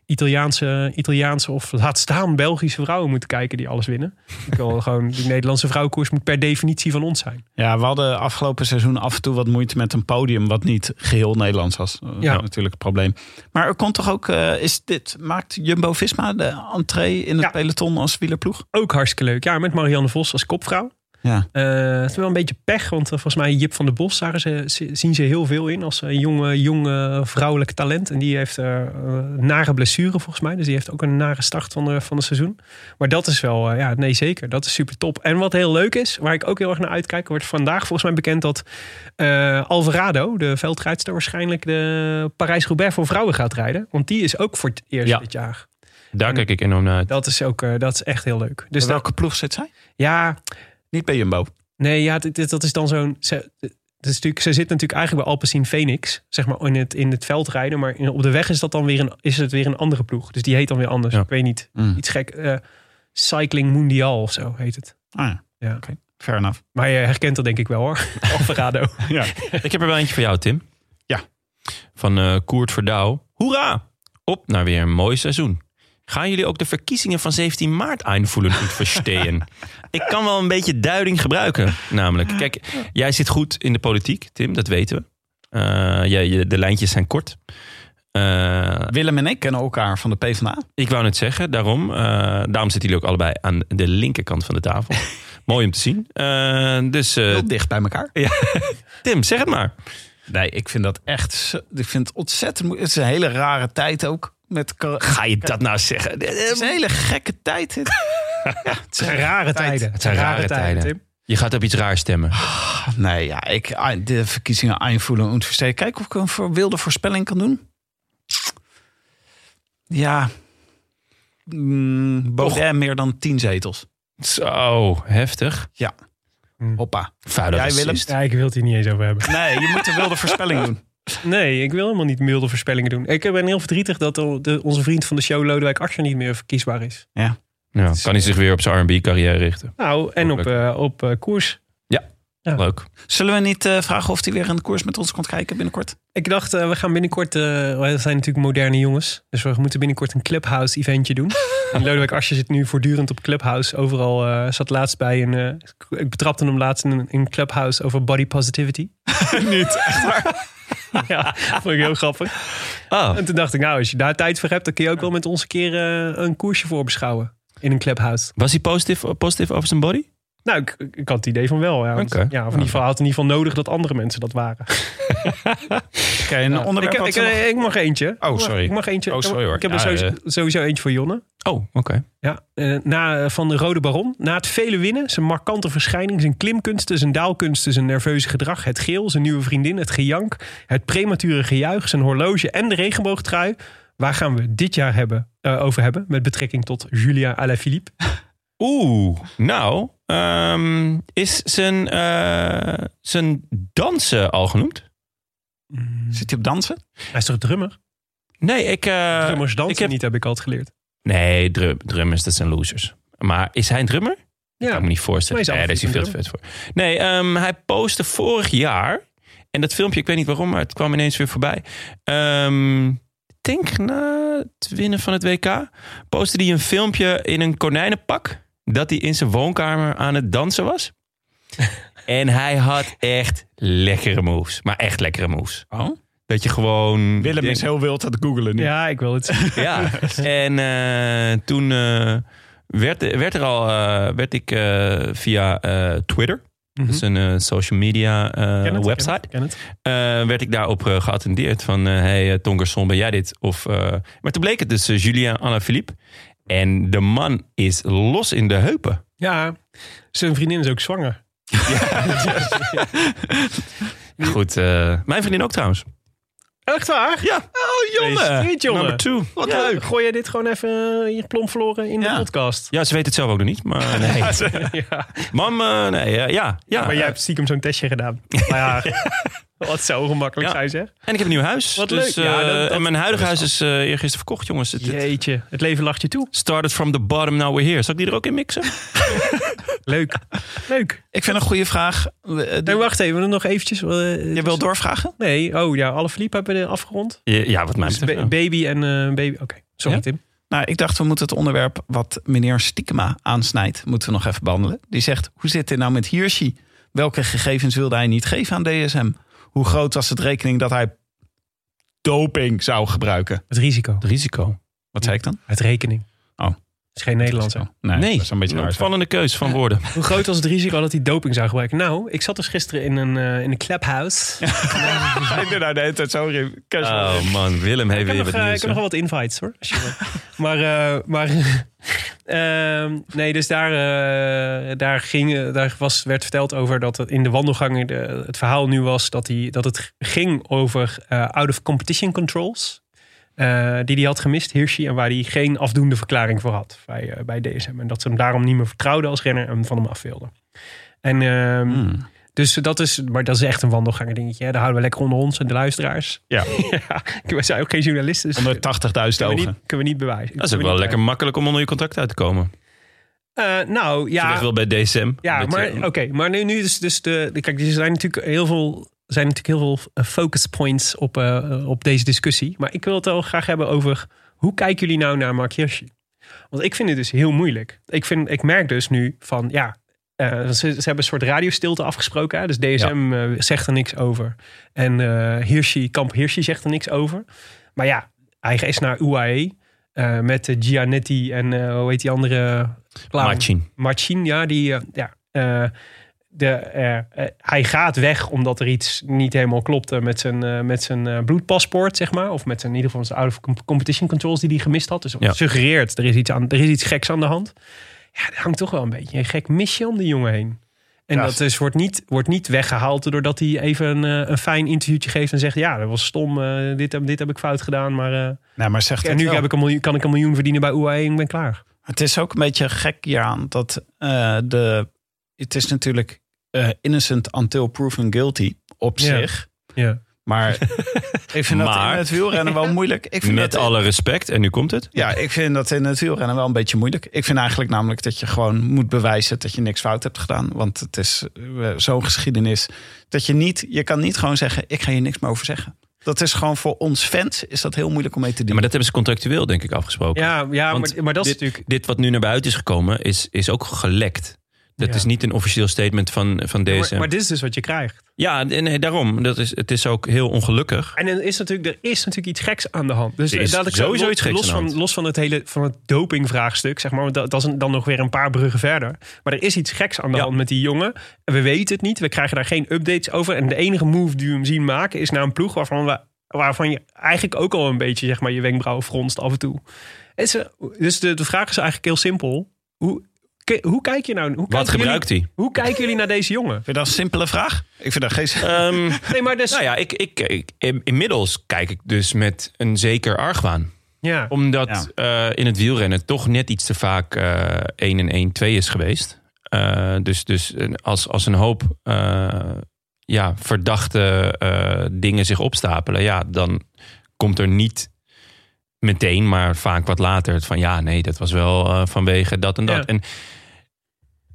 [SPEAKER 2] Italiaanse, Italiaanse of laat staan Belgische vrouwen moeten kijken die alles winnen. Ik wil gewoon, die Nederlandse vrouwenkoers moet per definitie van ons zijn.
[SPEAKER 3] Ja, we hadden afgelopen seizoen af en toe wat moeite met een podium wat niet geheel Nederlands was. Dat
[SPEAKER 2] Ja.
[SPEAKER 3] ja. natuurlijk een probleem. Maar er komt toch ook, eh, is dit, maakt Jumbo-Visma de entree in het
[SPEAKER 2] Ja. Dus
[SPEAKER 3] peloton als wielerploeg?
[SPEAKER 2] Ook hartstikke leuk. Ja, met Marianne Vos als kopvrouw.
[SPEAKER 3] Ja.
[SPEAKER 2] Eh, het is wel een beetje pech, want eh, volgens mij Jip van der Bos zagen ze, ze- zien ze heel veel in als een jonge, jonge vrouwelijk talent. En die heeft eh, eh, nare blessure volgens mij, dus die heeft ook een nare start van, de, van het seizoen. Maar dat is wel, eh, ja, nee zeker, dat is super top. En wat heel leuk is, waar ik ook heel erg naar uitkijk, wordt vandaag volgens mij bekend dat eh, Alvarado, de veldrijdster, waarschijnlijk de Parijs-Roubaix voor vrouwen gaat rijden. Want die is ook voor het eerst
[SPEAKER 1] Ja.
[SPEAKER 2] dit jaar.
[SPEAKER 1] Daar kijk ik enorm naar uit.
[SPEAKER 2] Dat is ook, eh, dat is echt heel leuk. Dus
[SPEAKER 3] Dus
[SPEAKER 2] dat,
[SPEAKER 3] welke ploeg zit zij?
[SPEAKER 2] ja,
[SPEAKER 3] Niet bij Jumbo.
[SPEAKER 2] Nee, ja, dit, dit- dat is dan zo'n. Ze, dat is natuurlijk, ze zit natuurlijk eigenlijk bij Alpecin Phoenix, zeg maar, in het, in het veld rijden. Maar in- op de weg is, dat dan weer een, is het weer een andere ploeg. Dus die heet dan weer anders.
[SPEAKER 1] Ja.
[SPEAKER 2] Ik weet niet.
[SPEAKER 3] Mm.
[SPEAKER 2] Iets gek. eh, Cycling Mundial of zo heet het.
[SPEAKER 3] Ah ja,
[SPEAKER 2] Ja.
[SPEAKER 3] oké. Fair enough.
[SPEAKER 2] Maar je herkent dat denk ik wel hoor. Alvarado.
[SPEAKER 3] Ja.
[SPEAKER 1] Ik heb er wel eentje voor jou, Tim.
[SPEAKER 3] Ja.
[SPEAKER 1] Van eh Koert Verdouw. Hoera! Op naar weer een mooi seizoen. Gaan jullie ook de verkiezingen van 17 maart aanvoelen goed verstehen? ik kan wel een beetje duiding gebruiken, namelijk. Kijk, jij zit goed in de politiek, Tim, dat weten we. Eh, jij- je- de lijntjes zijn kort. Eh,
[SPEAKER 3] Willem en ik kennen elkaar van de PvdA.
[SPEAKER 1] ik wou net zeggen, daarom, eh, daarom zitten jullie ook allebei aan de linkerkant van de tafel. Mooi om te zien. Eh, dus eh,
[SPEAKER 3] Heel dicht bij elkaar.
[SPEAKER 1] Tim, zeg het maar.
[SPEAKER 3] Nee, ik vind dat echt, zo- ik vind het ontzettend moe- Het is een hele rare tijd ook. Met cor- het
[SPEAKER 1] Ga je dat nou zeggen?
[SPEAKER 3] is een hele gekke tijd. dit. ja, het is-
[SPEAKER 2] Het zijn rare tijden.
[SPEAKER 1] Het zijn rare tijden. Je gaat op iets raars stemmen.
[SPEAKER 3] Nee, ja, ik, ah, de verkiezingen aanvoelen en versteken. Kijk of ik een voor- wilde voorspelling kan doen. Ja, mm, Baudet meer dan tien zetels.
[SPEAKER 1] Zo, heftig.
[SPEAKER 3] Hoppa.
[SPEAKER 1] Vuile
[SPEAKER 3] Jij, Willem?
[SPEAKER 1] racist.
[SPEAKER 2] Ja, ik wil het hier niet eens over hebben.
[SPEAKER 3] Nee, je moet een wilde voorspelling doen.
[SPEAKER 2] Nee, ik wil helemaal niet milde voorspellingen doen. Ik eh, ben heel verdrietig dat de- de- onze vriend van de show Lodewijk Asscher niet meer verkiesbaar is.
[SPEAKER 1] Ja, kan hij zich weer op zijn R&B carrière richten.
[SPEAKER 2] Nou, en
[SPEAKER 1] Oh,
[SPEAKER 2] op, eh, op eh, koers. Ja.
[SPEAKER 1] Leuk.
[SPEAKER 3] Zullen we niet eh, vragen of hij weer een koers met ons komt kijken binnenkort?
[SPEAKER 2] Ik dacht, eh, we gaan binnenkort... eh wij zijn natuurlijk moderne jongens. Dus we moeten binnenkort een Clubhouse-eventje doen. en Lodewijk Asscher zit nu voortdurend op Clubhouse. Overal eh, zat laatst bij een... eh, ik betrapte hem laatst in een in Clubhouse over body positivity.
[SPEAKER 3] niet, echt waar.
[SPEAKER 2] ja, vond ik heel grappig.
[SPEAKER 1] Oh.
[SPEAKER 2] En toen dacht ik, nou, als je daar tijd voor hebt... dan kun je ook wel met ons een keer eh, een koersje voor beschouwen. In een Clubhouse.
[SPEAKER 1] Was hij positief, positief over zijn body?
[SPEAKER 2] Nou, ik, ik had het idee van wel. Ja, Want-
[SPEAKER 1] Oké.
[SPEAKER 2] ja of in ieder geval had in ieder geval nodig dat andere mensen dat waren.
[SPEAKER 3] Oké, een onderwerp
[SPEAKER 2] ik,
[SPEAKER 3] wat
[SPEAKER 2] ik, eh,
[SPEAKER 3] we nog-
[SPEAKER 2] ik mag eentje.
[SPEAKER 3] Oh,
[SPEAKER 2] Ik mag-
[SPEAKER 3] sorry.
[SPEAKER 2] Ik mag eentje.
[SPEAKER 1] Oh, sorry hoor.
[SPEAKER 2] Ik heb er
[SPEAKER 1] Ja,
[SPEAKER 2] sowieso,
[SPEAKER 1] eh.
[SPEAKER 2] sowieso eentje voor Jonne.
[SPEAKER 1] Oh, oké.
[SPEAKER 2] Ja, eh, na, eh, van de Rode Baron. Na het vele winnen, zijn markante verschijning, zijn klimkunsten, zijn daalkunsten, zijn nerveuze gedrag, het geel, zijn nieuwe vriendin, het gejank, het premature gejuich, zijn horloge en de regenboogtrui. Waar gaan we dit jaar hebben, eh, over hebben met betrekking tot Julia Alaphilippe?
[SPEAKER 1] Oeh, nou, ehm, is zijn, eh, zijn dansen al genoemd?
[SPEAKER 3] Zit hij op dansen?
[SPEAKER 2] Hij is toch drummer?
[SPEAKER 1] Nee, ik... eh,
[SPEAKER 2] Drummers dansen
[SPEAKER 1] ik heb-
[SPEAKER 2] niet, heb ik altijd geleerd.
[SPEAKER 1] Nee, drum, drummers, dat zijn losers. Maar is hij een drummer?
[SPEAKER 2] Ja.
[SPEAKER 1] kan ik me niet voorstellen.
[SPEAKER 2] Maar
[SPEAKER 1] Nee, daar
[SPEAKER 2] hij is
[SPEAKER 1] is hij veel te
[SPEAKER 2] absoluut
[SPEAKER 1] vet voor. Nee, ehm, hij postte vorig jaar... En dat filmpje, ik weet niet waarom, maar het kwam ineens weer voorbij. Ehm, ik denk na het winnen van het WK... postte hij een filmpje in een konijnenpak... dat hij in zijn woonkamer aan het dansen was. en hij had echt lekkere moves. Maar echt lekkere moves.
[SPEAKER 3] Oh.
[SPEAKER 1] Dat je gewoon...
[SPEAKER 3] Willem
[SPEAKER 1] denkt-
[SPEAKER 3] is heel wild aan het googelen nu.
[SPEAKER 2] Ja, ik wil het
[SPEAKER 1] Eh,
[SPEAKER 2] zien.
[SPEAKER 1] ja, en eh, toen eh, werd, werd er al, eh, werd ik eh, via eh, Twitter, dus een eh, social media eh,
[SPEAKER 2] Mhm. Ken het,
[SPEAKER 1] website,
[SPEAKER 2] ken het, ken het.
[SPEAKER 1] eh, werd ik daarop eh, geattendeerd van, eh, hey eh, Tongerson, ben jij dit? Of, eh, maar toen bleek het dus eh, Julien Alaphilippe. En de man is los in de heupen.
[SPEAKER 2] Ja, zijn vriendin is ook zwanger.
[SPEAKER 1] Goed, eh, mijn vriendin ook trouwens.
[SPEAKER 2] Oh, Echt waar?
[SPEAKER 1] Ja. Oh,
[SPEAKER 2] Jonne.
[SPEAKER 1] Number two.
[SPEAKER 2] Wat leuk. Gooi jij dit gewoon even eh, hier plom verloren in de
[SPEAKER 3] Ja.
[SPEAKER 2] podcast?
[SPEAKER 1] Ja, ze weet het zelf ook nog niet, maar nee.
[SPEAKER 2] ja.
[SPEAKER 1] Mam, eh, nee, eh, ja, ja.
[SPEAKER 2] Maar jij hebt stiekem zo'n testje gedaan. Maar ja, wat zou gemakkelijk
[SPEAKER 1] Ja.
[SPEAKER 2] zijn zeg.
[SPEAKER 1] En ik heb een nieuw huis.
[SPEAKER 2] Wat
[SPEAKER 1] dus,
[SPEAKER 2] leuk. Ja,
[SPEAKER 1] eh,
[SPEAKER 2] dat- dat-
[SPEAKER 1] en mijn huidige huis is eh eergisteren verkocht, jongens. Het, het
[SPEAKER 2] Jeetje, het leven lacht je toe.
[SPEAKER 1] started from the bottom, now we're here. Zal ik die er ook in mixen?
[SPEAKER 2] Leuk. Leuk.
[SPEAKER 3] Ik vind een goede vraag. Eh, die-
[SPEAKER 2] Nee, wacht even. Nog eventjes. eh,
[SPEAKER 3] Je wil doorvragen?
[SPEAKER 2] Nee, oh ja, alle verliep hebben we afgerond.
[SPEAKER 1] Ja, ja, wat mij
[SPEAKER 2] Dus
[SPEAKER 1] betreft.
[SPEAKER 2] ba-
[SPEAKER 1] wel.
[SPEAKER 2] baby en eh, baby. Oké, sorry
[SPEAKER 1] Ja?
[SPEAKER 2] Tim.
[SPEAKER 3] Nou, ik dacht we moeten het onderwerp wat meneer Stiekema aansnijdt, moeten we nog even behandelen. Die zegt, hoe zit dit nou met Hirschi? Welke gegevens wilde hij niet geven aan DSM? Hoe groot was het rekening dat hij doping zou gebruiken?
[SPEAKER 2] Het risico.
[SPEAKER 1] Het risico.
[SPEAKER 3] Wat zei ik dan?
[SPEAKER 2] Het rekening.
[SPEAKER 3] Oh.
[SPEAKER 2] Het is geen Nederlandse.
[SPEAKER 3] Nee,
[SPEAKER 1] Nee,
[SPEAKER 3] dat is een beetje raar.
[SPEAKER 1] opvallende keus van woorden.
[SPEAKER 2] Hoe groot was het risico dat hij doping zou gebruiken? Nou, ik zat dus gisteren in een, eh, in een clubhouse.
[SPEAKER 3] Ik ben nou de hele tijd zo in. casual.
[SPEAKER 1] Oh man, Willem heeft
[SPEAKER 2] Ik
[SPEAKER 1] weer
[SPEAKER 2] heb, nog,
[SPEAKER 1] wat
[SPEAKER 2] eh,
[SPEAKER 1] nieuws.
[SPEAKER 2] ik heb nog
[SPEAKER 1] hè.
[SPEAKER 2] wel wat invites hoor. als je wil. maar eh, maar ehm, nee, dus daar, eh, daar, ging, eh, daar was, werd verteld over dat het in de wandelgangen de- het verhaal nu was dat, die, dat het ging over eh, out of competition controls. eh, die hij had gemist, Hirschi, en waar hij geen afdoende verklaring voor had bij, eh, bij DSM. En dat ze hem daarom niet meer vertrouwden als renner en van hem af wilden. En ehm,
[SPEAKER 3] Hmm.
[SPEAKER 2] dus dat is, maar dat is echt een wandelganger dingetje. Hè? Daar houden we lekker onder ons en de luisteraars.
[SPEAKER 3] Ja.
[SPEAKER 2] ja we zijn ook geen journalisten. Dus kunnen
[SPEAKER 3] 180.000
[SPEAKER 2] we, niet,
[SPEAKER 3] ogen.
[SPEAKER 2] kunnen we niet bewijzen.
[SPEAKER 1] Dat is ook wel lekker makkelijk om onder je contact uit te komen.
[SPEAKER 2] Eh, nou,
[SPEAKER 1] Ja.
[SPEAKER 2] ja.
[SPEAKER 1] wel bij DSM.
[SPEAKER 2] Ja,
[SPEAKER 1] Dat
[SPEAKER 2] maar
[SPEAKER 1] je-
[SPEAKER 2] oké. maar nu, nu is dus de, de- Kijk, er zijn natuurlijk heel veel, zijn natuurlijk heel veel eh, focus points op, eh, eh, op deze discussie. Maar ik wil het wel graag hebben over hoe kijken jullie nou naar Mark Hirschi? Want ik vind het dus heel moeilijk. Ik, vind, ik merk dus nu van ja. eh, ze, ze hebben een soort radiostilte afgesproken. Hè? Dus DSM eh, zegt er niks over. En eh Hirschi, Kamp Hirschi zegt er niks over. Maar ja, hij is naar UAE. eh, met eh, Gianetti en eh, hoe heet die andere? clown?
[SPEAKER 1] Martin.
[SPEAKER 2] Marcin, ja, die, eh, ja eh, de, eh, eh, hij gaat weg omdat er iets niet helemaal klopte met zijn, eh, met zijn eh, bloedpaspoort, zeg maar. Of met zijn, in ieder geval zijn out of com- competition controls die hij gemist had. Dus
[SPEAKER 1] Ja.
[SPEAKER 2] suggereert, er is, iets aan, er is iets geks aan de hand. Ja, er hangt toch wel een beetje een gek misje om die jongen heen. En
[SPEAKER 3] Ja.
[SPEAKER 2] dat is, wordt, niet, wordt niet weggehaald doordat hij even een, eh, een fijn interviewtje geeft en zegt: Ja, dat was stom, eh, dit, heb, dit heb ik fout gedaan, maar eh,
[SPEAKER 3] Nou, maar zegt
[SPEAKER 2] en
[SPEAKER 3] het
[SPEAKER 2] nu
[SPEAKER 3] wel.
[SPEAKER 2] heb ik een miljoen, kan ik een miljoen verdienen bij UAE en ik ben klaar.
[SPEAKER 3] Het is ook een beetje gek hieraan dat eh, de. Het is natuurlijk eh, innocent until proven guilty op
[SPEAKER 2] Ja.
[SPEAKER 3] zich.
[SPEAKER 2] Ja.
[SPEAKER 3] Maar ik vind dat
[SPEAKER 1] Maar-
[SPEAKER 3] in het wielrennen wel moeilijk. Ik vind
[SPEAKER 1] Met
[SPEAKER 3] dat,
[SPEAKER 1] alle respect, en nu komt het.
[SPEAKER 3] Ja, ik vind dat in het wielrennen wel een beetje moeilijk. Ik vind eigenlijk namelijk dat je gewoon moet bewijzen dat je niks fout hebt gedaan. Want het is eh, zo'n geschiedenis dat je niet... Je kan niet gewoon zeggen, ik ga hier niks meer over zeggen. Dat is gewoon voor ons fans is dat heel moeilijk om mee te
[SPEAKER 1] Ja,
[SPEAKER 3] doen.
[SPEAKER 1] maar dat hebben ze contractueel, denk ik, afgesproken.
[SPEAKER 2] Ja, ja
[SPEAKER 1] Want
[SPEAKER 2] maar, maar dat is
[SPEAKER 1] dit,
[SPEAKER 2] natuurlijk.
[SPEAKER 1] dit wat nu naar buiten is gekomen, is, is ook gelekt. Dat
[SPEAKER 2] Ja.
[SPEAKER 1] is niet een officieel statement van, van
[SPEAKER 2] Maar,
[SPEAKER 1] deze. Ja,
[SPEAKER 2] maar dit is dus wat je krijgt.
[SPEAKER 1] nee, nee, daarom. Dat is, het is ook heel ongelukkig.
[SPEAKER 2] En er is natuurlijk, er is natuurlijk iets geks aan de hand. Dus
[SPEAKER 1] Er is
[SPEAKER 2] eh, dat ik
[SPEAKER 1] sowieso
[SPEAKER 2] los-
[SPEAKER 1] iets geks
[SPEAKER 2] los
[SPEAKER 1] aan de
[SPEAKER 2] van,
[SPEAKER 1] hand.
[SPEAKER 2] los van het hele van het dopingvraagstuk, zeg maar. Want dat, dat is een- dan nog weer een paar bruggen verder. Maar er is iets geks aan de
[SPEAKER 1] Ja.
[SPEAKER 2] hand met die jongen. En we weten het niet. We krijgen daar geen updates over. En de enige move die we hem zien maken is naar een ploeg waarvan we waarvan je eigenlijk ook al een beetje zeg maar je wenkbrauwen fronst af en toe. Het is, eh, dus de, de vraag is eigenlijk heel simpel. Hoe, ke- hoe kijk je nou? Hoe
[SPEAKER 1] Wat
[SPEAKER 2] kijken
[SPEAKER 1] gebruikt
[SPEAKER 2] jullie,
[SPEAKER 1] hij?
[SPEAKER 2] Hoe kijken jullie naar deze jongen?
[SPEAKER 3] Vind je dat een simpele vraag? Ik vind dat geen...
[SPEAKER 1] Ehm,
[SPEAKER 2] Nee, maar dus,
[SPEAKER 1] nou ja, ik, ik, ik, in- inmiddels kijk ik dus met een zeker argwaan.
[SPEAKER 2] ja.
[SPEAKER 1] Omdat eh, in het wielrennen toch net iets te vaak eh 1 en 1 2 is geweest. Eh, dus dus een- als, als een hoop eh, ja, verdachte eh, dingen zich opstapelen, ja, dan komt er niet meteen, maar vaak wat later het van ja, nee, dat was wel eh, vanwege dat en dat.
[SPEAKER 2] Ja.
[SPEAKER 1] En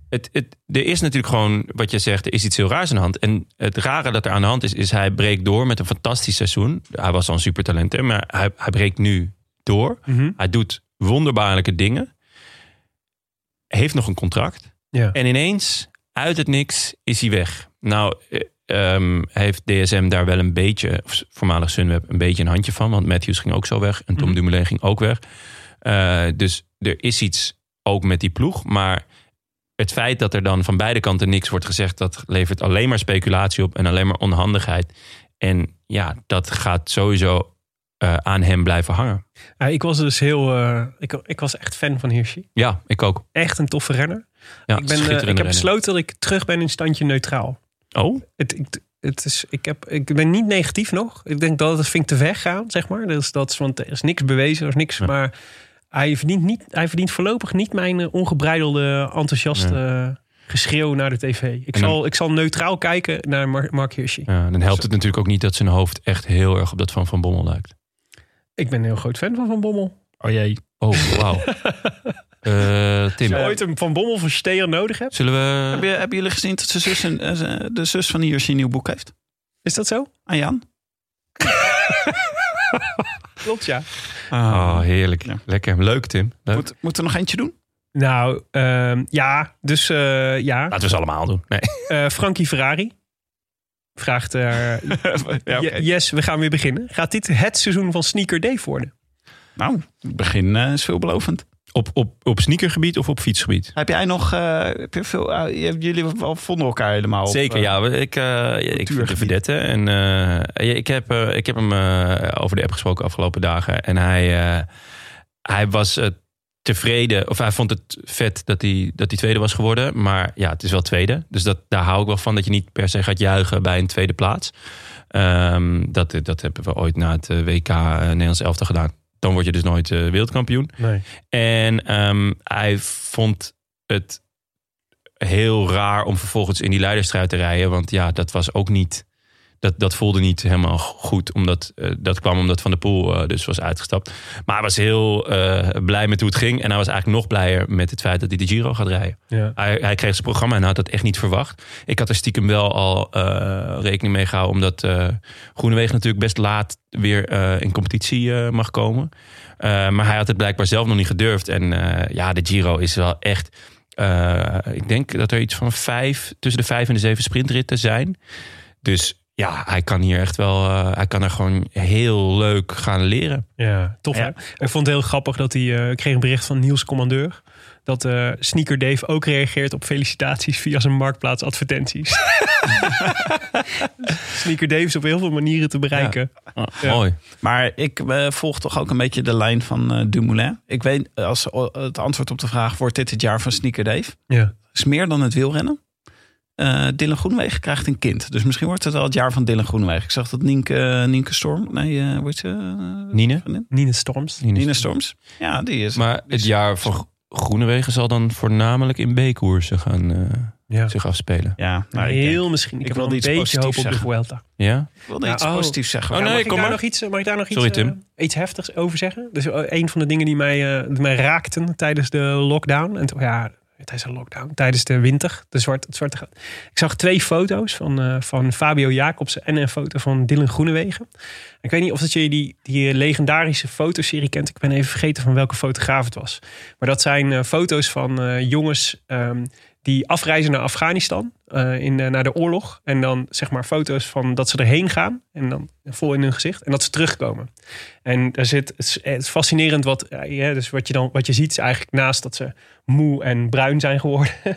[SPEAKER 1] het, het, er is natuurlijk gewoon, wat je zegt, er is iets heel raars aan de hand. En het rare dat er aan de hand is, is hij breekt door met een fantastisch seizoen. Hij was al een supertalent, hè, maar hij, hij breekt nu door.
[SPEAKER 2] Mhm.
[SPEAKER 1] Hij doet wonderbaarlijke dingen. Heeft nog een contract.
[SPEAKER 2] Ja.
[SPEAKER 1] En ineens, uit het niks, is hij weg. Nou, eh, ehm, heeft DSM daar wel een beetje, of voormalig Sunweb, een beetje een handje van. Want Matthews ging ook zo weg. En Tom
[SPEAKER 2] Mhm.
[SPEAKER 1] Dumoulin ging ook weg. Eh, dus er is iets ook met die ploeg. Maar het feit dat er dan van beide kanten niks wordt gezegd... dat levert alleen maar speculatie op en alleen maar onhandigheid. En ja, dat gaat sowieso eh, aan hem blijven hangen.
[SPEAKER 2] Ja, ik was dus heel. eh, ik, ik was echt fan van Hirschi.
[SPEAKER 1] Ja, ik ook.
[SPEAKER 2] Echt een toffe renner.
[SPEAKER 1] Ja,
[SPEAKER 2] ik, ben, eh, ik
[SPEAKER 1] schitterende
[SPEAKER 2] heb
[SPEAKER 1] renner.
[SPEAKER 2] besloten dat ik terug ben in standje neutraal.
[SPEAKER 1] Oh,
[SPEAKER 2] Het, ik, het is, ik, heb, ik ben niet negatief nog. Ik denk dat het vind ik te ver gaan, zeg maar. Dus dat is, want er is niks bewezen, er is niks.
[SPEAKER 1] Ja.
[SPEAKER 2] Maar hij verdient, niet, hij verdient voorlopig niet mijn eh, ongebreidelde, enthousiaste eh, geschreeuw naar de tv. Ik,
[SPEAKER 1] En dan-
[SPEAKER 2] zal, ik zal neutraal kijken naar Mar- Mark Hirschi.
[SPEAKER 1] ja, dan helpt het natuurlijk ook niet dat zijn hoofd echt heel erg op dat van Van Bommel lijkt.
[SPEAKER 2] Ik ben een heel groot fan van Van Bommel.
[SPEAKER 3] Oh jee.
[SPEAKER 1] Oh, wauw. Eh,
[SPEAKER 2] Als
[SPEAKER 1] Tim,
[SPEAKER 2] je ooit een Van Bommel versteer nodig hebt,
[SPEAKER 1] zullen
[SPEAKER 3] Hebben,
[SPEAKER 1] we...
[SPEAKER 3] je- hebben jullie gezien dat zijn zus een, eh, de zus van Hirschi een nieuw boek heeft?
[SPEAKER 2] is dat zo?
[SPEAKER 3] Aan Jan?
[SPEAKER 2] Klopt, ja.
[SPEAKER 1] Oh, heerlijk.
[SPEAKER 3] Ja.
[SPEAKER 1] Lekker. Leuk, Tim. Leuk.
[SPEAKER 3] Moet, moet er nog eentje doen?
[SPEAKER 2] Nou, ehm, ja. Dus eh, ja.
[SPEAKER 1] Laten we ze allemaal doen. Nee.
[SPEAKER 2] Eh, Frankie Ferrari vraagt... eh,
[SPEAKER 3] ja, oké.
[SPEAKER 2] "Je- Yes, we gaan weer beginnen. Gaat dit het seizoen van Sneaker Dave worden?
[SPEAKER 3] Nou, het begin eh, is veelbelovend.
[SPEAKER 1] Op, op, op sneakergebied of op fietsgebied?
[SPEAKER 3] Heb jij nog... eh, heb je veel, eh, je- jullie wel- vonden elkaar helemaal op,
[SPEAKER 1] Zeker,
[SPEAKER 3] eh,
[SPEAKER 1] ja. Ik, eh ik vind de
[SPEAKER 3] cultuurgebied.
[SPEAKER 1] vedette. En, eh, ja, ik, heb, eh, ik heb hem eh, over de app gesproken afgelopen dagen. En hij, eh, hij was eh, tevreden. Of hij vond het vet dat hij, dat hij tweede was geworden. Maar ja, het is wel tweede. Dus dat, daar hou ik wel van. Dat je niet per se gaat juichen bij een tweede plaats. Ehm, dat, dat hebben we ooit na het eh, WK eh, Nederlands elftal gedaan. Dan word je dus nooit eh, wereldkampioen.
[SPEAKER 2] Nee.
[SPEAKER 1] En ehm, hij vond het heel raar om vervolgens in die leidersstrijd te rijden. Want ja, dat was ook niet. Dat, dat voelde niet helemaal goed. Omdat, eh, dat kwam omdat Van der Poel eh, dus was uitgestapt. Maar hij was heel eh, blij met hoe het ging. En hij was eigenlijk nog blijer met het feit dat hij de Giro gaat rijden.
[SPEAKER 2] Ja.
[SPEAKER 1] Hij, hij kreeg zijn programma en hij had dat echt niet verwacht. Ik had er stiekem wel al eh, rekening mee gehouden. Omdat eh Groenewegen natuurlijk best laat weer eh, in competitie eh, mag komen. Eh, maar hij had het blijkbaar zelf nog niet gedurfd. En eh, ja, de Giro is wel echt... eh, ik denk dat er iets van vijf, tussen de vijf en de zeven sprintritten zijn. Dus ja, hij kan hier echt wel... eh, hij kan er gewoon heel leuk gaan leren.
[SPEAKER 2] Ja, tof
[SPEAKER 1] Ja.
[SPEAKER 2] hè? Ik vond het heel grappig dat hij... eh, ik kreeg een bericht van Niels Commandeur... dat eh, Sneaker Dave ook reageert op felicitaties... via zijn marktplaats advertenties. Sneaker Dave is op heel veel manieren te bereiken. Ja.
[SPEAKER 1] Mooi.
[SPEAKER 3] Maar ik eh, volg toch ook een beetje de lijn van eh, Dumoulin. Ik weet, eh, als eh, het antwoord op de vraag... wordt dit het jaar van Sneaker Dave?
[SPEAKER 2] Ja.
[SPEAKER 3] is meer dan het wielrennen. Eh, eh, Dylan Groenwegen krijgt een kind. Dus misschien wordt het wel het jaar van Dylan Groenwegen. Ik zag dat Nienke, eh, Nienke Storm... Nee, eh wordt ze... eh,
[SPEAKER 1] Nine?
[SPEAKER 3] vriendin?
[SPEAKER 2] Nina Storms.
[SPEAKER 3] Nina Storms. Ja, die is...
[SPEAKER 1] Maar het jaar van Groenewegen zal dan voornamelijk in B-koersen gaan eh,
[SPEAKER 2] Ja.
[SPEAKER 1] zich afspelen.
[SPEAKER 3] ja, nou, ik denk-
[SPEAKER 2] Heel misschien. Ik,
[SPEAKER 3] ik
[SPEAKER 2] heb
[SPEAKER 3] wilde
[SPEAKER 2] wel een
[SPEAKER 3] iets
[SPEAKER 2] beetje
[SPEAKER 3] positiefs
[SPEAKER 2] hoop op de
[SPEAKER 3] zeggen.
[SPEAKER 2] Vuelta.
[SPEAKER 1] Ja?
[SPEAKER 3] ik wilde
[SPEAKER 2] Ja,
[SPEAKER 3] iets
[SPEAKER 2] oh.
[SPEAKER 3] positiefs zeggen.
[SPEAKER 1] Oh,
[SPEAKER 3] maar-
[SPEAKER 1] nee,
[SPEAKER 2] mag, ik
[SPEAKER 1] kom
[SPEAKER 2] daar
[SPEAKER 1] maar.
[SPEAKER 2] nog iets, mag ik daar nog iets,
[SPEAKER 1] Sorry,
[SPEAKER 2] eh,
[SPEAKER 1] Tim.
[SPEAKER 2] iets heftigs over zeggen? Dus eh, een van de dingen die mij, eh, die mij raakten tijdens de lockdown. En, toen- ja, tijdens de lockdown. Tijdens de winter. De zwarte, het zwarte gat. Ik zag twee foto's van, eh, van Fabio Jacobsen en een foto van Dylan Groenewegen. Ik weet niet of dat jullie die, die legendarische fotoserie kent. Ik ben even vergeten van welke fotograaf het was. Maar dat zijn eh, foto's van eh, jongens ehm, die afreizen naar Afghanistan. eh, in, eh, naar de oorlog. En dan zeg maar foto's van dat ze erheen gaan. En dan vol in hun gezicht. En dat ze terugkomen. En daar zit, het is, het is fascinerend wat, ja, dus wat, je dan, wat je ziet. Is eigenlijk naast dat ze moe en bruin zijn geworden.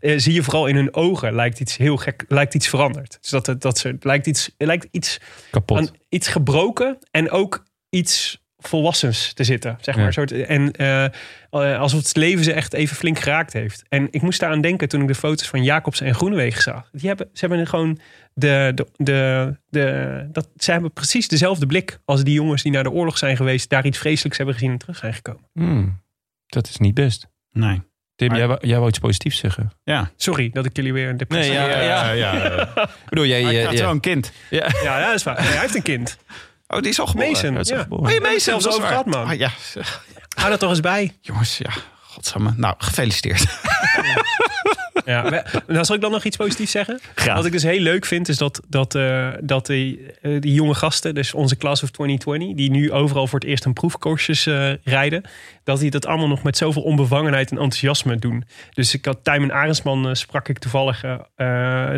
[SPEAKER 2] eh, zie je vooral in hun ogen. Lijkt iets heel gek. Lijkt iets veranderd. Dus dat, het- dat ze. Lijkt iets. Lijkt iets
[SPEAKER 1] Kapot.
[SPEAKER 2] aan iets gebroken en ook iets volwassens te zitten. Zeg maar.
[SPEAKER 1] Ja.
[SPEAKER 2] Een soort, en eh, eh, alsof het leven ze echt even flink geraakt heeft. En ik moest daaraan denken toen ik de foto's van Jacobs en Groenewegen zag. Die hebben, ze hebben gewoon de, de, de, de, dat, ze hebben precies dezelfde blik als die jongens die naar de oorlog zijn geweest, daar iets vreselijks hebben gezien en terug zijn gekomen.
[SPEAKER 1] Hmm, dat is niet best.
[SPEAKER 3] Nee.
[SPEAKER 1] Tim,
[SPEAKER 3] Maar-
[SPEAKER 1] jij, wou- jij wou iets positiefs zeggen.
[SPEAKER 2] Sorry dat ik jullie weer een depressie...
[SPEAKER 1] Nee, ja, ja. Ik bedoel, jij...
[SPEAKER 3] Hij
[SPEAKER 1] jij-
[SPEAKER 3] krijgt
[SPEAKER 1] jij-
[SPEAKER 3] wel een kind.
[SPEAKER 2] ja, dat is waar. Hij heeft een kind.
[SPEAKER 3] Oh, die is al geboren.
[SPEAKER 2] Mason,
[SPEAKER 1] Ja, dat is
[SPEAKER 2] ja.
[SPEAKER 1] geboren.
[SPEAKER 3] Oh, je
[SPEAKER 2] Mason,
[SPEAKER 3] Mason.
[SPEAKER 2] zelfs
[SPEAKER 3] dat is
[SPEAKER 2] over
[SPEAKER 3] waar.
[SPEAKER 2] gehad, man.
[SPEAKER 3] Ah, ja,
[SPEAKER 2] Hou dat toch eens bij.
[SPEAKER 3] Jongens, ja, godsamme. Nou, gefeliciteerd.
[SPEAKER 2] Ja, we- nou, zal ik dan nog iets positiefs zeggen?
[SPEAKER 3] Graag.
[SPEAKER 2] Wat ik dus heel leuk vind, is dat, dat, eh, dat die, eh, die jonge gasten, dus onze Class of 2020, die nu overal voor het eerst een proefcursus eh, rijden, dat die dat allemaal nog met zoveel onbevangenheid en enthousiasme doen. Dus ik had Tijmen Arendsman eh, sprak ik toevallig eh eh,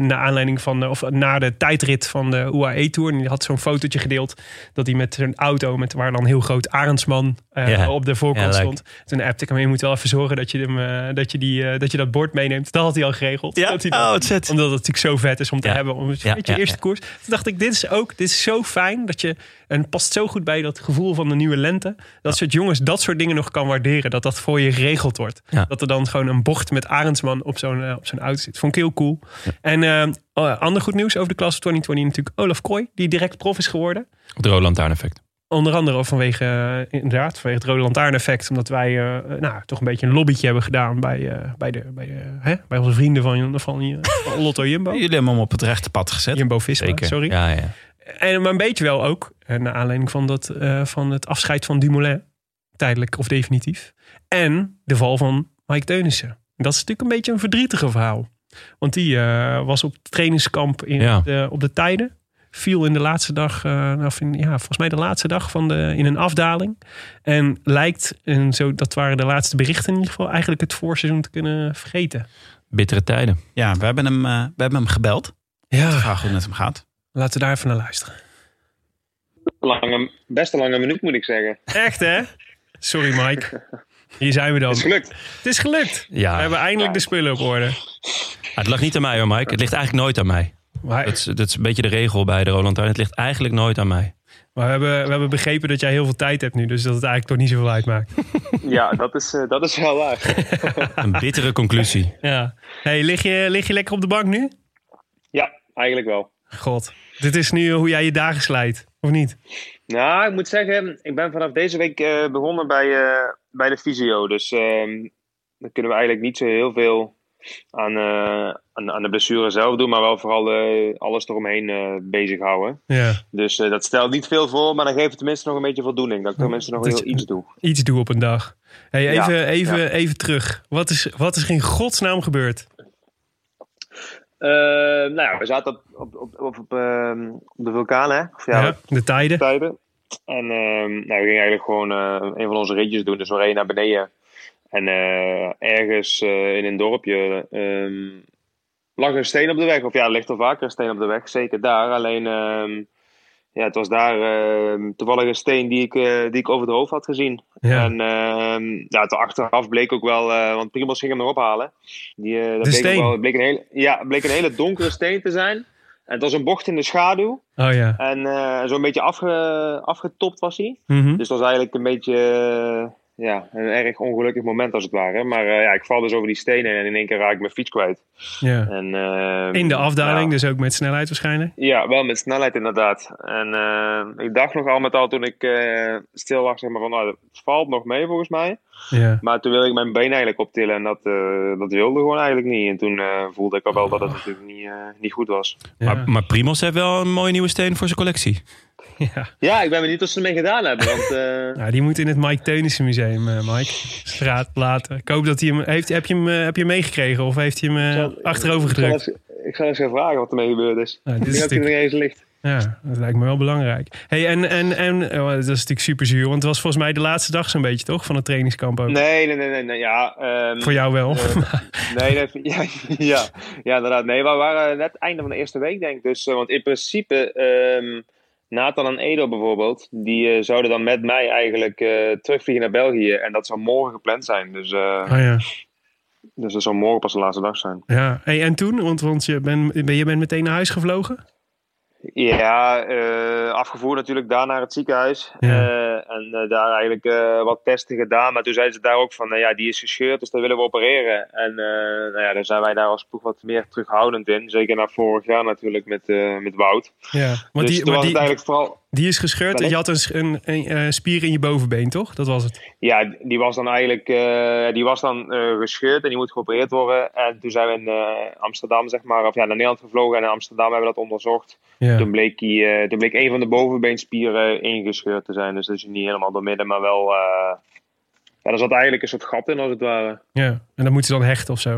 [SPEAKER 2] naar aanleiding van, de- of na de tijdrit van de UAE Tour. En die had zo'n fotootje gedeeld dat hij met zijn auto, met, waar dan heel groot Arendsman eh,
[SPEAKER 1] Ja.
[SPEAKER 2] op de voorkant
[SPEAKER 1] Ja, leuk.
[SPEAKER 2] stond. Toen appte ik hem, je moet wel even zorgen dat je, hem, eh, dat, je die, eh, dat je dat bord meeneemt. Dat had hij al geregeld. Dat hij dat-
[SPEAKER 1] Oh, het zet.
[SPEAKER 2] omdat het natuurlijk zo vet is om te
[SPEAKER 1] Ja.
[SPEAKER 2] hebben. Om, weet je,
[SPEAKER 1] Ja, ja,
[SPEAKER 2] eerste
[SPEAKER 1] ja.
[SPEAKER 2] koers. Toen dacht ik, dit is ook, dit is zo fijn. Dat je, en het past zo goed bij dat gevoel van de nieuwe lente. Dat soort jongens dat soort dingen nog kan waarderen. Dat dat voor je geregeld wordt.
[SPEAKER 1] Ja.
[SPEAKER 2] Dat er dan gewoon een bocht met Arendsman op zo'n eh, op zo'n auto zit. Vond ik heel cool. En eh, eh, ander goed nieuws over de klas 2020 natuurlijk Olaf Kooi. Die direct prof is geworden.
[SPEAKER 1] Het rode lantaarneffect.
[SPEAKER 2] Onder andere ook vanwege, eh, inderdaad, vanwege het Rode Lantaarn effect. Omdat wij eh, nou, toch een beetje een lobbytje hebben gedaan bij, eh, bij, de, bij, de, hè? bij onze vrienden van, van, eh, van Lotto Jumbo.
[SPEAKER 3] Jullie hebben hem op het rechte pad gezet.
[SPEAKER 2] Jumbo Visma,
[SPEAKER 1] Zeker.
[SPEAKER 2] sorry.
[SPEAKER 1] Ja, ja.
[SPEAKER 2] En, maar een beetje wel ook, eh, naar aanleiding van, dat, eh, van het afscheid van Dumoulin. Tijdelijk of definitief. En de val van Mike Teunissen. Dat is natuurlijk een beetje een verdrietige verhaal. Want die eh, was op trainingskamp in
[SPEAKER 1] Ja.
[SPEAKER 2] de, op de tijden. Viel in de laatste dag, eh, of in, ja, volgens mij de laatste dag van de, in een afdaling. En lijkt, en zo, dat waren de laatste berichten in ieder geval, eigenlijk het voorseizoen te kunnen vergeten.
[SPEAKER 1] Bittere tijden.
[SPEAKER 3] Ja, we hebben hem, eh, we hebben hem gebeld.
[SPEAKER 2] Ja.
[SPEAKER 3] Vraag hoe het met hem gaat.
[SPEAKER 2] Laten we daar even naar luisteren.
[SPEAKER 4] lange, best een lange minuut, moet ik zeggen.
[SPEAKER 2] Echt hè? Sorry Mike. Hier zijn we dan.
[SPEAKER 4] Het is gelukt.
[SPEAKER 2] Het is gelukt. We
[SPEAKER 1] Ja,
[SPEAKER 2] hebben eindelijk de spullen op orde.
[SPEAKER 1] het lag niet aan mij hoor, Mike. Het ligt eigenlijk nooit aan mij.
[SPEAKER 2] Maar,
[SPEAKER 1] Dat is, dat is een beetje de regel bij de rode lantaarn. Het ligt eigenlijk nooit aan mij.
[SPEAKER 2] maar we, hebben, we hebben begrepen dat jij heel veel tijd hebt nu, dus dat het eigenlijk toch niet zoveel uitmaakt.
[SPEAKER 4] Ja, dat is, eh, dat is wel waar.
[SPEAKER 1] Een bittere conclusie.
[SPEAKER 2] Ja. Hey, lig, je, lig je lekker op de bank nu?
[SPEAKER 4] Ja, eigenlijk wel.
[SPEAKER 2] God, dit is nu hoe jij je dagen slijt, of niet?
[SPEAKER 4] Nou, ik moet zeggen, ik ben vanaf deze week eh, begonnen bij, eh, bij de fysio. Dus ehm dan kunnen we eigenlijk niet zo heel veel aan, eh, aan, aan de blessure zelf doen, maar wel vooral eh, alles eromheen eh, bezighouden.
[SPEAKER 2] Ja.
[SPEAKER 4] Dus eh, dat stelt niet veel voor, maar dan geeft het tenminste nog een beetje voldoening. Dat ik tenminste nog
[SPEAKER 2] Dat
[SPEAKER 4] heel
[SPEAKER 2] je-
[SPEAKER 4] iets doe.
[SPEAKER 2] Iets doe op een dag. Hey,
[SPEAKER 4] Ja,
[SPEAKER 2] even, even,
[SPEAKER 4] ja.
[SPEAKER 2] even terug. Wat is, wat is er in godsnaam gebeurd?
[SPEAKER 4] Eh, nou ja, we zaten op, op, op, op, op, ehm, op de vulkaan, hè? Of ja,
[SPEAKER 2] de tijden.
[SPEAKER 4] tijden. En ehm, nou, we gingen eigenlijk gewoon eh, een van onze ritjes doen. Dus we reden naar beneden. En eh, ergens eh, in een dorpje ehm, lag een steen op de weg. Of ja, er ligt er vaker een steen op de weg. Zeker daar. Alleen, ehm, ja, het was daar ehm, toevallig een steen die ik, eh, die ik over het hoofd had gezien.
[SPEAKER 2] Ja.
[SPEAKER 4] En ehm ja, te achteraf bleek ook wel, eh, want Primos ging hem erop halen. Die, eh, dat bleek ook
[SPEAKER 2] steen?
[SPEAKER 4] Wel, bleek een hele, ja, bleek een hele donkere steen te zijn. En het was een bocht in de schaduw.
[SPEAKER 2] Oh ja.
[SPEAKER 4] En eh, zo'n beetje afge, afgetopt was hij.
[SPEAKER 2] Mhm.
[SPEAKER 4] Dus dat was eigenlijk een beetje eh, ja, een erg ongelukkig moment als het ware. Maar eh, ja, ik val dus over die stenen en in één keer raak ik mijn fiets kwijt.
[SPEAKER 2] Ja.
[SPEAKER 4] En, eh,
[SPEAKER 2] In de afdaling,
[SPEAKER 4] ja.
[SPEAKER 2] dus ook met snelheid waarschijnlijk.
[SPEAKER 4] Ja, wel met snelheid inderdaad. En eh, ik dacht nog al met al toen ik eh, stil lag, zeg maar van, nou, het valt nog mee volgens mij.
[SPEAKER 2] Ja.
[SPEAKER 4] Maar toen wilde ik mijn been eigenlijk optillen en dat, eh, dat wilde gewoon eigenlijk niet. En toen eh, voelde ik al wel dat het natuurlijk niet, eh, niet goed was.
[SPEAKER 2] Ja.
[SPEAKER 1] Maar, maar Primos heeft wel een mooie nieuwe steen voor zijn collectie.
[SPEAKER 2] Ja.
[SPEAKER 4] Ja, ik ben benieuwd wat ze ermee gedaan hebben. Want eh,
[SPEAKER 2] Nou, die moet in het Mike Teunissen Museum, eh, Mike. Straat laten. Ik hoop dat hij hem... Heeft, heb, je hem eh, heb je hem meegekregen of heeft hij hem eh,
[SPEAKER 4] zal-
[SPEAKER 2] achterover
[SPEAKER 4] ik, zal
[SPEAKER 2] gedrukt?
[SPEAKER 4] eens, ik zal eens gaan vragen wat ermee gebeurd is.
[SPEAKER 2] Nou,
[SPEAKER 4] Ik
[SPEAKER 2] dit is
[SPEAKER 4] denk dat hij er
[SPEAKER 2] natuurlijk-
[SPEAKER 4] nog eens ligt.
[SPEAKER 2] Ja, dat lijkt me wel belangrijk. Hey, en, en, en oh, dat is natuurlijk super zuur, want het was volgens mij de laatste dag zo'n beetje, toch? Van het trainingskamp ook.
[SPEAKER 4] Nee, nee, nee, nee. nee ja, ehm,
[SPEAKER 2] Voor jou wel.
[SPEAKER 4] Eh, Nee, dat, ja, ja, ja, inderdaad. Nee, we waren net het einde van de eerste week, denk ik. Dus, eh, want in principe, ehm, Nathan en Edo bijvoorbeeld, die eh, zouden dan met mij eigenlijk eh, terugvliegen naar België. En dat zou morgen gepland zijn. Dus, eh,
[SPEAKER 2] Oh ja.
[SPEAKER 4] dus dat zou morgen pas de laatste dag zijn.
[SPEAKER 2] ja. Hey, en toen? Want, want je, bent ben, je bent meteen naar huis gevlogen?
[SPEAKER 4] Ja, eh, afgevoerd natuurlijk daar naar het ziekenhuis.
[SPEAKER 2] Ja.
[SPEAKER 4] Eh, en eh, daar eigenlijk eh, wat testen gedaan. Maar toen zeiden ze daar ook van, nou ja, die is gescheurd, dus daar willen we opereren. En eh, nou ja, daar zijn wij daar als ploeg wat meer terughoudend in. Zeker na vorig jaar natuurlijk met, eh, met Wout.
[SPEAKER 2] Ja. Want
[SPEAKER 4] dus
[SPEAKER 2] die,
[SPEAKER 4] toen
[SPEAKER 2] maar
[SPEAKER 4] was het
[SPEAKER 2] die,
[SPEAKER 4] eigenlijk vooral...
[SPEAKER 2] die is gescheurd en je had een, sch- een, een, eh, spier in je bovenbeen, toch? Dat was het.
[SPEAKER 4] Ja, die was dan eigenlijk eh, die was dan, eh, gescheurd en die moet geopereerd worden. En toen zijn we in eh, Amsterdam, zeg maar, of ja, naar Nederland gevlogen en in Amsterdam hebben we dat onderzocht.
[SPEAKER 2] Ja.
[SPEAKER 4] Toen, bleek die, eh, toen bleek een van de bovenbeenspieren ingescheurd te zijn. Dus dat is niet helemaal door midden, maar wel... eh, ja, er zat eigenlijk een soort gat in, als het ware.
[SPEAKER 2] ja. En dan moet ze dan hechten of zo.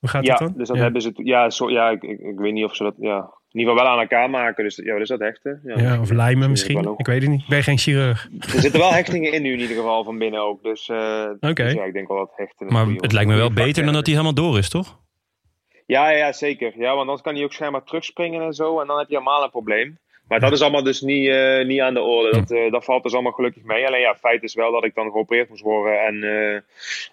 [SPEAKER 2] Hoe gaat
[SPEAKER 4] ja,
[SPEAKER 2] dat dan?
[SPEAKER 4] dus dat
[SPEAKER 2] ja.
[SPEAKER 4] hebben ze... t- Ja, zo, ja ik, ik, ik weet niet of ze dat... Ja, in ieder geval wel aan elkaar maken. Dus ja, wat is dat hechten?
[SPEAKER 2] Ja, of lijmen
[SPEAKER 4] Dat is wel
[SPEAKER 2] misschien.
[SPEAKER 4] ook-
[SPEAKER 2] Ik weet het niet. Ik ben geen chirurg.
[SPEAKER 4] Er zitten wel hechtingen in nu in ieder geval van binnen ook. Dus, eh,
[SPEAKER 2] Oké.
[SPEAKER 4] dus ja, ik denk wel dat hechten... een
[SPEAKER 1] Maar
[SPEAKER 4] goeie-
[SPEAKER 1] het lijkt me wel
[SPEAKER 4] goeie
[SPEAKER 1] beter dan dat
[SPEAKER 4] factor
[SPEAKER 1] hij helemaal door is, toch?
[SPEAKER 4] Ja, ja, ja, zeker. Ja, want anders kan hij ook schijnbaar terugspringen en zo. En dan heb je helemaal een probleem. Maar dat is allemaal dus niet, eh, niet aan de orde. Dat, eh, dat valt dus allemaal gelukkig mee. Alleen ja, feit is wel dat ik dan geopereerd moest worden. En, eh,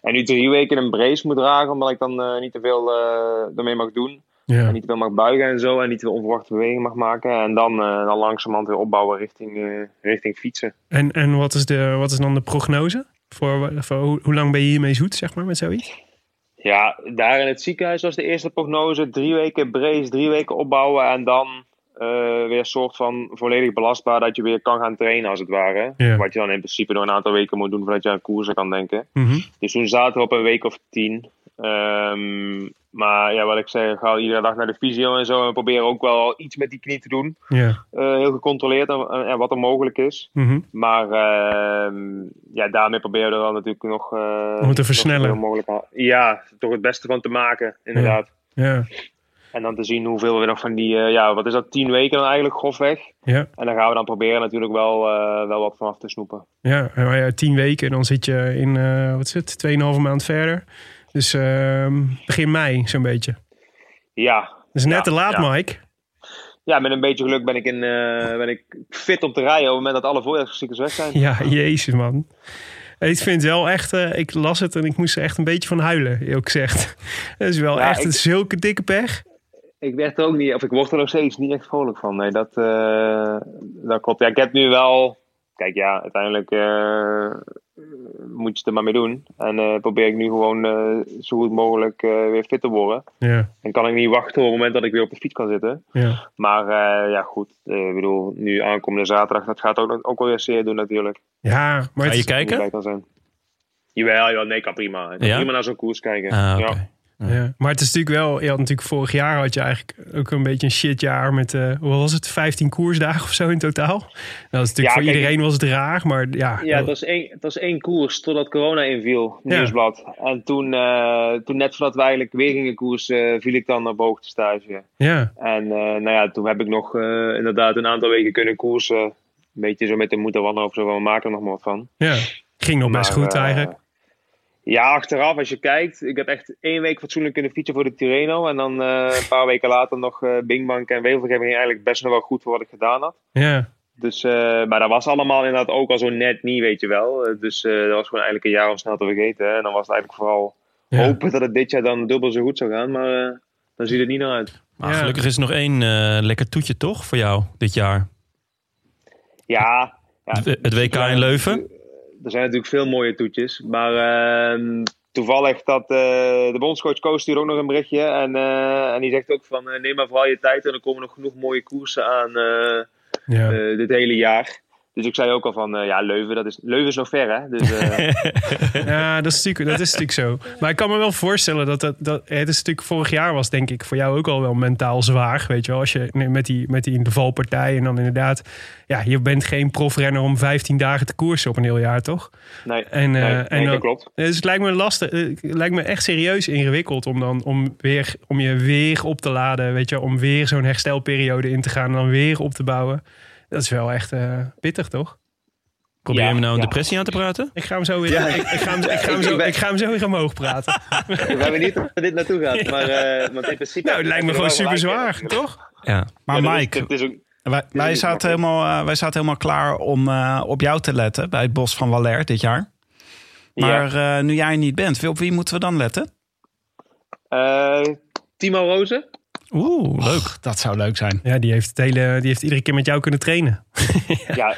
[SPEAKER 4] en nu drie weken een brace moet dragen. Omdat ik dan eh, niet te veel eh, ermee mag doen.
[SPEAKER 2] Ja.
[SPEAKER 4] En niet te veel mag buigen en zo. En niet te veel onverwachte bewegingen mag maken. En dan, eh, dan langzamerhand weer opbouwen richting, eh, richting fietsen.
[SPEAKER 2] En, en wat, is de, wat is dan de prognose? Voor, voor hoe, hoe lang ben je hiermee zoet, zeg maar, met zoiets?
[SPEAKER 4] Ja, daar in het ziekenhuis was de eerste prognose. Drie weken brace, drie weken opbouwen en dan eh, weer een soort van volledig belastbaar dat je weer kan gaan trainen als het ware.
[SPEAKER 2] Ja.
[SPEAKER 4] Wat je dan in principe nog een aantal weken moet doen voordat je aan koersen kan denken.
[SPEAKER 2] Mhm.
[SPEAKER 4] Dus toen zaten we op een week of tien. Ehm, maar ja, wat ik zei, ga iedere dag naar de fysio en zo. En we proberen ook wel iets met die knie te doen.
[SPEAKER 2] Ja.
[SPEAKER 4] Eh, heel gecontroleerd en, en- en wat er mogelijk is.
[SPEAKER 2] Mhm.
[SPEAKER 4] Maar ehm, ja, daarmee proberen we er wel natuurlijk nog... eh,
[SPEAKER 2] Om het te
[SPEAKER 4] nog
[SPEAKER 2] versnellen.
[SPEAKER 4] zoveel mogelijk aan- Ja, toch het beste van te maken, inderdaad.
[SPEAKER 2] Ja.
[SPEAKER 4] En dan te zien hoeveel we nog van die, eh, ja, wat is dat, tien weken dan eigenlijk grofweg.
[SPEAKER 2] Ja.
[SPEAKER 4] En dan gaan we dan proberen natuurlijk wel, eh, wel wat vanaf te snoepen.
[SPEAKER 2] Ja, maar ja, tien weken, dan zit je in, eh, wat is het, tweeënhalve maand verder. Dus ehm, begin mei, zo'n beetje.
[SPEAKER 4] Ja.
[SPEAKER 2] Dus net
[SPEAKER 4] Ja,
[SPEAKER 2] te laat,
[SPEAKER 4] ja.
[SPEAKER 2] Mike.
[SPEAKER 4] Ja, met een beetje geluk ben ik, in, eh, ben ik fit om te rijden op het moment dat alle voorjaarsziektes weg zijn.
[SPEAKER 2] Ja, jezus, man. Ik vind wel echt, eh, ik las het en ik moest er echt een beetje van huilen, eerlijk gezegd. Dat is wel
[SPEAKER 4] Ja,
[SPEAKER 2] echt
[SPEAKER 4] ik-
[SPEAKER 2] een zulke dikke pech.
[SPEAKER 4] Ik werd er ook niet, of ik word er nog steeds niet echt vrolijk van. Nee, dat, eh, dat klopt. Ja, ik heb nu wel, kijk ja, uiteindelijk eh, moet je het er maar mee doen. En eh, probeer ik nu gewoon eh, zo goed mogelijk eh, weer fit te worden.
[SPEAKER 2] Ja,
[SPEAKER 4] En kan ik niet wachten op het moment dat ik weer op de fiets kan zitten.
[SPEAKER 2] ja.
[SPEAKER 4] Maar eh, ja, goed. Eh, ik bedoel, nu aankomende zaterdag, dat gaat ook, ook wel weer zeer doen natuurlijk. Moet
[SPEAKER 2] Ja, maar
[SPEAKER 1] Ga
[SPEAKER 2] het,
[SPEAKER 1] je
[SPEAKER 4] je
[SPEAKER 1] kijken?
[SPEAKER 4] bij kan zijn. Jawel, jawel, nee, kan prima. Ik kan
[SPEAKER 1] Ja?
[SPEAKER 4] prima naar zo'n koers kijken.
[SPEAKER 1] Ah, oké.
[SPEAKER 4] ja.
[SPEAKER 2] Ja, maar het is natuurlijk wel, je had natuurlijk vorig jaar had je eigenlijk ook een beetje een shitjaar met, eh wat was het, 15 koersdagen of zo in totaal. Nou, dat is natuurlijk
[SPEAKER 4] Ja,
[SPEAKER 2] voor
[SPEAKER 4] kijk,
[SPEAKER 2] iedereen was het raar, maar ja.
[SPEAKER 4] ja, het was, één, het was één koers totdat corona inviel,
[SPEAKER 2] Oh. Ja.
[SPEAKER 4] nieuwsblad. En toen, eh, toen, net voordat wij eigenlijk weer gingen koersen, eh, viel ik dan op hoogtestage.
[SPEAKER 2] ja,
[SPEAKER 4] En eh, nou ja, toen heb ik nog eh, inderdaad een aantal weken kunnen koersen. Een beetje zo met de moed en wanhoop, zo van, we maken er nog maar wat van.
[SPEAKER 2] ja. ging nog best
[SPEAKER 4] Maar,
[SPEAKER 2] goed
[SPEAKER 4] eh,
[SPEAKER 2] eigenlijk.
[SPEAKER 4] Ja, achteraf als je kijkt. Ik heb echt één week fatsoenlijk kunnen fietsen voor de Tirreno. En dan eh, een paar weken later nog eh Bingbank en Wevelgem ging eigenlijk best nog wel goed voor wat ik gedaan had.
[SPEAKER 2] Ja,
[SPEAKER 4] Dus, eh, maar dat was allemaal inderdaad ook al zo net niet, weet je wel. Eh, Dus eh, dat was gewoon eigenlijk een jaar om snel te vergeten. hè. En dan was het eigenlijk vooral
[SPEAKER 2] ja.
[SPEAKER 4] hopen dat het dit jaar dan dubbel zo goed zou gaan. Maar eh, dan ziet het niet naar uit.
[SPEAKER 1] Maar
[SPEAKER 2] Ja.
[SPEAKER 1] gelukkig is er nog één eh, lekker toetje, toch? Voor jou dit jaar.
[SPEAKER 4] Ja, ja
[SPEAKER 1] Het- het WK in Leuven?
[SPEAKER 4] er zijn natuurlijk veel mooie toetjes. Maar ehm, toevallig dat eh, de bondscoach Koos stuurde ook nog een berichtje. En, eh, en die zegt ook van eh, neem maar vooral je tijd. En er komen nog genoeg mooie koersen aan eh,
[SPEAKER 2] Ja.
[SPEAKER 4] eh, dit hele jaar. Dus ik zei ook al van, eh, ja, Leuven, dat is, Leuven is nog ver, hè? Dus, eh,
[SPEAKER 2] Ja, dat is, natuurlijk, dat is natuurlijk zo. Maar ik kan me wel voorstellen dat, dat, dat het is natuurlijk vorig jaar was, denk ik, voor jou ook al wel mentaal zwaar. Weet je wel, als je nee, met die, met die in de valpartij en dan inderdaad, ja, je bent geen profrenner om 15 dagen te koersen op een heel jaar, toch?
[SPEAKER 4] nee,
[SPEAKER 2] En, eh,
[SPEAKER 4] nee,
[SPEAKER 2] en
[SPEAKER 4] nee,
[SPEAKER 2] dan-
[SPEAKER 4] dat klopt.
[SPEAKER 2] Dus het lijkt me lastig, eh, het lijkt me echt serieus ingewikkeld om dan om weer om je weer op te laden, weet je, wel, om weer zo'n herstelperiode in te gaan en dan weer op te bouwen. Dat is wel echt eh, pittig, toch?
[SPEAKER 1] Probeer
[SPEAKER 4] Ja,
[SPEAKER 1] je me nou een
[SPEAKER 4] ja.
[SPEAKER 1] depressie aan te praten?
[SPEAKER 2] Ik ga hem zo weer, ik, ik ga hem, ik, ga hem zo, ik ga hem zo weer omhoog praten.
[SPEAKER 4] We hebben niet of dit naartoe gaat, maar eh, want in principe...
[SPEAKER 2] Nou, het lijkt me
[SPEAKER 4] heb je
[SPEAKER 2] gewoon
[SPEAKER 4] er wel
[SPEAKER 2] super
[SPEAKER 4] gelijk in,
[SPEAKER 2] zwaar,
[SPEAKER 4] natuurlijk.
[SPEAKER 2] toch?
[SPEAKER 1] Ja.
[SPEAKER 3] Maar
[SPEAKER 4] Ja, dat is-
[SPEAKER 3] Mike,
[SPEAKER 4] dat is ook-
[SPEAKER 3] wij, wij,
[SPEAKER 4] niet
[SPEAKER 3] zaten
[SPEAKER 4] makkelijk.
[SPEAKER 3] helemaal, eh, wij zaten helemaal klaar om eh, op jou te letten bij het Bos van Waller dit jaar. Maar eh, nu jij er niet bent, wie- op wie moeten we dan letten?
[SPEAKER 4] ja. Eh, Timo Rozen?
[SPEAKER 3] Oeh, leuk. dat zou leuk zijn.
[SPEAKER 2] Ja, die heeft, het hele, die heeft iedere keer met jou kunnen trainen.
[SPEAKER 4] ja.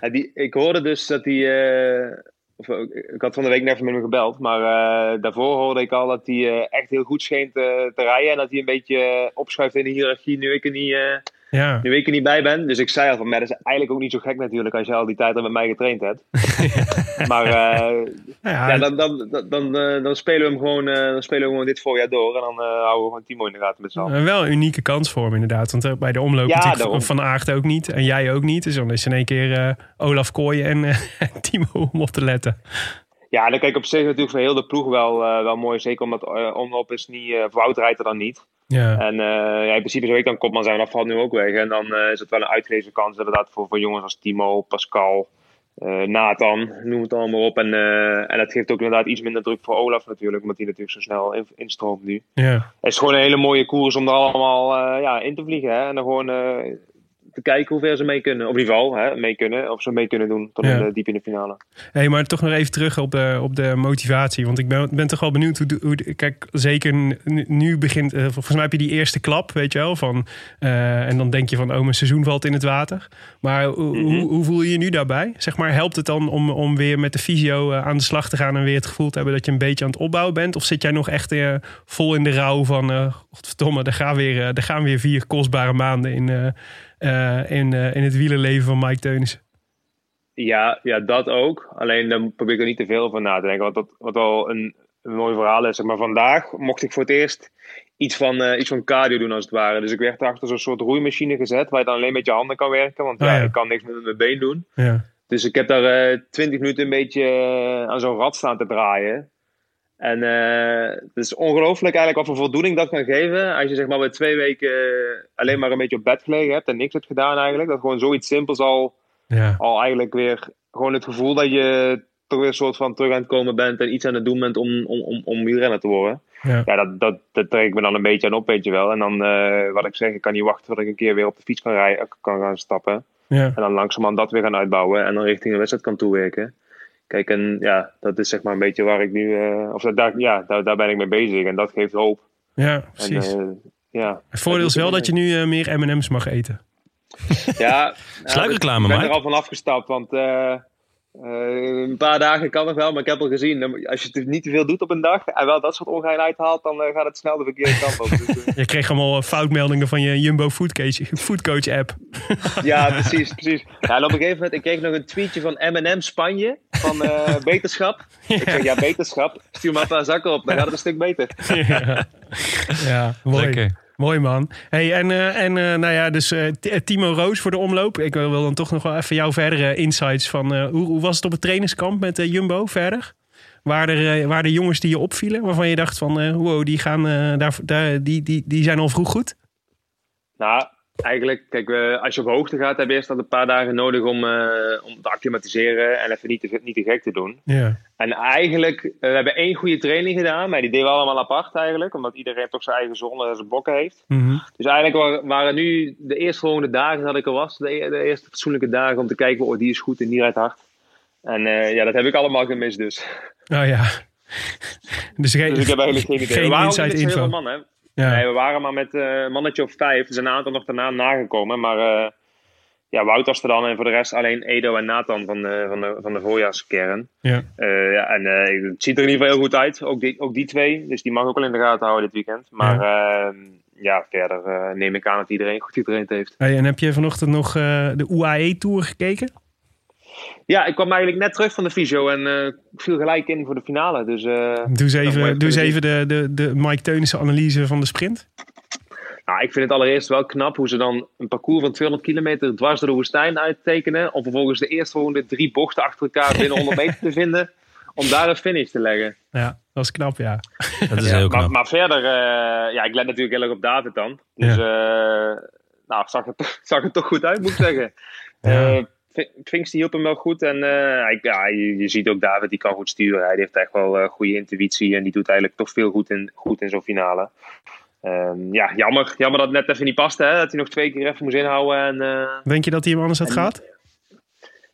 [SPEAKER 4] Ja, die, ik hoorde dus dat hij. of, eh, ik had van de week net even met hem gebeld. Maar eh, daarvoor hoorde ik al dat hij eh, echt heel goed scheen te, te rijden. En dat hij een beetje eh, opschuift in de hiërarchie nu ik, er niet, eh,
[SPEAKER 2] Ja,
[SPEAKER 4] nu ik er niet bij ben. Dus ik zei al van, maar dat is eigenlijk ook niet zo gek natuurlijk als je al die tijd al met mij getraind hebt. maar eh,
[SPEAKER 2] Nou ja,
[SPEAKER 4] ja, dan, dan, dan, dan, eh, dan, spelen we hem gewoon, eh, dan spelen we hem gewoon dit voorjaar door. En dan eh, houden we gewoon Timo in de gaten met z'n allen.
[SPEAKER 2] een wel een unieke kans voor hem inderdaad. Want eh, bij de omloop
[SPEAKER 4] Ja,
[SPEAKER 2] natuurlijk
[SPEAKER 4] daarom.
[SPEAKER 2] Van Aert ook niet. En jij ook niet. Dus dan is in één keer eh, Olaf Kooijen en eh, Timo om op te letten.
[SPEAKER 4] Ja, en dan kijk ik op zich natuurlijk voor heel de ploeg wel, eh, wel mooi. Zeker omdat eh omloop is niet, eh Wout rijdt er dan niet.
[SPEAKER 2] Ja,
[SPEAKER 4] En eh, ja, in principe zou ik dan kopman zijn, dat valt nu ook weg. En dan eh, is het wel een uitgelezen kans inderdaad voor, voor jongens als Timo, Pascal, eh, Nathan, noem het allemaal op. En, eh, en dat geeft ook inderdaad iets minder druk voor Olaf natuurlijk, omdat hij natuurlijk zo snel in- instroomt nu.
[SPEAKER 2] ja.
[SPEAKER 4] Het is gewoon een hele mooie koers om er allemaal eh, ja, in te vliegen. Hè? En dan gewoon eh, te kijken hoe ver ze mee kunnen. Op ieder geval, hè, mee kunnen. Of ze mee kunnen doen tot
[SPEAKER 2] Ja.
[SPEAKER 4] in de- diep in de finale.
[SPEAKER 2] Hey, maar toch nog even terug op de, op de motivatie. Want ik ben, ben toch wel benieuwd hoe, de- hoe de- Kijk, zeker nu, nu begint... eh, volgens mij heb je die eerste klap, weet je wel. Van, eh, en dan denk je van, oh, mijn seizoen valt in het water. Maar hoe- hoe, hoe voel je je nu daarbij? Zeg maar, helpt het dan om, om weer met de fysio eh, aan de slag te gaan... en weer het gevoel te hebben dat je een beetje aan het opbouwen bent? Of zit jij nog echt eh, vol in de rouw van... eh godverdomme, er gaan, weer, eh, er gaan weer vier kostbare maanden in, eh, eh, in, eh, in het wielerleven van Mike Teunissen?
[SPEAKER 4] Ja, ja, dat ook. Alleen dan probeer ik er niet te veel van na te denken. Want dat, wat wel een, een mooi verhaal is. Zeg maar vandaag mocht ik voor het eerst iets van, eh, iets van cardio doen als het ware. Dus ik werd achter zo'n soort roeimachine gezet. Waar je dan alleen met je handen kan werken. Want
[SPEAKER 2] Ah,
[SPEAKER 4] ja,
[SPEAKER 2] ja.
[SPEAKER 4] ik kan niks meer met mijn been doen.
[SPEAKER 2] Ja.
[SPEAKER 4] Dus ik heb daar twintig minuten een beetje eh, aan zo'n rad staan te draaien. En eh, het is ongelooflijk eigenlijk wat voor voldoening dat kan geven. Als je zeg maar bij twee weken eh, alleen maar een beetje op bed gelegen hebt en niks hebt gedaan eigenlijk. Dat gewoon zoiets simpels al
[SPEAKER 2] Ja.
[SPEAKER 4] al eigenlijk weer gewoon het gevoel dat je toch weer een soort van terug aan het komen bent en iets aan het doen bent om, om, om, om wielrenner te worden.
[SPEAKER 2] Ja.
[SPEAKER 4] Ja, dat, dat, dat trek ik me dan een beetje aan op, weet je wel. En dan, eh, wat ik zeg, ik kan niet wachten tot ik een keer weer op de fiets kan, rijden, kan gaan stappen.
[SPEAKER 2] ja.
[SPEAKER 4] En dan langzamerhand dat weer gaan uitbouwen en dan richting de wedstrijd kan toewerken. Kijk, en ja, dat is zeg maar een beetje waar ik nu, eh, of dat- daar, ja, daar, daar ben ik mee bezig en dat geeft hoop.
[SPEAKER 2] Ja,
[SPEAKER 4] En,
[SPEAKER 2] precies.
[SPEAKER 4] eh, ja.
[SPEAKER 2] het voordeel is wel
[SPEAKER 4] dat
[SPEAKER 2] dat je nu eh, meer M&M's mag eten.
[SPEAKER 4] Ja,
[SPEAKER 1] Sluikreclame,
[SPEAKER 4] Nou, Ik ben
[SPEAKER 1] Mike.
[SPEAKER 4] er al van afgestapt, want eh, eh, een paar dagen kan nog wel, maar ik heb al gezien. dan- Als je het niet te veel doet op een dag en wel dat soort ongein uithaalt, dan eh, gaat het snel de verkeerde kant op. Dus, eh,
[SPEAKER 2] Je kreeg allemaal eh, foutmeldingen van je Jumbo Foodcoach, foodcoach app.
[SPEAKER 4] ja, precies, precies. Ja, en op een gegeven moment, ik kreeg nog een tweetje van M&M Spanje, van eh, beterschap. Ik zeg, ja, beterschap, stuur maar een paar zakken op, dan gaat het een stuk beter.
[SPEAKER 2] ja. ja, mooi.
[SPEAKER 1] Lekker.
[SPEAKER 2] Mooi man. Hey, en eh, en eh, nou ja, dus eh, T- eh, Timo Roos voor de omloop. Ik wil wil dan toch nog wel even jouw verdere insights van eh, hoe, hoe was het op het trainingskamp met eh, Jumbo verder? Waren er, eh, waren er jongens die je opvielen waarvan je dacht van eh, wow, die, gaan, eh, daar, daar, die, die, die zijn al vroeg goed?
[SPEAKER 4] Nou, eigenlijk, kijk, eh, als je op hoogte gaat, heb je eerst al een paar dagen nodig om, eh, om te acclimatiseren en even niet te, niet te gek te doen.
[SPEAKER 2] Ja,
[SPEAKER 4] En eigenlijk, eh, we hebben één goede training gedaan, maar die deden we allemaal apart eigenlijk, omdat iedereen toch zijn eigen zone en zijn blokken heeft.
[SPEAKER 2] Mhm.
[SPEAKER 4] Dus eigenlijk wa- waren nu de eerstvolgende dagen dat ik er was, de, e- de eerste fatsoenlijke dagen om te kijken, oh die is goed en die rijdt hard. En eh, ja, dat heb ik allemaal gemist dus.
[SPEAKER 2] nou ja. Dus, geen-
[SPEAKER 4] Dus ik heb eigenlijk geen idee.
[SPEAKER 2] Geen
[SPEAKER 4] we waren ook
[SPEAKER 2] inside
[SPEAKER 4] niet met z'n
[SPEAKER 2] info.
[SPEAKER 4] heel veel mannen.
[SPEAKER 2] ja.
[SPEAKER 4] Nee, we waren maar met eh, een mannetje of vijf. Er zijn een aantal nog daarna nagekomen, maar eh, ja, Wout Amsterdam en voor de rest alleen Edo en Nathan van de, van de, van de voorjaarskern.
[SPEAKER 2] Ja.
[SPEAKER 4] Eh, ja, en eh, het ziet er in ieder geval heel goed uit. Ook die, ook die twee. Dus die mag ook wel in de gaten houden dit weekend. Maar ja, ja verder eh, neem ik aan dat iedereen goed getraind heeft.
[SPEAKER 2] Hey, en heb je vanochtend nog eh, de UAE-tour gekeken?
[SPEAKER 4] Ja, ik kwam eigenlijk net terug van de fysio en eh, ik viel gelijk in voor de finale. Dus eh,
[SPEAKER 2] Doe eens
[SPEAKER 4] Ja, maar
[SPEAKER 2] even,
[SPEAKER 4] ik
[SPEAKER 2] doe eens
[SPEAKER 4] vind
[SPEAKER 2] even de, de, de Mike Teunissen analyse van de sprint.
[SPEAKER 4] Nou, ik vind het allereerst wel knap hoe ze dan een parcours van 200 kilometer dwars door de woestijn uittekenen. Om vervolgens de eerstvolgende drie bochten achter elkaar binnen 100 meter te vinden. Om daar een finish te leggen.
[SPEAKER 2] Ja, dat is knap, ja.
[SPEAKER 1] Dat is heel knap.
[SPEAKER 4] Maar, maar verder, eh, ja, ik let natuurlijk heel erg op David dan. Dus eh, nou, zag het, zag het toch goed uit, moet ik zeggen.
[SPEAKER 2] Ja.
[SPEAKER 4] Eh, Vink- Vinks die hielp hem wel goed. En eh, hij- ja, je, je ziet ook David, die kan goed sturen. Hij heeft echt wel eh, goede intuïtie. En die doet eigenlijk toch veel goed in, goed in zo'n finale. Ehm, ja, jammer, jammer dat het net even niet paste. Hè? Dat hij nog twee keer even moest inhouden. En, eh,
[SPEAKER 2] Denk je dat hij hem anders had
[SPEAKER 4] En-
[SPEAKER 2] gehad?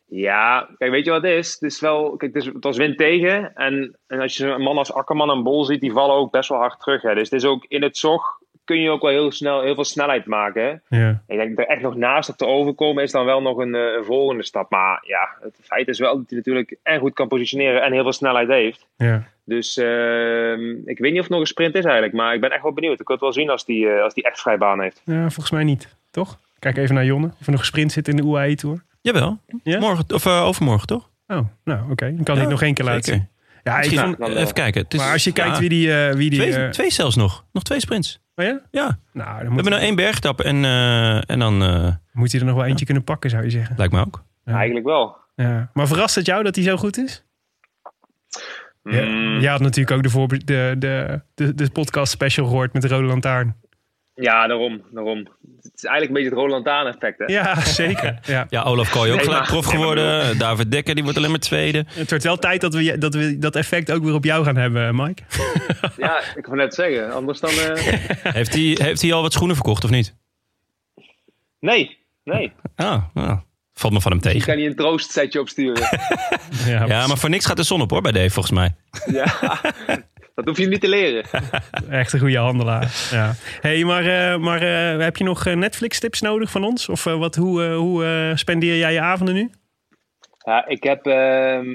[SPEAKER 4] ja, kijk, weet je wat het is? Het, is wel, kijk, het, is, het was wind tegen. En, en als je een man als Akkerman en Bol ziet, die vallen ook best wel hard terug. Hè. Dus het is ook in het zog kun je ook wel heel snel heel veel snelheid maken. hè.
[SPEAKER 2] Ja.
[SPEAKER 4] Ik denk er echt nog naast op te overkomen is dan wel nog een, eh, een volgende stap. Maar ja, het feit is wel dat hij natuurlijk en goed kan positioneren en heel veel snelheid heeft.
[SPEAKER 2] ja.
[SPEAKER 4] Dus ehm, ik weet niet of het nog een sprint is eigenlijk. Maar ik ben echt wel benieuwd. Ik wil het wel zien als die, eh, als die echt vrij baan heeft.
[SPEAKER 2] Ja, volgens mij niet, toch? Kijk even naar Jonne, of er nog een sprint zit in de UAE-tour.
[SPEAKER 1] Jawel.
[SPEAKER 2] Ja?
[SPEAKER 1] Morgen, of eh, overmorgen toch?
[SPEAKER 2] Oh, nou oké. Dan kan
[SPEAKER 1] Ja,
[SPEAKER 2] dit nog één keer laten
[SPEAKER 1] Zeker.
[SPEAKER 2] zien. Ja, ik
[SPEAKER 1] Misschien-
[SPEAKER 2] vond-
[SPEAKER 4] dan wel.
[SPEAKER 1] even kijken. Het is-
[SPEAKER 2] maar als je kijkt
[SPEAKER 1] ja,
[SPEAKER 2] wie die... eh, wie die
[SPEAKER 1] Twee,
[SPEAKER 2] eh,
[SPEAKER 1] twee zelfs nog. Nog twee sprints.
[SPEAKER 2] oh ja?
[SPEAKER 1] Ja,
[SPEAKER 2] Nou, dan
[SPEAKER 1] we
[SPEAKER 2] moet,
[SPEAKER 1] hebben nou één bergtap en, eh, en dan eh,
[SPEAKER 2] moet hij er nog wel eentje kunnen pakken, zou je zeggen.
[SPEAKER 1] lijkt me ook.
[SPEAKER 2] Ja.
[SPEAKER 4] Eigenlijk wel.
[SPEAKER 2] Ja. Maar verrast het jou dat hij zo goed is? Ja,
[SPEAKER 4] Mm.
[SPEAKER 2] jij had natuurlijk ook de, voorbe- de, de, de, de podcast special gehoord met de Rode Lantaarn.
[SPEAKER 4] Ja, daarom, daarom. Het is eigenlijk een beetje het Roland Taan effect, hè?
[SPEAKER 2] Ja, zeker. Ja.
[SPEAKER 1] Ja, Olaf Kooi ook
[SPEAKER 4] Nee,
[SPEAKER 1] gelijk
[SPEAKER 4] maar-
[SPEAKER 1] prof geworden. David Dekker, die wordt alleen maar tweede.
[SPEAKER 2] Het wordt wel tijd dat we, je- dat we dat effect ook weer op jou gaan hebben, eh, Mike.
[SPEAKER 4] Ja, ik wou net zeggen. Anders dan... eh,
[SPEAKER 1] Heeft hij heeft hij al wat schoenen verkocht of niet?
[SPEAKER 4] Nee, nee.
[SPEAKER 1] Ah, nou, valt me van hem
[SPEAKER 4] Ik
[SPEAKER 1] tegen.
[SPEAKER 4] kan niet een troostsetje opsturen.
[SPEAKER 1] Ja, maar voor niks gaat de zon op hoor bij Dave volgens mij.
[SPEAKER 4] ja, dat hoef je niet te leren.
[SPEAKER 2] Echt een goede handelaar. Ja. hey, maar, eh, maar eh, heb je nog Netflix-tips nodig van ons? Of eh, wat, hoe, eh, hoe eh, spendeer jij je avonden nu?
[SPEAKER 4] Ja, ik heb ehm,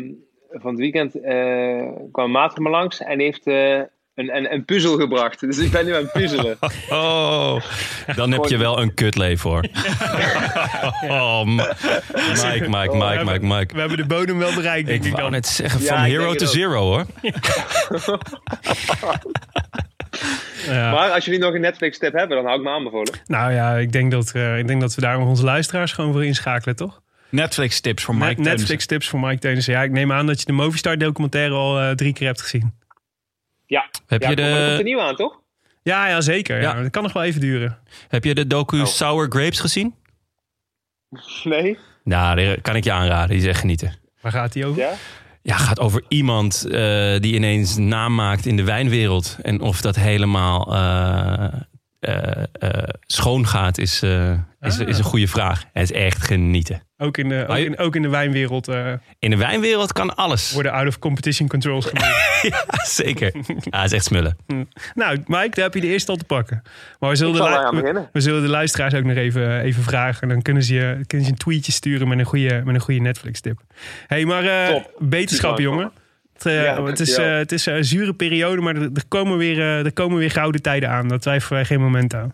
[SPEAKER 4] van het weekend eh, kwam een maat van me langs en die heeft eh, een, een, een puzzel gebracht. Dus ik ben nu aan het puzzelen.
[SPEAKER 1] Oh, dan heb je wel een kutleven hoor. Oh, Ma- Mike, Mike, Mike, Mike, Mike.
[SPEAKER 2] We hebben de bodem wel bereikt, denk ik
[SPEAKER 1] Oh, Ik wou
[SPEAKER 2] dan.
[SPEAKER 1] net zeggen,
[SPEAKER 4] Ja,
[SPEAKER 1] van
[SPEAKER 4] ik denk
[SPEAKER 1] hero
[SPEAKER 4] het
[SPEAKER 1] to
[SPEAKER 4] ook.
[SPEAKER 1] zero hoor.
[SPEAKER 2] Ja.
[SPEAKER 4] Maar als jullie nog een Netflix-tip hebben, dan hou ik me aanbevolen.
[SPEAKER 2] Nou ja, ik denk, dat, eh, ik denk dat we daar onze luisteraars gewoon voor inschakelen, toch?
[SPEAKER 3] Netflix tips voor Mike
[SPEAKER 2] Netflix tips voor Mike Teunissen. Ja, ik neem aan dat je de Movistar documentaire al eh, drie keer hebt gezien.
[SPEAKER 4] Ja,
[SPEAKER 1] Heb
[SPEAKER 4] ja
[SPEAKER 1] je
[SPEAKER 4] maar er komt een
[SPEAKER 1] de,
[SPEAKER 4] nieuwe aan, toch?
[SPEAKER 2] Ja, ja zeker. Ja.
[SPEAKER 1] Ja.
[SPEAKER 2] Dat kan nog wel even duren.
[SPEAKER 1] heb je de
[SPEAKER 4] Oh.
[SPEAKER 1] docu Sour Grapes gezien?
[SPEAKER 4] Nee?
[SPEAKER 1] Nou, die kan ik je aanraden. Die is echt genieten.
[SPEAKER 2] Waar gaat die over?
[SPEAKER 4] Ja?
[SPEAKER 1] Ja, gaat over iemand eh, die ineens naam maakt in de wijnwereld. En of dat helemaal eh, eh, eh, schoon gaat, is, eh, is,
[SPEAKER 2] Ah.
[SPEAKER 1] is een goede vraag. Het is echt genieten.
[SPEAKER 2] Ook, in de, ook,
[SPEAKER 1] je-
[SPEAKER 2] in, ook in de wijnwereld eh,
[SPEAKER 1] In de wijnwereld kan alles.
[SPEAKER 2] worden out of competition controls gemaakt.
[SPEAKER 1] Zeker. Ja, het is echt smullen.
[SPEAKER 2] nou, Mike, daar heb je de eerste al te pakken. Maar we zullen,
[SPEAKER 4] Ik
[SPEAKER 2] de,
[SPEAKER 4] zal
[SPEAKER 2] lu-
[SPEAKER 4] eraan
[SPEAKER 2] we-
[SPEAKER 4] beginnen.
[SPEAKER 2] we zullen de luisteraars ook nog even, eh, even vragen. En dan kunnen ze, je, kunnen ze een tweetje sturen met een goede, met een goede Netflix tip. hey, maar eh,
[SPEAKER 4] Top.
[SPEAKER 2] beterschap,
[SPEAKER 4] Dank,
[SPEAKER 2] jongen. Het, eh,
[SPEAKER 4] Ja,
[SPEAKER 2] het is,
[SPEAKER 4] dankjewel.
[SPEAKER 2] eh, het is een zure periode, maar er, er komen weer, eh, er komen weer gouden tijden aan. Daar twijfelen wij geen moment aan.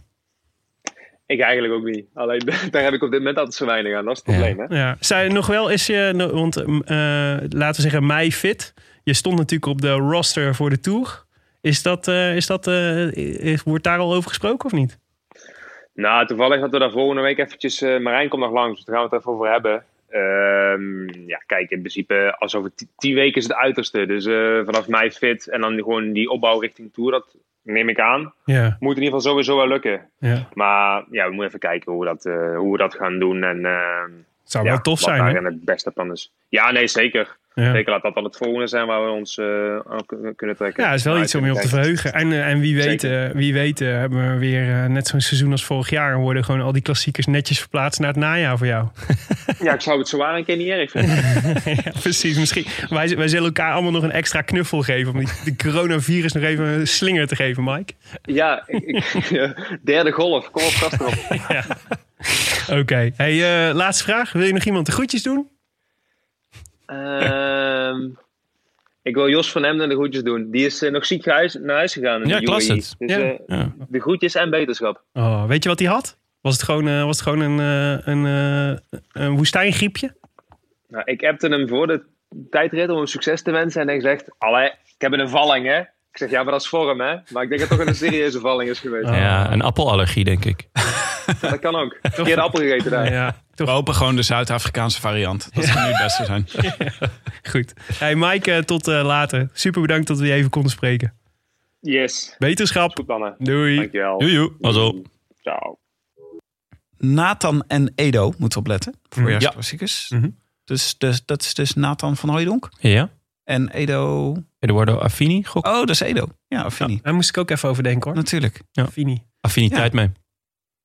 [SPEAKER 4] Ik eigenlijk ook niet. Alleen daar heb ik op dit moment altijd zo weinig aan. Dat is het probleem, hè?
[SPEAKER 2] Ja. Zijn nog wel eens je, no- want eh, laten we zeggen, mei fit. Je stond natuurlijk op de roster voor de tour. Is dat, eh, is dat, eh, is- wordt daar al over gesproken of niet?
[SPEAKER 4] Nou, toevallig dat we daar volgende week eventjes... eh, Marijn komt nog langs, dus daar gaan we het even over hebben. Ehm, ja, kijk, in principe, als over ti- tien weken is het uiterste. Dus eh, vanaf mei fit en dan gewoon die opbouw richting Tour, dat neem ik aan.
[SPEAKER 2] Ja,
[SPEAKER 4] Moet in ieder geval sowieso wel lukken.
[SPEAKER 2] ja.
[SPEAKER 4] Maar ja, we moeten even kijken hoe we dat, eh, hoe we dat gaan doen. En, eh,
[SPEAKER 2] Het zou
[SPEAKER 4] ja,
[SPEAKER 2] wel tof
[SPEAKER 4] wat
[SPEAKER 2] zijn. hè?
[SPEAKER 4] daarin het beste plan is. Ja, nee, zeker.
[SPEAKER 2] Ja.
[SPEAKER 4] Zeker laat dat dan het volgende zijn waar we ons eh, aan kun- kunnen trekken.
[SPEAKER 2] Ja, het is wel
[SPEAKER 4] Maar
[SPEAKER 2] iets om je op te
[SPEAKER 4] uiteindelijk-
[SPEAKER 2] verheugen. En, eh, en wie weet,
[SPEAKER 4] Zeker.
[SPEAKER 2] eh, wie weet eh, hebben we weer eh, net zo'n seizoen als vorig jaar. En worden gewoon al die klassiekers netjes verplaatst naar het najaar voor jou.
[SPEAKER 4] Ja, ik zou het zo waar een keer niet erg vinden.
[SPEAKER 2] ja, precies. Misschien, wij, wij zullen elkaar allemaal nog een extra knuffel geven. Om die, die coronavirus nog even een slinger te geven, Mike.
[SPEAKER 4] ja, ik, ik- derde golf. Kom op, gast erop.
[SPEAKER 2] Oké. Hey, eh, laatste vraag. Wil je nog iemand de groetjes doen?
[SPEAKER 4] Ehm, ik wil Jos van Emden de groetjes doen. Die is eh, nog ziek huis- naar huis gegaan. in
[SPEAKER 1] Ja,
[SPEAKER 4] de
[SPEAKER 1] ik las
[SPEAKER 4] UAE.
[SPEAKER 1] het.
[SPEAKER 4] Dus
[SPEAKER 2] Ja.
[SPEAKER 4] eh,
[SPEAKER 1] Ja.
[SPEAKER 4] de groetjes en beterschap.
[SPEAKER 2] Oh, weet je wat hij had? Was het gewoon, eh, was het gewoon een, eh, een, eh, een woestijngriepje?
[SPEAKER 4] Nou, ik appte hem voor de tijdrit om hem succes te wensen. En hij zegt, allee, ik heb een valling, hè. Ik zeg, ja, maar dat is vorm, hè. Maar ik denk dat het toch een serieuze valling is geweest.
[SPEAKER 2] Ah.
[SPEAKER 1] Ja, een appelallergie, denk ik.
[SPEAKER 4] Dat kan ook. Verkeerde appel gegeten daar.
[SPEAKER 2] Ja,
[SPEAKER 3] We hopen gewoon de Zuid-Afrikaanse variant. Dat zou nu het beste zijn.
[SPEAKER 2] goed. Hey Mike, eh, tot eh, later. Super bedankt dat we je even konden spreken.
[SPEAKER 4] Yes.
[SPEAKER 2] Beterschap.
[SPEAKER 4] Goed, mannen.
[SPEAKER 2] Doei.
[SPEAKER 4] Dankjewel.
[SPEAKER 1] Joe, joe. Pas op.
[SPEAKER 4] Ciao.
[SPEAKER 3] Nathan en Edo moeten opletten.
[SPEAKER 2] Ja.
[SPEAKER 3] Voorjaarsklassiekers.
[SPEAKER 2] Mhm.
[SPEAKER 3] Dus, dus dat is dus Nathan van Hooijdonk.
[SPEAKER 1] Ja?
[SPEAKER 3] En Edo...
[SPEAKER 1] Eduardo Affini, gok.
[SPEAKER 3] Oh, dat is Edo. Ja, Affini.
[SPEAKER 2] Daar moest ik ook even over denken hoor.
[SPEAKER 3] Natuurlijk.
[SPEAKER 2] Fini.
[SPEAKER 1] Affiniteit mee.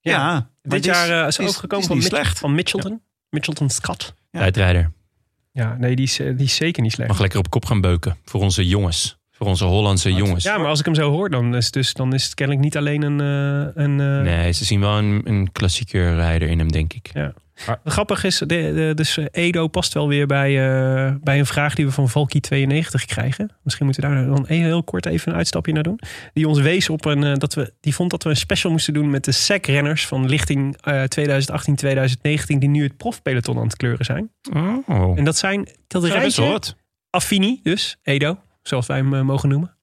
[SPEAKER 2] Ja.
[SPEAKER 3] Ja. maar
[SPEAKER 2] Dit
[SPEAKER 3] die is-
[SPEAKER 2] jaar eh, is
[SPEAKER 3] die
[SPEAKER 2] ze overgekomen
[SPEAKER 3] die
[SPEAKER 2] van,
[SPEAKER 3] is niet
[SPEAKER 2] Mitch-
[SPEAKER 3] slecht.
[SPEAKER 2] van Mitchelton. Mitchelton Scott.
[SPEAKER 3] Ja.
[SPEAKER 1] Tijdrijder.
[SPEAKER 2] Ja, nee, die is, eh, die is zeker niet slecht.
[SPEAKER 1] Mag lekker op kop gaan beuken. Voor onze jongens. Voor onze Hollandse jongens.
[SPEAKER 2] Ja, maar als ik hem zo hoor, dan is, het dus, dan is het kennelijk niet alleen een... eh, een eh,
[SPEAKER 1] Nee, ze zien wel een, een klassieker rijder in hem, denk ik.
[SPEAKER 2] Grappig is, de, de- dus eh, Edo past wel weer bij, eh, bij een vraag die we van Valky92 krijgen. Misschien moeten we daar dan heel, heel kort even een uitstapje naar doen. Die ons wees op een, eh, dat we, die vond dat we een special moesten doen met de SEC-renners van lichting eh, 2018-2019, die nu het profpeloton aan het kleuren zijn.
[SPEAKER 1] Oh.
[SPEAKER 2] En dat zijn, dat rijtje, Affini dus, Edo, zoals wij hem eh, mogen noemen.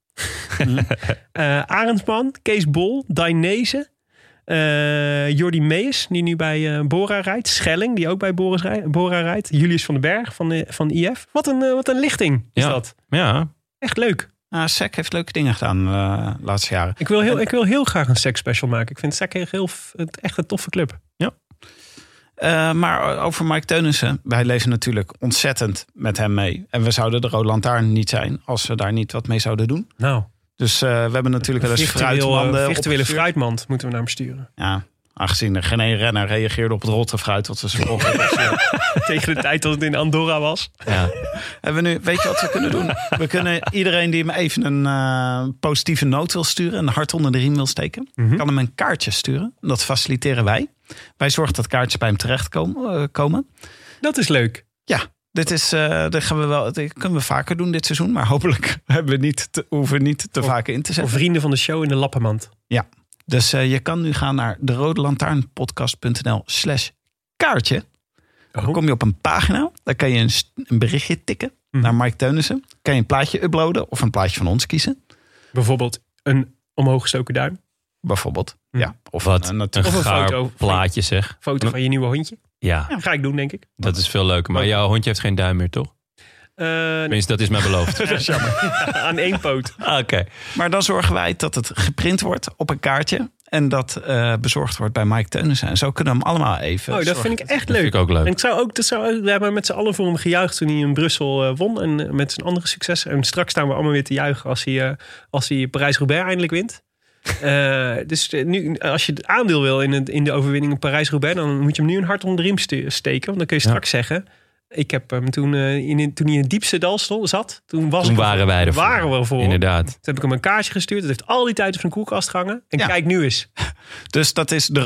[SPEAKER 2] Eh Arendsman, Kees Bol, Dainese, eh, Jordi Mees, die nu bij eh Bora rijdt. Schelling, die ook bij Boris rij- Bora rijdt. Julius van den Berg van, de, van IF. Wat een, eh, wat een lichting is
[SPEAKER 1] Ja.
[SPEAKER 2] dat.
[SPEAKER 1] Ja,
[SPEAKER 2] Echt leuk.
[SPEAKER 3] Nou, SEC heeft leuke dingen gedaan eh, de laatste jaren.
[SPEAKER 2] Ik wil heel, ik wil heel graag een sex special maken. Ik vind SEC echt heel, f- het- echt een toffe club.
[SPEAKER 3] Eh, maar over Mike Teunissen. Wij leven natuurlijk ontzettend met hem mee. En we zouden de Roland Lantaarn niet zijn als we daar niet wat mee zouden doen.
[SPEAKER 2] Nou,
[SPEAKER 3] Dus eh, we hebben natuurlijk wel eens
[SPEAKER 2] virtuele,
[SPEAKER 3] fruitmanden
[SPEAKER 2] eh, virtuele
[SPEAKER 3] opgestuurd.
[SPEAKER 2] fruitmand moeten we naar hem sturen.
[SPEAKER 3] Ja, aangezien er geen één renner reageerde op het rotte fruit dat we zo
[SPEAKER 2] Tegen de tijd dat het in Andorra was.
[SPEAKER 1] ja.
[SPEAKER 3] Hebben we nu, weet je wat we kunnen doen? We kunnen iedereen die hem even een eh, positieve noot wil sturen, een hart onder de riem wil steken, kan hem een kaartje sturen. Dat faciliteren wij. Wij zorgen dat kaartjes bij hem terechtkomen. eh, komen.
[SPEAKER 2] Dat is leuk.
[SPEAKER 3] Ja, dit is, eh dat gaan we wel, dit kunnen we vaker doen dit seizoen, maar hopelijk hebben we niet te, hoeven we niet te vaak in te
[SPEAKER 2] Voor
[SPEAKER 3] zetten.
[SPEAKER 2] vrienden van de show in de lappenmand.
[SPEAKER 3] Dus eh, je kan nu gaan naar de slash kaartje.
[SPEAKER 2] Oh.
[SPEAKER 3] Dan kom je op een pagina. Daar kan je een, st- een berichtje tikken
[SPEAKER 2] Mhm.
[SPEAKER 3] naar Mike Teunissen. Kan je een plaatje uploaden of een plaatje van ons kiezen.
[SPEAKER 2] Bijvoorbeeld een omhooggestoken duim.
[SPEAKER 3] Bijvoorbeeld.
[SPEAKER 2] Mhm.
[SPEAKER 3] Ja, of
[SPEAKER 1] Wat
[SPEAKER 3] een, eh,
[SPEAKER 1] een
[SPEAKER 3] natuurlijk.
[SPEAKER 2] Of een
[SPEAKER 1] gaar
[SPEAKER 2] foto.
[SPEAKER 1] plaatje zeg.
[SPEAKER 2] Foto van je nieuwe hondje.
[SPEAKER 1] Ja,
[SPEAKER 2] Ga ik doen, denk ik.
[SPEAKER 1] dat is veel leuker. Maar jouw hondje heeft geen duim meer, toch?
[SPEAKER 2] Eh,
[SPEAKER 1] Tenminste, dat is mij beloofd.
[SPEAKER 2] dat is jammer. Aan één poot.
[SPEAKER 1] Ah, Oké.
[SPEAKER 3] Maar dan zorgen wij dat het geprint wordt op een kaartje. En dat eh, bezorgd wordt bij Mike Teunissen. En zo kunnen we hem allemaal even.
[SPEAKER 2] Oh, dat
[SPEAKER 3] zorgen.
[SPEAKER 2] vind ik echt
[SPEAKER 1] Dat vind
[SPEAKER 2] leuk.
[SPEAKER 1] ik ook
[SPEAKER 2] En
[SPEAKER 1] leuk.
[SPEAKER 2] ik zou ook, dat zou, ook- we hebben met z'n allen voor hem gejuicht toen hij in Brussel eh, won. En eh, met zijn andere succes. En straks staan we allemaal weer te juichen als hij, eh, als hij Parijs-Roubaix eindelijk wint. Eh, dus eh, nu, eh, als je het aandeel wil in, het, in de overwinning op Parijs-Roubaix... dan moet je hem nu een hart onder de riem stu- steken. Want dan kun je
[SPEAKER 1] Ja.
[SPEAKER 2] straks zeggen... Ik heb hem toen, eh, in, in- toen hij in het diepste dal stond, zat. Toen, was
[SPEAKER 1] Toen
[SPEAKER 2] ik er-
[SPEAKER 1] waren wij er voor.
[SPEAKER 2] Waren we voor.
[SPEAKER 1] Inderdaad.
[SPEAKER 2] Toen heb ik hem een kaartje gestuurd. Dat heeft al die tijd op zijn koelkast gehangen. En
[SPEAKER 3] Ja.
[SPEAKER 2] kijk nu eens.
[SPEAKER 3] Dus dat is de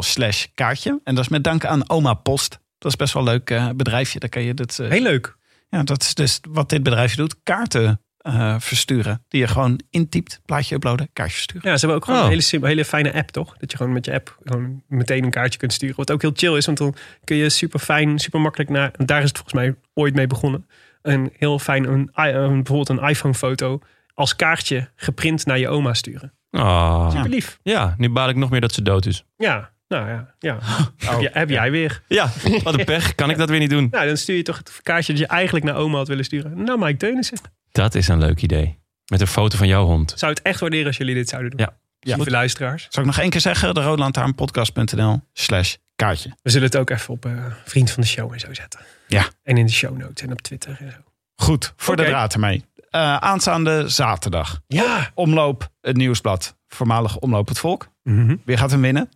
[SPEAKER 3] slash kaartje. En dat is met dank aan Oma Post. Dat is best wel een leuk eh, bedrijfje. Daar kan je dit, eh,
[SPEAKER 2] Heel leuk.
[SPEAKER 3] ja, dat is dus wat dit bedrijfje doet. Kaarten eh, versturen. Die je gewoon intypt. Plaatje uploaden. Kaartje versturen.
[SPEAKER 2] Ja, ze hebben ook gewoon
[SPEAKER 1] Oh.
[SPEAKER 2] een hele, sim- hele fijne app, toch? Dat je gewoon met je app gewoon meteen een kaartje kunt sturen. Wat ook heel chill is, want dan kun je super fijn, super makkelijk naar... en Daar is het volgens mij ooit mee begonnen. Een heel fijn, een, i- een- bijvoorbeeld een iPhone-foto als kaartje geprint naar je oma sturen.
[SPEAKER 1] Ah.
[SPEAKER 3] Ja.
[SPEAKER 2] Lief.
[SPEAKER 1] Ja, nu baal ik nog meer dat ze dood is.
[SPEAKER 2] Ja, nou ja. ja. heb, je- heb jij weer.
[SPEAKER 1] Oh, Ja, wat een pech. Kan ik dat weer niet doen?
[SPEAKER 2] Nou, dan stuur je toch het kaartje dat je eigenlijk naar oma had willen sturen. Nou, Mike Teunissen.
[SPEAKER 1] Dat is een leuk idee. Met een foto van jouw hond.
[SPEAKER 2] Zou het echt waarderen als jullie dit zouden doen.
[SPEAKER 1] Ja.
[SPEAKER 2] Ja. Lieve luisteraars.
[SPEAKER 3] Zal ik nog één keer zeggen? De slash kaartje.
[SPEAKER 2] We zullen het ook even op eh, vriend van de show en zo zetten.
[SPEAKER 3] Ja.
[SPEAKER 2] En in de show notes en op Twitter en zo.
[SPEAKER 3] Goed, voor
[SPEAKER 2] Oké.
[SPEAKER 3] de draad ermee. Eh, aanstaande zaterdag.
[SPEAKER 2] Ja.
[SPEAKER 3] Omloop het nieuwsblad. Voormalig Omloop het Volk.
[SPEAKER 2] Mhm.
[SPEAKER 3] Wie gaat hem winnen?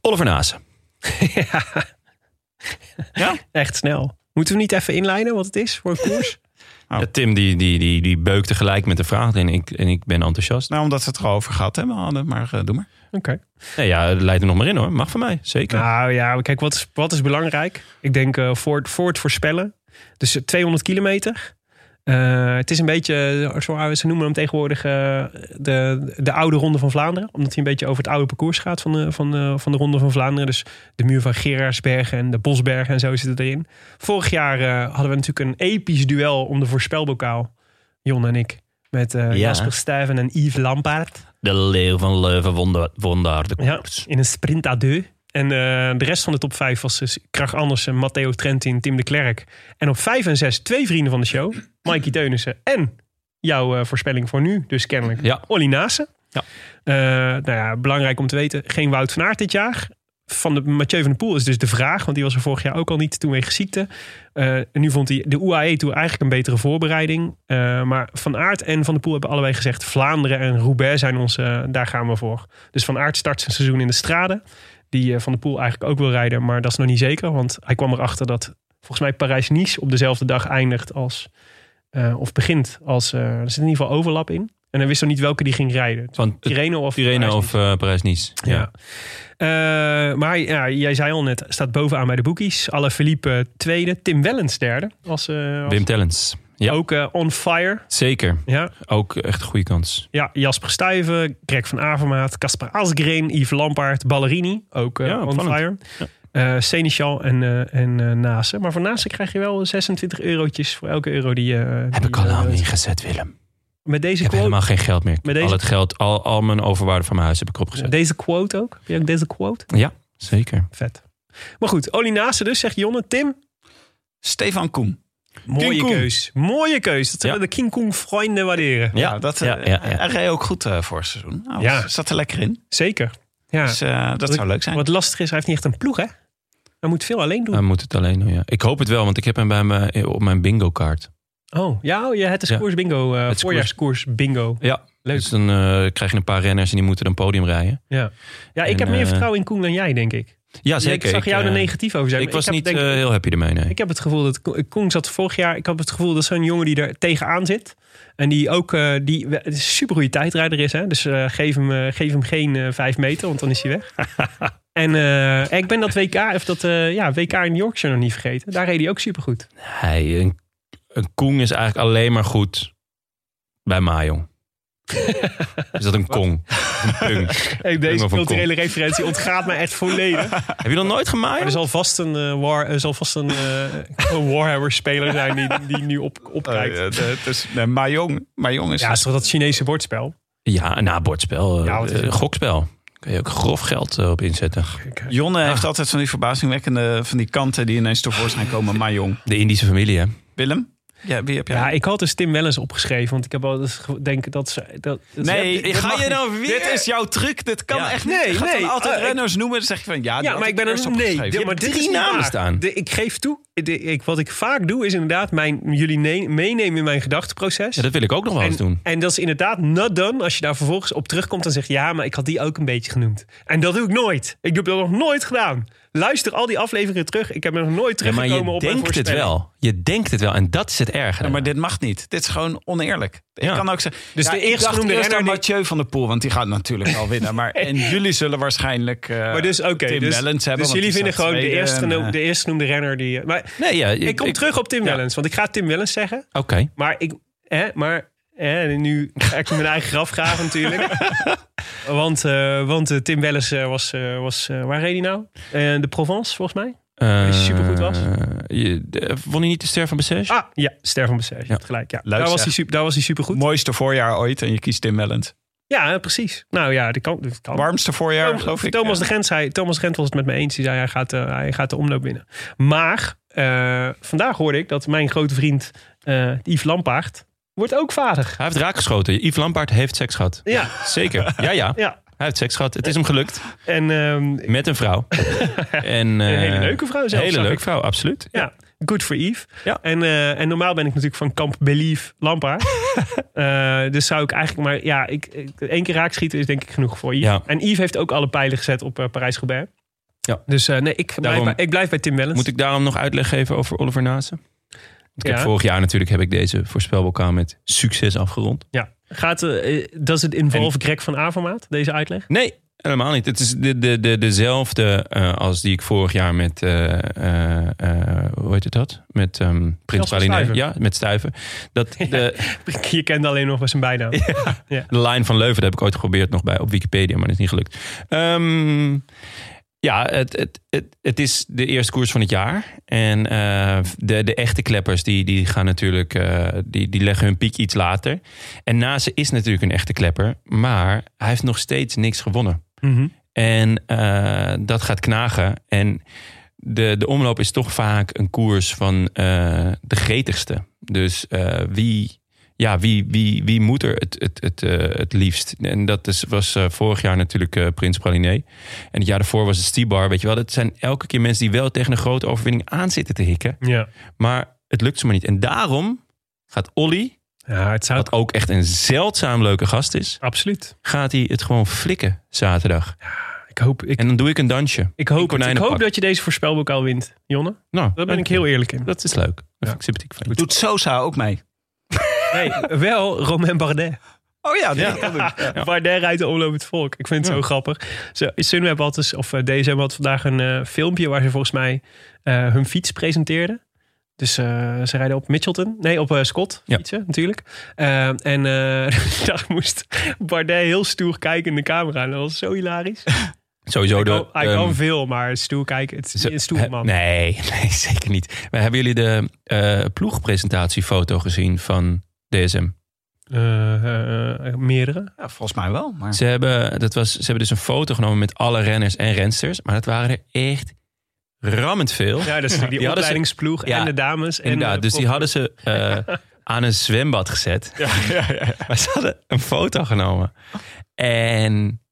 [SPEAKER 1] Oliver Naassen.
[SPEAKER 2] Echt snel. Moeten we niet even inlijnen wat het is voor een koers?
[SPEAKER 3] Oh.
[SPEAKER 1] Ja, Tim die, die, die, die beukte gelijk met de vraag en ik, en ik ben enthousiast.
[SPEAKER 3] Nou, omdat we het er al over gehad hebben, hadden, maar eh, doe maar.
[SPEAKER 2] Oké.
[SPEAKER 1] Nee, ja, leid er nog maar in hoor. Mag van mij, zeker.
[SPEAKER 2] Nou ja, kijk, wat is, wat is belangrijk? Ik denk eh, voor, het- voor het voorspellen. Dus eh, 200 kilometer. Eh, het is een beetje, eh, zo, ze noemen hem tegenwoordig eh, de, de oude Ronde van Vlaanderen. Omdat hij een beetje over het oude parcours gaat van de, van de, van de Ronde van Vlaanderen. Dus de muur van Gerardsbergen en de Bosbergen en zo zitten erin. Vorig jaar eh, hadden we natuurlijk een episch duel om de voorspelbokaal. Jon en ik. Met eh,
[SPEAKER 1] Ja.
[SPEAKER 2] Jasper Stuyven en Yves Lampaard.
[SPEAKER 1] De leeuw van Leuven won daar- won daar de
[SPEAKER 2] Ja,
[SPEAKER 1] koers.
[SPEAKER 2] in een sprint à deux. En eh, de rest van de top 5 was dus Krach Andersen, Matteo Trentin, Tim de Klerk. En op 5 en 6 twee vrienden van de show. Mikey Teunissen en jouw eh, voorspelling voor nu, dus kennelijk.
[SPEAKER 1] Ja.
[SPEAKER 2] Olly Naassen.
[SPEAKER 1] Ja.
[SPEAKER 2] Eh, nou ja, belangrijk om te weten, geen Wout van Aert dit jaar. Van de, Mathieu van der Poel is dus de vraag, want die was er vorig jaar ook al niet toen wegens ziekte. Eh, en nu vond hij de UAE toe eigenlijk een betere voorbereiding. Eh, maar Van Aert en Van der Poel hebben allebei gezegd... Vlaanderen en Roubaix zijn onze, eh, daar gaan we voor. Dus Van Aert start zijn seizoen in de strade. Die eh, Van der Poel eigenlijk ook wil rijden, maar dat is nog niet zeker. Want hij kwam erachter dat volgens mij Parijs-Nice op dezelfde dag eindigt als... eh, of begint als... eh, er zit in ieder geval overlap in. En hij wist nog niet welke die ging rijden.
[SPEAKER 1] Van eh,
[SPEAKER 2] Tirreno of
[SPEAKER 1] Tirreno
[SPEAKER 2] Parijs-Nice.
[SPEAKER 1] of eh, Parijs-Nice. Ja.
[SPEAKER 2] Ja. Eh, maar ja, jij zei al net, staat bovenaan bij de boekies. Alle Philippe eh, tweede, Tim Wellens derde. Als, eh, als-
[SPEAKER 1] Wim Tellens. Ja,
[SPEAKER 2] Ook eh, on fire.
[SPEAKER 1] zeker.
[SPEAKER 2] Ja.
[SPEAKER 1] Ook echt een goede kans.
[SPEAKER 2] ja, Jasper Stuyven, Greg van Avermaat, Casper Asgreen, Yves Lampaard, Ballerini. Ook eh,
[SPEAKER 1] Ja,
[SPEAKER 2] on
[SPEAKER 1] opvallend.
[SPEAKER 2] fire. Eh, Seneschal en, eh en eh, Nase. Maar voor Nase krijg je wel 26 eurotjes voor elke euro die je...
[SPEAKER 1] Heb ik al lang niet gezet, Willem.
[SPEAKER 2] Met
[SPEAKER 1] Ik
[SPEAKER 2] deze
[SPEAKER 1] heb
[SPEAKER 2] quote,
[SPEAKER 1] helemaal geen geld meer.
[SPEAKER 2] Met deze-
[SPEAKER 1] Al het geld, al, al mijn overwaarde van mijn huis heb ik opgezet.
[SPEAKER 2] deze quote ook. Heb je ook deze quote?
[SPEAKER 1] Zeker.
[SPEAKER 2] Vet. Maar goed, Oli Nase dus, zegt Jonne. Tim,
[SPEAKER 3] Stefan Koen.
[SPEAKER 2] Mooie
[SPEAKER 3] King Kong.
[SPEAKER 2] keus. Mooie keus. Dat zullen
[SPEAKER 1] Ja.
[SPEAKER 2] de King Kong vrienden waarderen.
[SPEAKER 1] Ja,
[SPEAKER 3] dat,
[SPEAKER 1] ja,
[SPEAKER 3] eh,
[SPEAKER 1] ja, ja.
[SPEAKER 3] Hij reed ook goed eh, voor het seizoen. Nou,
[SPEAKER 2] Ja.
[SPEAKER 3] ja. Zat er lekker in.
[SPEAKER 2] Zeker. Ja.
[SPEAKER 3] Dus eh, dat
[SPEAKER 2] Wat-
[SPEAKER 3] zou leuk zijn.
[SPEAKER 2] Wat lastig is, hij heeft niet echt een ploeg, hè? Hij moet veel alleen doen.
[SPEAKER 1] Hij moet het alleen doen, ja. Ik hoop het wel, want ik heb hem bij mijn, eh, op mijn bingo-kaart.
[SPEAKER 2] oh, ja, oh, ja, het is
[SPEAKER 1] Ja.
[SPEAKER 2] koers bingo. eh,
[SPEAKER 1] Het is
[SPEAKER 2] voorjaarskoers bingo.
[SPEAKER 1] Ja. Leuk. Dus dan eh, krijg je een paar renners en die moeten dan podium rijden.
[SPEAKER 2] Ja, ja ik
[SPEAKER 1] En,
[SPEAKER 2] heb meer
[SPEAKER 1] eh,
[SPEAKER 2] vertrouwen in Koen dan jij, denk ik. Dus
[SPEAKER 1] Ja, zeker.
[SPEAKER 2] Ik zag jou
[SPEAKER 1] eh,
[SPEAKER 2] er negatief over zijn.
[SPEAKER 1] Ik
[SPEAKER 2] maar
[SPEAKER 1] was
[SPEAKER 2] heb
[SPEAKER 1] niet
[SPEAKER 2] denk-
[SPEAKER 1] eh, heel happy ermee, nee.
[SPEAKER 2] Ik heb het gevoel dat Ko- Koen zat vorig jaar. Ik heb het gevoel dat zo'n jongen die er tegenaan zit. En die ook eh, die we- het is een supergoeie tijdrijder is. Hè? Dus eh, geef, hem, eh, geef hem geen eh, vijf meter, want dan is hij weg. en eh, ik ben dat WK, of dat, eh, ja, WK in Yorkshire nog niet vergeten. Daar reed hij ook supergoed.
[SPEAKER 1] Hij, een, een Koen is eigenlijk alleen maar goed bij Majong. is dat een kong? Een pung.
[SPEAKER 2] Hey,
[SPEAKER 1] Prima
[SPEAKER 2] deze
[SPEAKER 1] van
[SPEAKER 2] culturele referentie ontgaat me echt volledig. Maar
[SPEAKER 1] heb je nog nooit
[SPEAKER 2] er
[SPEAKER 1] gemaaid?
[SPEAKER 2] zal vast een, eh, war, er zal vast een, eh, een Warhammer-speler zijn die, die nu op,
[SPEAKER 1] Oh,
[SPEAKER 2] opkijkt.
[SPEAKER 3] Eh, eh, de- het is, nee, Mahjong, Mahjong is
[SPEAKER 2] Ja, is toch dat Chinese bordspel?
[SPEAKER 1] Ja, na bordspel. eh,
[SPEAKER 2] Ja, wat is het?
[SPEAKER 1] eh, gokspel. Kun je ook grof geld eh, op inzetten.
[SPEAKER 3] Jonne
[SPEAKER 2] Ah.
[SPEAKER 3] heeft altijd van die verbazingwekkende van die kanten die ineens tevoorschijn komen. Mahjong.
[SPEAKER 1] De Indische familie, hè?
[SPEAKER 3] Willem? Ja, wie heb jij?
[SPEAKER 2] Ja, ik had dus Tim Wellens opgeschreven, want ik heb altijd ge- denk dat ze dat, dat
[SPEAKER 3] nee,
[SPEAKER 2] dat
[SPEAKER 3] ga
[SPEAKER 2] mag
[SPEAKER 3] je
[SPEAKER 2] niet.
[SPEAKER 3] nou weer? Dit is jouw truc. Dit kan
[SPEAKER 1] Ja.
[SPEAKER 3] echt niet.
[SPEAKER 2] Nee,
[SPEAKER 3] je gaat
[SPEAKER 2] nee.
[SPEAKER 3] dan altijd
[SPEAKER 2] Ah, ik-
[SPEAKER 3] renners noemen. Dan zeg je van ja, die
[SPEAKER 2] Ja,
[SPEAKER 3] had
[SPEAKER 2] maar ik ben
[SPEAKER 3] eerst
[SPEAKER 2] een nee. Ja,
[SPEAKER 3] opgeschreven.
[SPEAKER 2] maar
[SPEAKER 1] hebt
[SPEAKER 2] dit
[SPEAKER 1] drie
[SPEAKER 2] is niet
[SPEAKER 1] namen
[SPEAKER 2] waar.
[SPEAKER 1] staan.
[SPEAKER 2] De- ik geef toe. de- ik, wat ik vaak doe is inderdaad mijn, jullie ne- meenemen in mijn gedachteproces.
[SPEAKER 1] Ja, dat wil ik ook nog wel eens
[SPEAKER 2] en,
[SPEAKER 1] doen.
[SPEAKER 2] en dat is inderdaad not done. Als je daar vervolgens op terugkomt en zegt... ja, maar ik had die ook een beetje genoemd. En dat doe ik nooit. Ik heb dat nog nooit gedaan. Luister al die afleveringen terug. Ik heb er nog nooit
[SPEAKER 1] Ja, maar
[SPEAKER 2] teruggekomen
[SPEAKER 1] je
[SPEAKER 2] op mijn
[SPEAKER 1] denkt het
[SPEAKER 2] voorspelling.
[SPEAKER 1] wel. Je denkt het wel. En dat is het erge.
[SPEAKER 3] Ja, maar
[SPEAKER 1] daaraan.
[SPEAKER 3] dit mag niet. Dit is gewoon oneerlijk.
[SPEAKER 1] Ja.
[SPEAKER 3] Ik kan ook zeggen.
[SPEAKER 2] Dus
[SPEAKER 3] ja,
[SPEAKER 2] de
[SPEAKER 3] ik
[SPEAKER 2] eerst
[SPEAKER 3] dacht
[SPEAKER 2] genoemde
[SPEAKER 3] eerst
[SPEAKER 2] renner
[SPEAKER 3] aan
[SPEAKER 2] die-
[SPEAKER 3] Mathieu van der Poel, want die gaat natuurlijk wel winnen. Maar en jullie zullen waarschijnlijk. eh,
[SPEAKER 2] Maar dus, oké.
[SPEAKER 3] Tim
[SPEAKER 2] dus
[SPEAKER 3] Wellens hebben.
[SPEAKER 2] dus
[SPEAKER 3] want
[SPEAKER 2] jullie
[SPEAKER 3] die
[SPEAKER 2] vinden
[SPEAKER 3] staat
[SPEAKER 2] gewoon de
[SPEAKER 3] tweede en,
[SPEAKER 2] eerstgenoemde,
[SPEAKER 3] eh,
[SPEAKER 2] de eerstgenoemde renner die... Maar
[SPEAKER 1] Nee, ja, ik,
[SPEAKER 2] ik kom
[SPEAKER 1] ik-
[SPEAKER 2] terug op Tim
[SPEAKER 1] ja.
[SPEAKER 2] Wellens. Want ik ga Tim Wellens zeggen.
[SPEAKER 1] Oké.
[SPEAKER 2] Maar ik, hè, maar hè, nu ga ik mijn eigen graf graven natuurlijk. want eh, want eh, Tim Wellens eh, was, eh, was eh, waar reed hij nou? Eh, de Provence, volgens mij.
[SPEAKER 1] Eh,
[SPEAKER 2] Als je supergoed was.
[SPEAKER 1] je- de- won hij niet de ster van Bessèges?
[SPEAKER 2] Ah, ja, Ster van Bessèges, je hebt gelijk. Ja.
[SPEAKER 3] Leuk
[SPEAKER 2] Daar, was
[SPEAKER 3] zeg.
[SPEAKER 2] hij super, daar was hij supergoed.
[SPEAKER 3] eh, Mooiste voorjaar ooit en je kiest Tim Wellens.
[SPEAKER 2] Ja, hè, precies. Nou ja, dat kan. Dat kan.
[SPEAKER 3] Warmste voorjaar,
[SPEAKER 2] Thomas-
[SPEAKER 3] geloof ik.
[SPEAKER 2] Thomas
[SPEAKER 3] eh.
[SPEAKER 2] de Gent zei, Thomas de Gent was het met me eens. Die zei, hij gaat, eh, hij gaat de omloop winnen. Maar eh, vandaag hoorde ik dat mijn grote vriend eh, Yves Lampaard wordt ook vader.
[SPEAKER 1] Hij heeft raak geschoten. Yves Lampaard heeft seks gehad.
[SPEAKER 2] Ja,
[SPEAKER 1] Zeker. Ja, ja.
[SPEAKER 2] ja.
[SPEAKER 1] Hij heeft seks gehad. Het is hem gelukt.
[SPEAKER 2] En ehm,
[SPEAKER 1] Met een vrouw. En, eh,
[SPEAKER 2] een hele leuke vrouw
[SPEAKER 1] Een
[SPEAKER 2] zelfs.
[SPEAKER 1] hele
[SPEAKER 2] zag ik.
[SPEAKER 1] leuke vrouw, absoluut.
[SPEAKER 2] Ja, good for Eve.
[SPEAKER 1] Ja.
[SPEAKER 2] En, eh, en normaal ben ik natuurlijk van kamp Belief Lampaard. Eh, dus zou ik eigenlijk maar... Ja, ik, ik- één keer raak schieten is denk ik genoeg voor Yves.
[SPEAKER 1] Ja.
[SPEAKER 2] En Yves heeft ook alle pijlen gezet op eh, Parijs-Roubaix.
[SPEAKER 1] Ja.
[SPEAKER 2] Dus eh, nee, ik blijf,
[SPEAKER 1] Daarom-
[SPEAKER 2] bij, ik blijf bij Tim Wellens.
[SPEAKER 1] Moet ik daarom nog uitleg geven over Oliver Nase? Ik heb
[SPEAKER 2] Ja.
[SPEAKER 1] vorig jaar natuurlijk heb ik deze voorspelbokaal met succes afgerond.
[SPEAKER 2] Ja. Gaat, eh, eh, does it involve Greg van Avermaat, deze uitleg?
[SPEAKER 1] Nee, helemaal niet. Het is de, de, de, dezelfde eh, als die ik vorig jaar met, eh, eh, eh, hoe heet het dat? Met ehm Prins
[SPEAKER 2] Jasper
[SPEAKER 1] Praline.
[SPEAKER 2] Stuyven.
[SPEAKER 1] Ja, met Stuiven. Dat de,
[SPEAKER 2] Je kende alleen nog maar zijn bijnaam.
[SPEAKER 1] De Line van Leuven, dat heb ik ooit geprobeerd nog bij op Wikipedia, maar dat is niet gelukt. Ehm, ja, het, het, het, het is de eerste koers van het jaar. En eh, de, de echte kleppers, die, die gaan natuurlijk, eh, die, die leggen hun piek iets later. En Nase is natuurlijk een echte klepper, maar hij heeft nog steeds niks gewonnen.
[SPEAKER 2] Mhm.
[SPEAKER 1] En eh, dat gaat knagen. En de, de omloop is toch vaak een koers van eh, de gretigste. Dus eh, wie, ja, wie, wie, wie moet er het, het, het, eh, het liefst? En dat is, was eh, vorig jaar natuurlijk eh, Prins Praliné. En het jaar daarvoor was het Stibar. Weet je wel, dat zijn elke keer mensen die wel tegen een grote overwinning aan zitten te hikken.
[SPEAKER 2] Ja.
[SPEAKER 1] Maar het lukt ze maar niet. En daarom gaat Olly,
[SPEAKER 2] ja, het zou
[SPEAKER 1] wat ook echt een zeldzaam leuke gast is,
[SPEAKER 2] Absoluut.
[SPEAKER 1] gaat hij het gewoon flikken zaterdag.
[SPEAKER 2] Ik hoop, ik,
[SPEAKER 1] En dan doe ik een dansje.
[SPEAKER 2] ik hoop, het. ik
[SPEAKER 1] konijnenpak.
[SPEAKER 2] hoop dat je deze voorspelbokaal wint, Jonne.
[SPEAKER 1] Nou,
[SPEAKER 2] Daar ben ik heel eerlijk in.
[SPEAKER 1] Dat is leuk. Dat
[SPEAKER 2] Ja.
[SPEAKER 1] vind ik sympathiek van je.
[SPEAKER 3] Doet Sosa ook mee?
[SPEAKER 2] Nee, wel Romain Bardet.
[SPEAKER 3] Oh ja, dat
[SPEAKER 2] Bardet rijdt de omloop het volk. Ik vind het zo grappig. Zo, Sunweb had dus, of eh, DSM had vandaag een eh, filmpje waar ze volgens mij eh, hun fiets presenteerden. Dus eh, ze rijden op Mitchelton. Nee, op eh, Scott
[SPEAKER 1] Ja.
[SPEAKER 2] fietsen natuurlijk. Eh, en eh, daar moest Bardet heel stoer kijken in de camera. En dat was zo hilarisch. Oh,
[SPEAKER 1] Sowieso de...
[SPEAKER 2] Hij
[SPEAKER 1] ehm,
[SPEAKER 2] kan veel, maar stoer kijken. Het is
[SPEAKER 1] ze-
[SPEAKER 2] een stoer
[SPEAKER 1] he-
[SPEAKER 2] man.
[SPEAKER 1] nee, nee, zeker niet. Maar hebben jullie de eh, ploegpresentatiefoto gezien van DSM?
[SPEAKER 2] Eh, eh, meerdere.
[SPEAKER 3] Ja, volgens mij wel. Maar...
[SPEAKER 1] Ze hebben, dat was, ze hebben dus een foto genomen met alle renners en rensters. Maar dat waren er echt rammend veel.
[SPEAKER 2] Ja, dat is natuurlijk die
[SPEAKER 1] Die hadden ze-
[SPEAKER 2] opleidingsploeg
[SPEAKER 1] Ja,
[SPEAKER 2] en de dames. En
[SPEAKER 1] Inderdaad,
[SPEAKER 2] de
[SPEAKER 1] dus die
[SPEAKER 2] prof-
[SPEAKER 1] hadden ze eh, aan een zwembad gezet. Maar ze hadden een foto genomen. En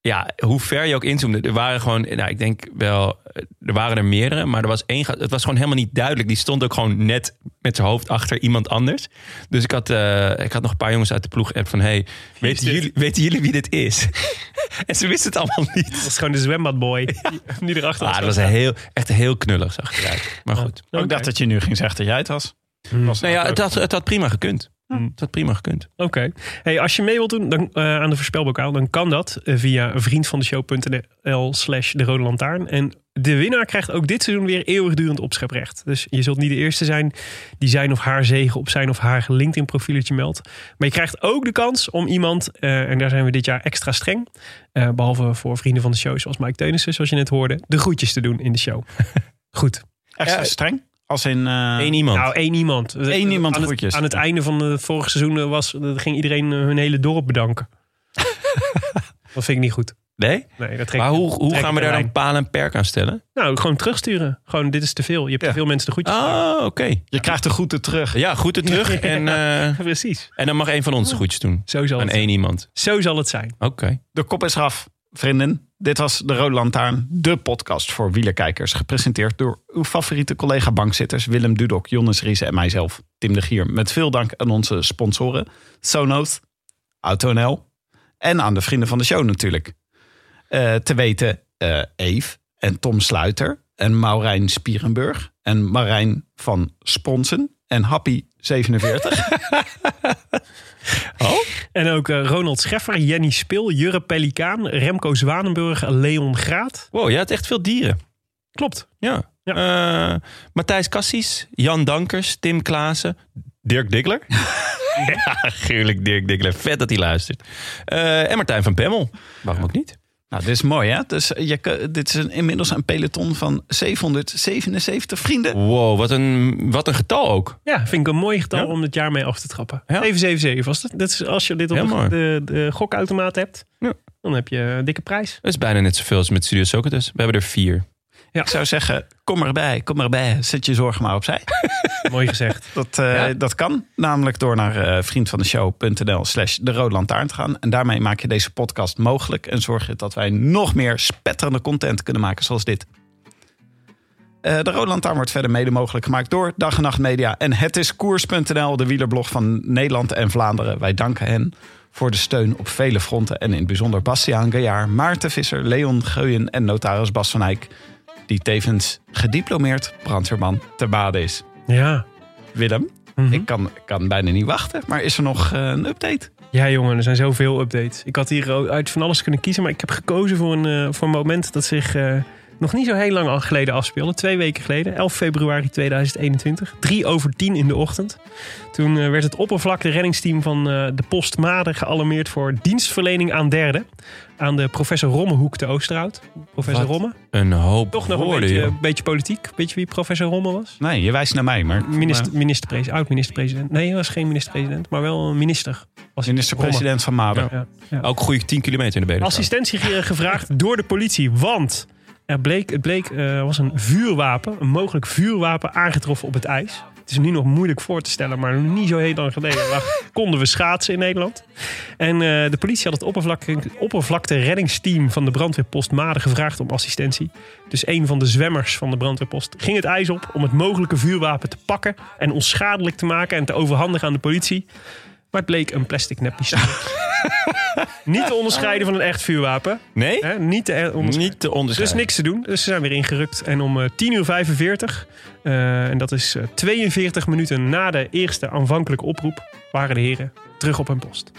[SPEAKER 1] ja, hoe ver je ook inzoomde, er waren gewoon, nou, ik denk wel, er waren er meerdere, maar er was één, ga- het was gewoon helemaal niet duidelijk. Die stond ook gewoon net met zijn hoofd achter iemand anders. Dus ik had, eh, ik had nog een paar jongens uit de ploeg-app van, hey, weten
[SPEAKER 2] dit?
[SPEAKER 1] jullie, weten jullie wie dit is? en ze wisten het allemaal niet.
[SPEAKER 2] Dat is gewoon de zwembadboy die, die erachter
[SPEAKER 1] Ah, dat was een heel, echt heel knullig, zag ik eruit. Maar goed.
[SPEAKER 3] Ik dacht dat je nu ging zeggen dat jij het was. was
[SPEAKER 1] Nou ja,
[SPEAKER 3] dat
[SPEAKER 1] het had, het had prima gekund.
[SPEAKER 2] Hmm.
[SPEAKER 1] Het had prima gekund.
[SPEAKER 2] Oké. Hey, als je mee wilt doen dan, eh, aan de voorspelbokaal, dan kan dat eh, via vriendvandeshow.nl slash de rode lantaarn. En de winnaar krijgt ook dit seizoen weer eeuwigdurend opscheprecht. Dus je zult niet de eerste zijn die zijn of haar zegen op zijn of haar LinkedIn profieletje meldt. Maar je krijgt ook de kans om iemand, eh, en daar zijn we dit jaar extra streng, eh, behalve voor vrienden van de show zoals Mike Teunissen, zoals je net hoorde, de groetjes te doen in de show. Goed.
[SPEAKER 3] Extra
[SPEAKER 1] Ja.
[SPEAKER 3] streng? Als in... eh,
[SPEAKER 1] Eén iemand.
[SPEAKER 2] Nou, één iemand.
[SPEAKER 3] Eén iemand
[SPEAKER 2] aan het,
[SPEAKER 3] groetjes.
[SPEAKER 2] Aan het einde van het vorige seizoen eh, was, eh, ging iedereen eh, hun hele dorp bedanken. dat vind ik niet goed.
[SPEAKER 1] nee?
[SPEAKER 2] Nee, dat trek
[SPEAKER 1] Maar
[SPEAKER 2] ik-
[SPEAKER 1] hoe, hoe
[SPEAKER 2] trek
[SPEAKER 1] gaan
[SPEAKER 2] ik
[SPEAKER 1] we daar
[SPEAKER 2] aan.
[SPEAKER 1] dan paal en perk aan stellen?
[SPEAKER 2] Nou, gewoon terugsturen. Gewoon, dit is te veel. Je hebt
[SPEAKER 3] Ja.
[SPEAKER 2] te veel mensen de groetjes. gedaan.
[SPEAKER 1] Ah, oké.
[SPEAKER 3] Je krijgt de groeten terug.
[SPEAKER 1] Ja, goed het terug. En, eh,
[SPEAKER 2] Precies.
[SPEAKER 1] en dan mag één van ons de groetjes doen.
[SPEAKER 2] Zo zal,
[SPEAKER 1] Aan
[SPEAKER 2] het, zijn.
[SPEAKER 1] één iemand.
[SPEAKER 2] zo zal het zijn.
[SPEAKER 1] Oké.
[SPEAKER 3] De kop is eraf, vrienden. Dit was De Rode Lantaarn, de podcast voor wielerkijkers. Gepresenteerd door uw favoriete collega-bankzitters... Willem Dudok, Jonas Riese en mijzelf, Tim de Gier. Met veel dank aan onze sponsoren Sonos, AutoNL... en aan de vrienden van de show natuurlijk. Eh, te weten eh Eve en Tom Sluiter en Maurijn Spierenburg... en Marijn van Sponsen en Happy47.
[SPEAKER 2] En ook eh, Ronald Scheffer, Jenny Spil, Jurre Pelikaan, Remco Zwanenburg, Leon Graat.
[SPEAKER 1] Wow, je had echt veel dieren.
[SPEAKER 2] Klopt.
[SPEAKER 1] Ja.
[SPEAKER 2] Ja.
[SPEAKER 1] Eh, Matthijs Cassis, Jan Dankers, Tim Klaassen, Dirk Diggler. ja, gruwelijk Dirk Diggler. Vet dat hij luistert. Eh, en Martijn van Pemmel. Waarom ook niet?
[SPEAKER 3] Nou, dit is mooi, hè? Dus je, kun- dit is een, inmiddels een peloton van 777 vrienden.
[SPEAKER 1] Wow, wat een, wat een getal ook.
[SPEAKER 2] Ja, vind ik een mooi getal
[SPEAKER 1] Ja.
[SPEAKER 2] om het jaar mee af te trappen.
[SPEAKER 1] Ja.
[SPEAKER 2] 777 was dat. dat is, als je dit op
[SPEAKER 1] Heel
[SPEAKER 2] de,
[SPEAKER 1] mooi.
[SPEAKER 2] de, de gokautomaat hebt,
[SPEAKER 1] Ja.
[SPEAKER 2] dan heb je een dikke prijs.
[SPEAKER 1] Dat is bijna net zoveel als met Studio Socrates. We hebben er vier.
[SPEAKER 3] Ik zou zeggen, kom erbij, kom erbij. Zet je zorgen maar opzij.
[SPEAKER 2] Mooi gezegd.
[SPEAKER 3] Dat, eh,
[SPEAKER 1] Ja.
[SPEAKER 3] dat kan namelijk door naar eh, vriendvandeshow.nl slash de rode lantaarn te gaan. En daarmee maak je deze podcast mogelijk. En zorg je dat wij nog meer spetterende content kunnen maken zoals dit. Eh, de Rode Lantaarn wordt verder mede mogelijk gemaakt door Dag en Nacht Media. En het is koers.nl, de wielerblog van Nederland en Vlaanderen. Wij danken hen voor de steun op vele fronten. En in het bijzonder Bastiaan Gaillard, Maarten Visser, Leon Geuyen en notaris Bas van Eyck. Die tevens gediplomeerd brandweerman te bade is.
[SPEAKER 2] Ja. Mhm.
[SPEAKER 3] Willem, ik kan, kan bijna niet wachten. Maar is er nog eh, een update?
[SPEAKER 2] Ja, jongen, er zijn zoveel updates. Ik had hier ook uit van alles kunnen kiezen, maar ik heb gekozen voor een, eh, voor een moment dat zich eh, nog niet zo heel lang al geleden afspeelde. Twee weken geleden, 11 februari 2021, drie over tien in de ochtend. Toen eh, werd het oppervlakte reddingsteam van eh, de Post Maden gealarmeerd voor dienstverlening aan derden. Aan de professor Rommehoek te Oosterhout. Professor
[SPEAKER 1] Wat?
[SPEAKER 2] Romme,
[SPEAKER 1] Een hoop
[SPEAKER 2] toch nog een
[SPEAKER 1] woorden,
[SPEAKER 2] beetje,
[SPEAKER 1] joh.
[SPEAKER 2] een beetje politiek. Weet je wie professor Romme was?
[SPEAKER 3] Nee, je wijst naar mij, maar...
[SPEAKER 2] Minister, minister, oud-minister-president. Nee, hij was geen minister-president, maar wel een minister. Was Romme.
[SPEAKER 3] Minister-president van Maden.
[SPEAKER 2] Ja, ja.
[SPEAKER 1] Ook goede 10 kilometer in de benen.
[SPEAKER 2] Assistentie ge- gevraagd door de politie, want er bleek, het bleek, eh, was een vuurwapen, een mogelijk vuurwapen aangetroffen op het ijs. Het is nu nog moeilijk voor te stellen, maar niet zo heel lang geleden lag- konden we schaatsen in Nederland. En eh, de politie had het oppervlakte, oppervlakte reddingsteam van de brandweerpost Maden gevraagd om assistentie. Dus een van de zwemmers van de brandweerpost ging het ijs op om het mogelijke vuurwapen te pakken en onschadelijk te maken en te overhandigen aan de politie. Maar het bleek een plastic neppistool. Niet te onderscheiden van een echt vuurwapen.
[SPEAKER 1] Nee?
[SPEAKER 2] Hè? Niet te er- onderscheiden.
[SPEAKER 1] Niet te
[SPEAKER 2] Dus
[SPEAKER 1] onderscheiden.
[SPEAKER 2] niks te doen. Dus ze zijn weer ingerukt. En om eh, 10 uur 45, eh, en dat is eh, 42 minuten na de eerste aanvankelijke oproep, waren de heren terug op hun post.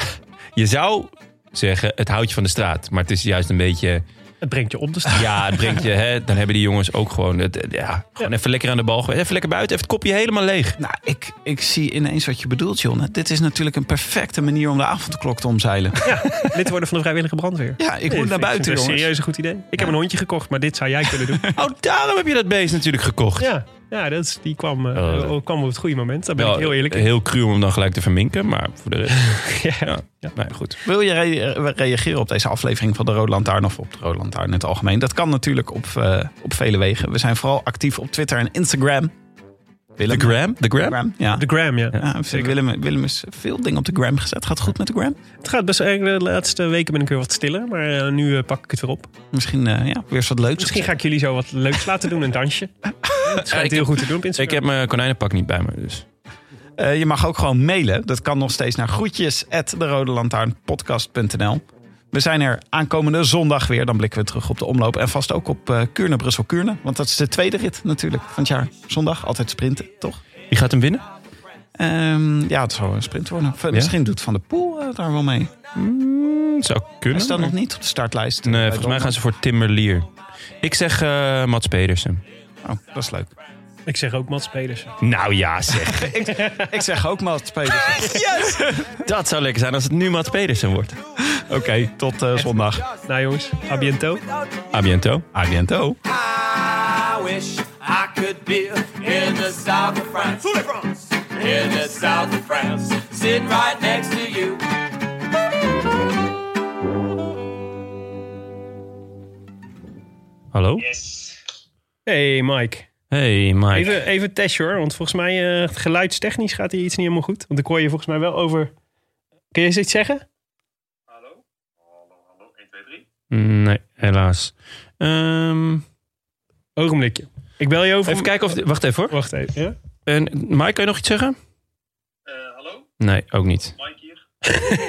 [SPEAKER 1] Je zou zeggen, het houdt je van de straat. Maar het is juist een beetje...
[SPEAKER 2] Het brengt je op de straat.
[SPEAKER 1] Ja, het brengt je... Hè, dan hebben die jongens ook gewoon... Het, ja, gewoon even lekker aan de bal. geweest. Even lekker buiten. Even het kopje helemaal leeg.
[SPEAKER 3] Nou, ik, ik zie ineens wat je bedoelt, John. Dit is natuurlijk een perfecte manier om de avondklok te omzeilen.
[SPEAKER 2] Lid worden van de vrijwillige brandweer.
[SPEAKER 3] Ja, ik
[SPEAKER 2] Nee,
[SPEAKER 3] moet
[SPEAKER 2] vind
[SPEAKER 3] naar buiten,
[SPEAKER 2] een
[SPEAKER 3] jongens.
[SPEAKER 2] serieus een goed idee. Ik heb een hondje gekocht, maar dit zou jij kunnen doen.
[SPEAKER 1] Oh, daarom heb je dat beest natuurlijk gekocht.
[SPEAKER 2] ja, ja dat is, die kwam, eh,
[SPEAKER 1] Oh, dat-
[SPEAKER 2] kwam op het goede moment. Daar ben ik
[SPEAKER 1] Wel,
[SPEAKER 2] heel eerlijk in.
[SPEAKER 1] Heel cru om hem dan gelijk te verminken. Maar voor de rest... nou
[SPEAKER 2] Ja.
[SPEAKER 1] ja. Nee, goed.
[SPEAKER 3] Wil je re- eh, reageren op deze aflevering van de Rode Lantaarn of op de Rode Lantaarn in het algemeen? Dat kan natuurlijk op, eh, op vele wegen. We zijn vooral actief op Twitter en Instagram.
[SPEAKER 1] De
[SPEAKER 3] Willem,
[SPEAKER 1] gram? De gram?
[SPEAKER 3] Gram, ja.
[SPEAKER 2] De gram, ja.
[SPEAKER 3] ja Willem, Willem is veel dingen op de gram gezet. Gaat goed met de gram?
[SPEAKER 2] Het gaat best erg. De laatste weken ben ik weer wat stiller, maar eh, nu eh, pak ik het weer op.
[SPEAKER 3] Misschien eh, ja, weer eens wat leuks.
[SPEAKER 2] Misschien ga ik jullie zo wat leuks laten doen, een dansje. Het
[SPEAKER 1] Ja, ik
[SPEAKER 2] schijnt heel
[SPEAKER 1] heb-
[SPEAKER 2] goed te doen op
[SPEAKER 1] Ik
[SPEAKER 2] Instagram.
[SPEAKER 1] heb mijn konijnenpak niet bij me, dus...
[SPEAKER 3] Eh, je mag ook gewoon mailen. Dat kan nog steeds naar groetjes We zijn er aankomende zondag weer. Dan blikken we terug op de omloop. En vast ook op eh Kuurne, Brussel-Kuurne. Want dat is de tweede rit natuurlijk van het jaar. Zondag altijd sprinten, toch?
[SPEAKER 1] Wie gaat hem winnen?
[SPEAKER 3] Ehm, ja, het zou een sprint worden. V- Misschien doet Van der Poel eh, daar wel mee.
[SPEAKER 1] zou kunnen.
[SPEAKER 3] Hij staat nog niet op de startlijst.
[SPEAKER 1] Nee,
[SPEAKER 3] Eh,
[SPEAKER 1] volgens mij gaan
[SPEAKER 3] donderdag.
[SPEAKER 1] ze voor Timmerlier. Ik zeg eh Mats Pedersen.
[SPEAKER 3] Oh, dat is leuk.
[SPEAKER 2] Ik, zeg ook Mats Pedersen.
[SPEAKER 1] Nou ja, zeg.
[SPEAKER 3] Ik zeg ook Mats Pedersen.
[SPEAKER 1] Dat zou lekker zijn als het nu Mats Pedersen wordt.
[SPEAKER 3] Oké, tot eh, zondag.
[SPEAKER 2] Nou jongens, à biento.
[SPEAKER 1] A biento.
[SPEAKER 3] A biento.
[SPEAKER 5] I wish I could be in the south of France. In the south of France. Sitting right next to you.
[SPEAKER 1] Hallo?
[SPEAKER 2] Hey Mike.
[SPEAKER 1] Hey Mike.
[SPEAKER 2] Even, even test hoor, want volgens mij eh, geluidstechnisch gaat hier iets niet helemaal goed. Want ik hoor je volgens mij wel over... Kun je eens iets zeggen?
[SPEAKER 1] Nee, helaas. Ehm,
[SPEAKER 2] Ogenblikje. Ik bel je over...
[SPEAKER 1] even kijken of... Wacht even hoor.
[SPEAKER 2] Wacht even. Ja?
[SPEAKER 1] En, Mike, kan je nog iets zeggen?
[SPEAKER 4] Eh, hallo,
[SPEAKER 1] Nee, ook niet.
[SPEAKER 4] Mike hier.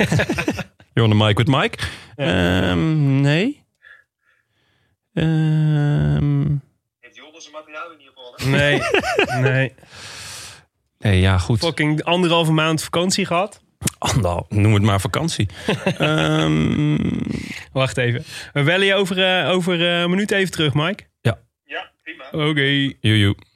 [SPEAKER 1] You're on the mic with Mike. Ehm, nee. Ehm,
[SPEAKER 4] Heeft Jordan zijn materiaal in ieder geval?
[SPEAKER 2] Nee. nee.
[SPEAKER 1] nee, ja, goed.
[SPEAKER 2] Fucking anderhalve maand vakantie gehad.
[SPEAKER 1] Andal. Noem het maar vakantie. Ehm,
[SPEAKER 2] Wacht even. We bellen je over, eh, over eh, een minuut even terug, Mike.
[SPEAKER 4] Ja, prima.
[SPEAKER 2] Oké.
[SPEAKER 1] joe, joe.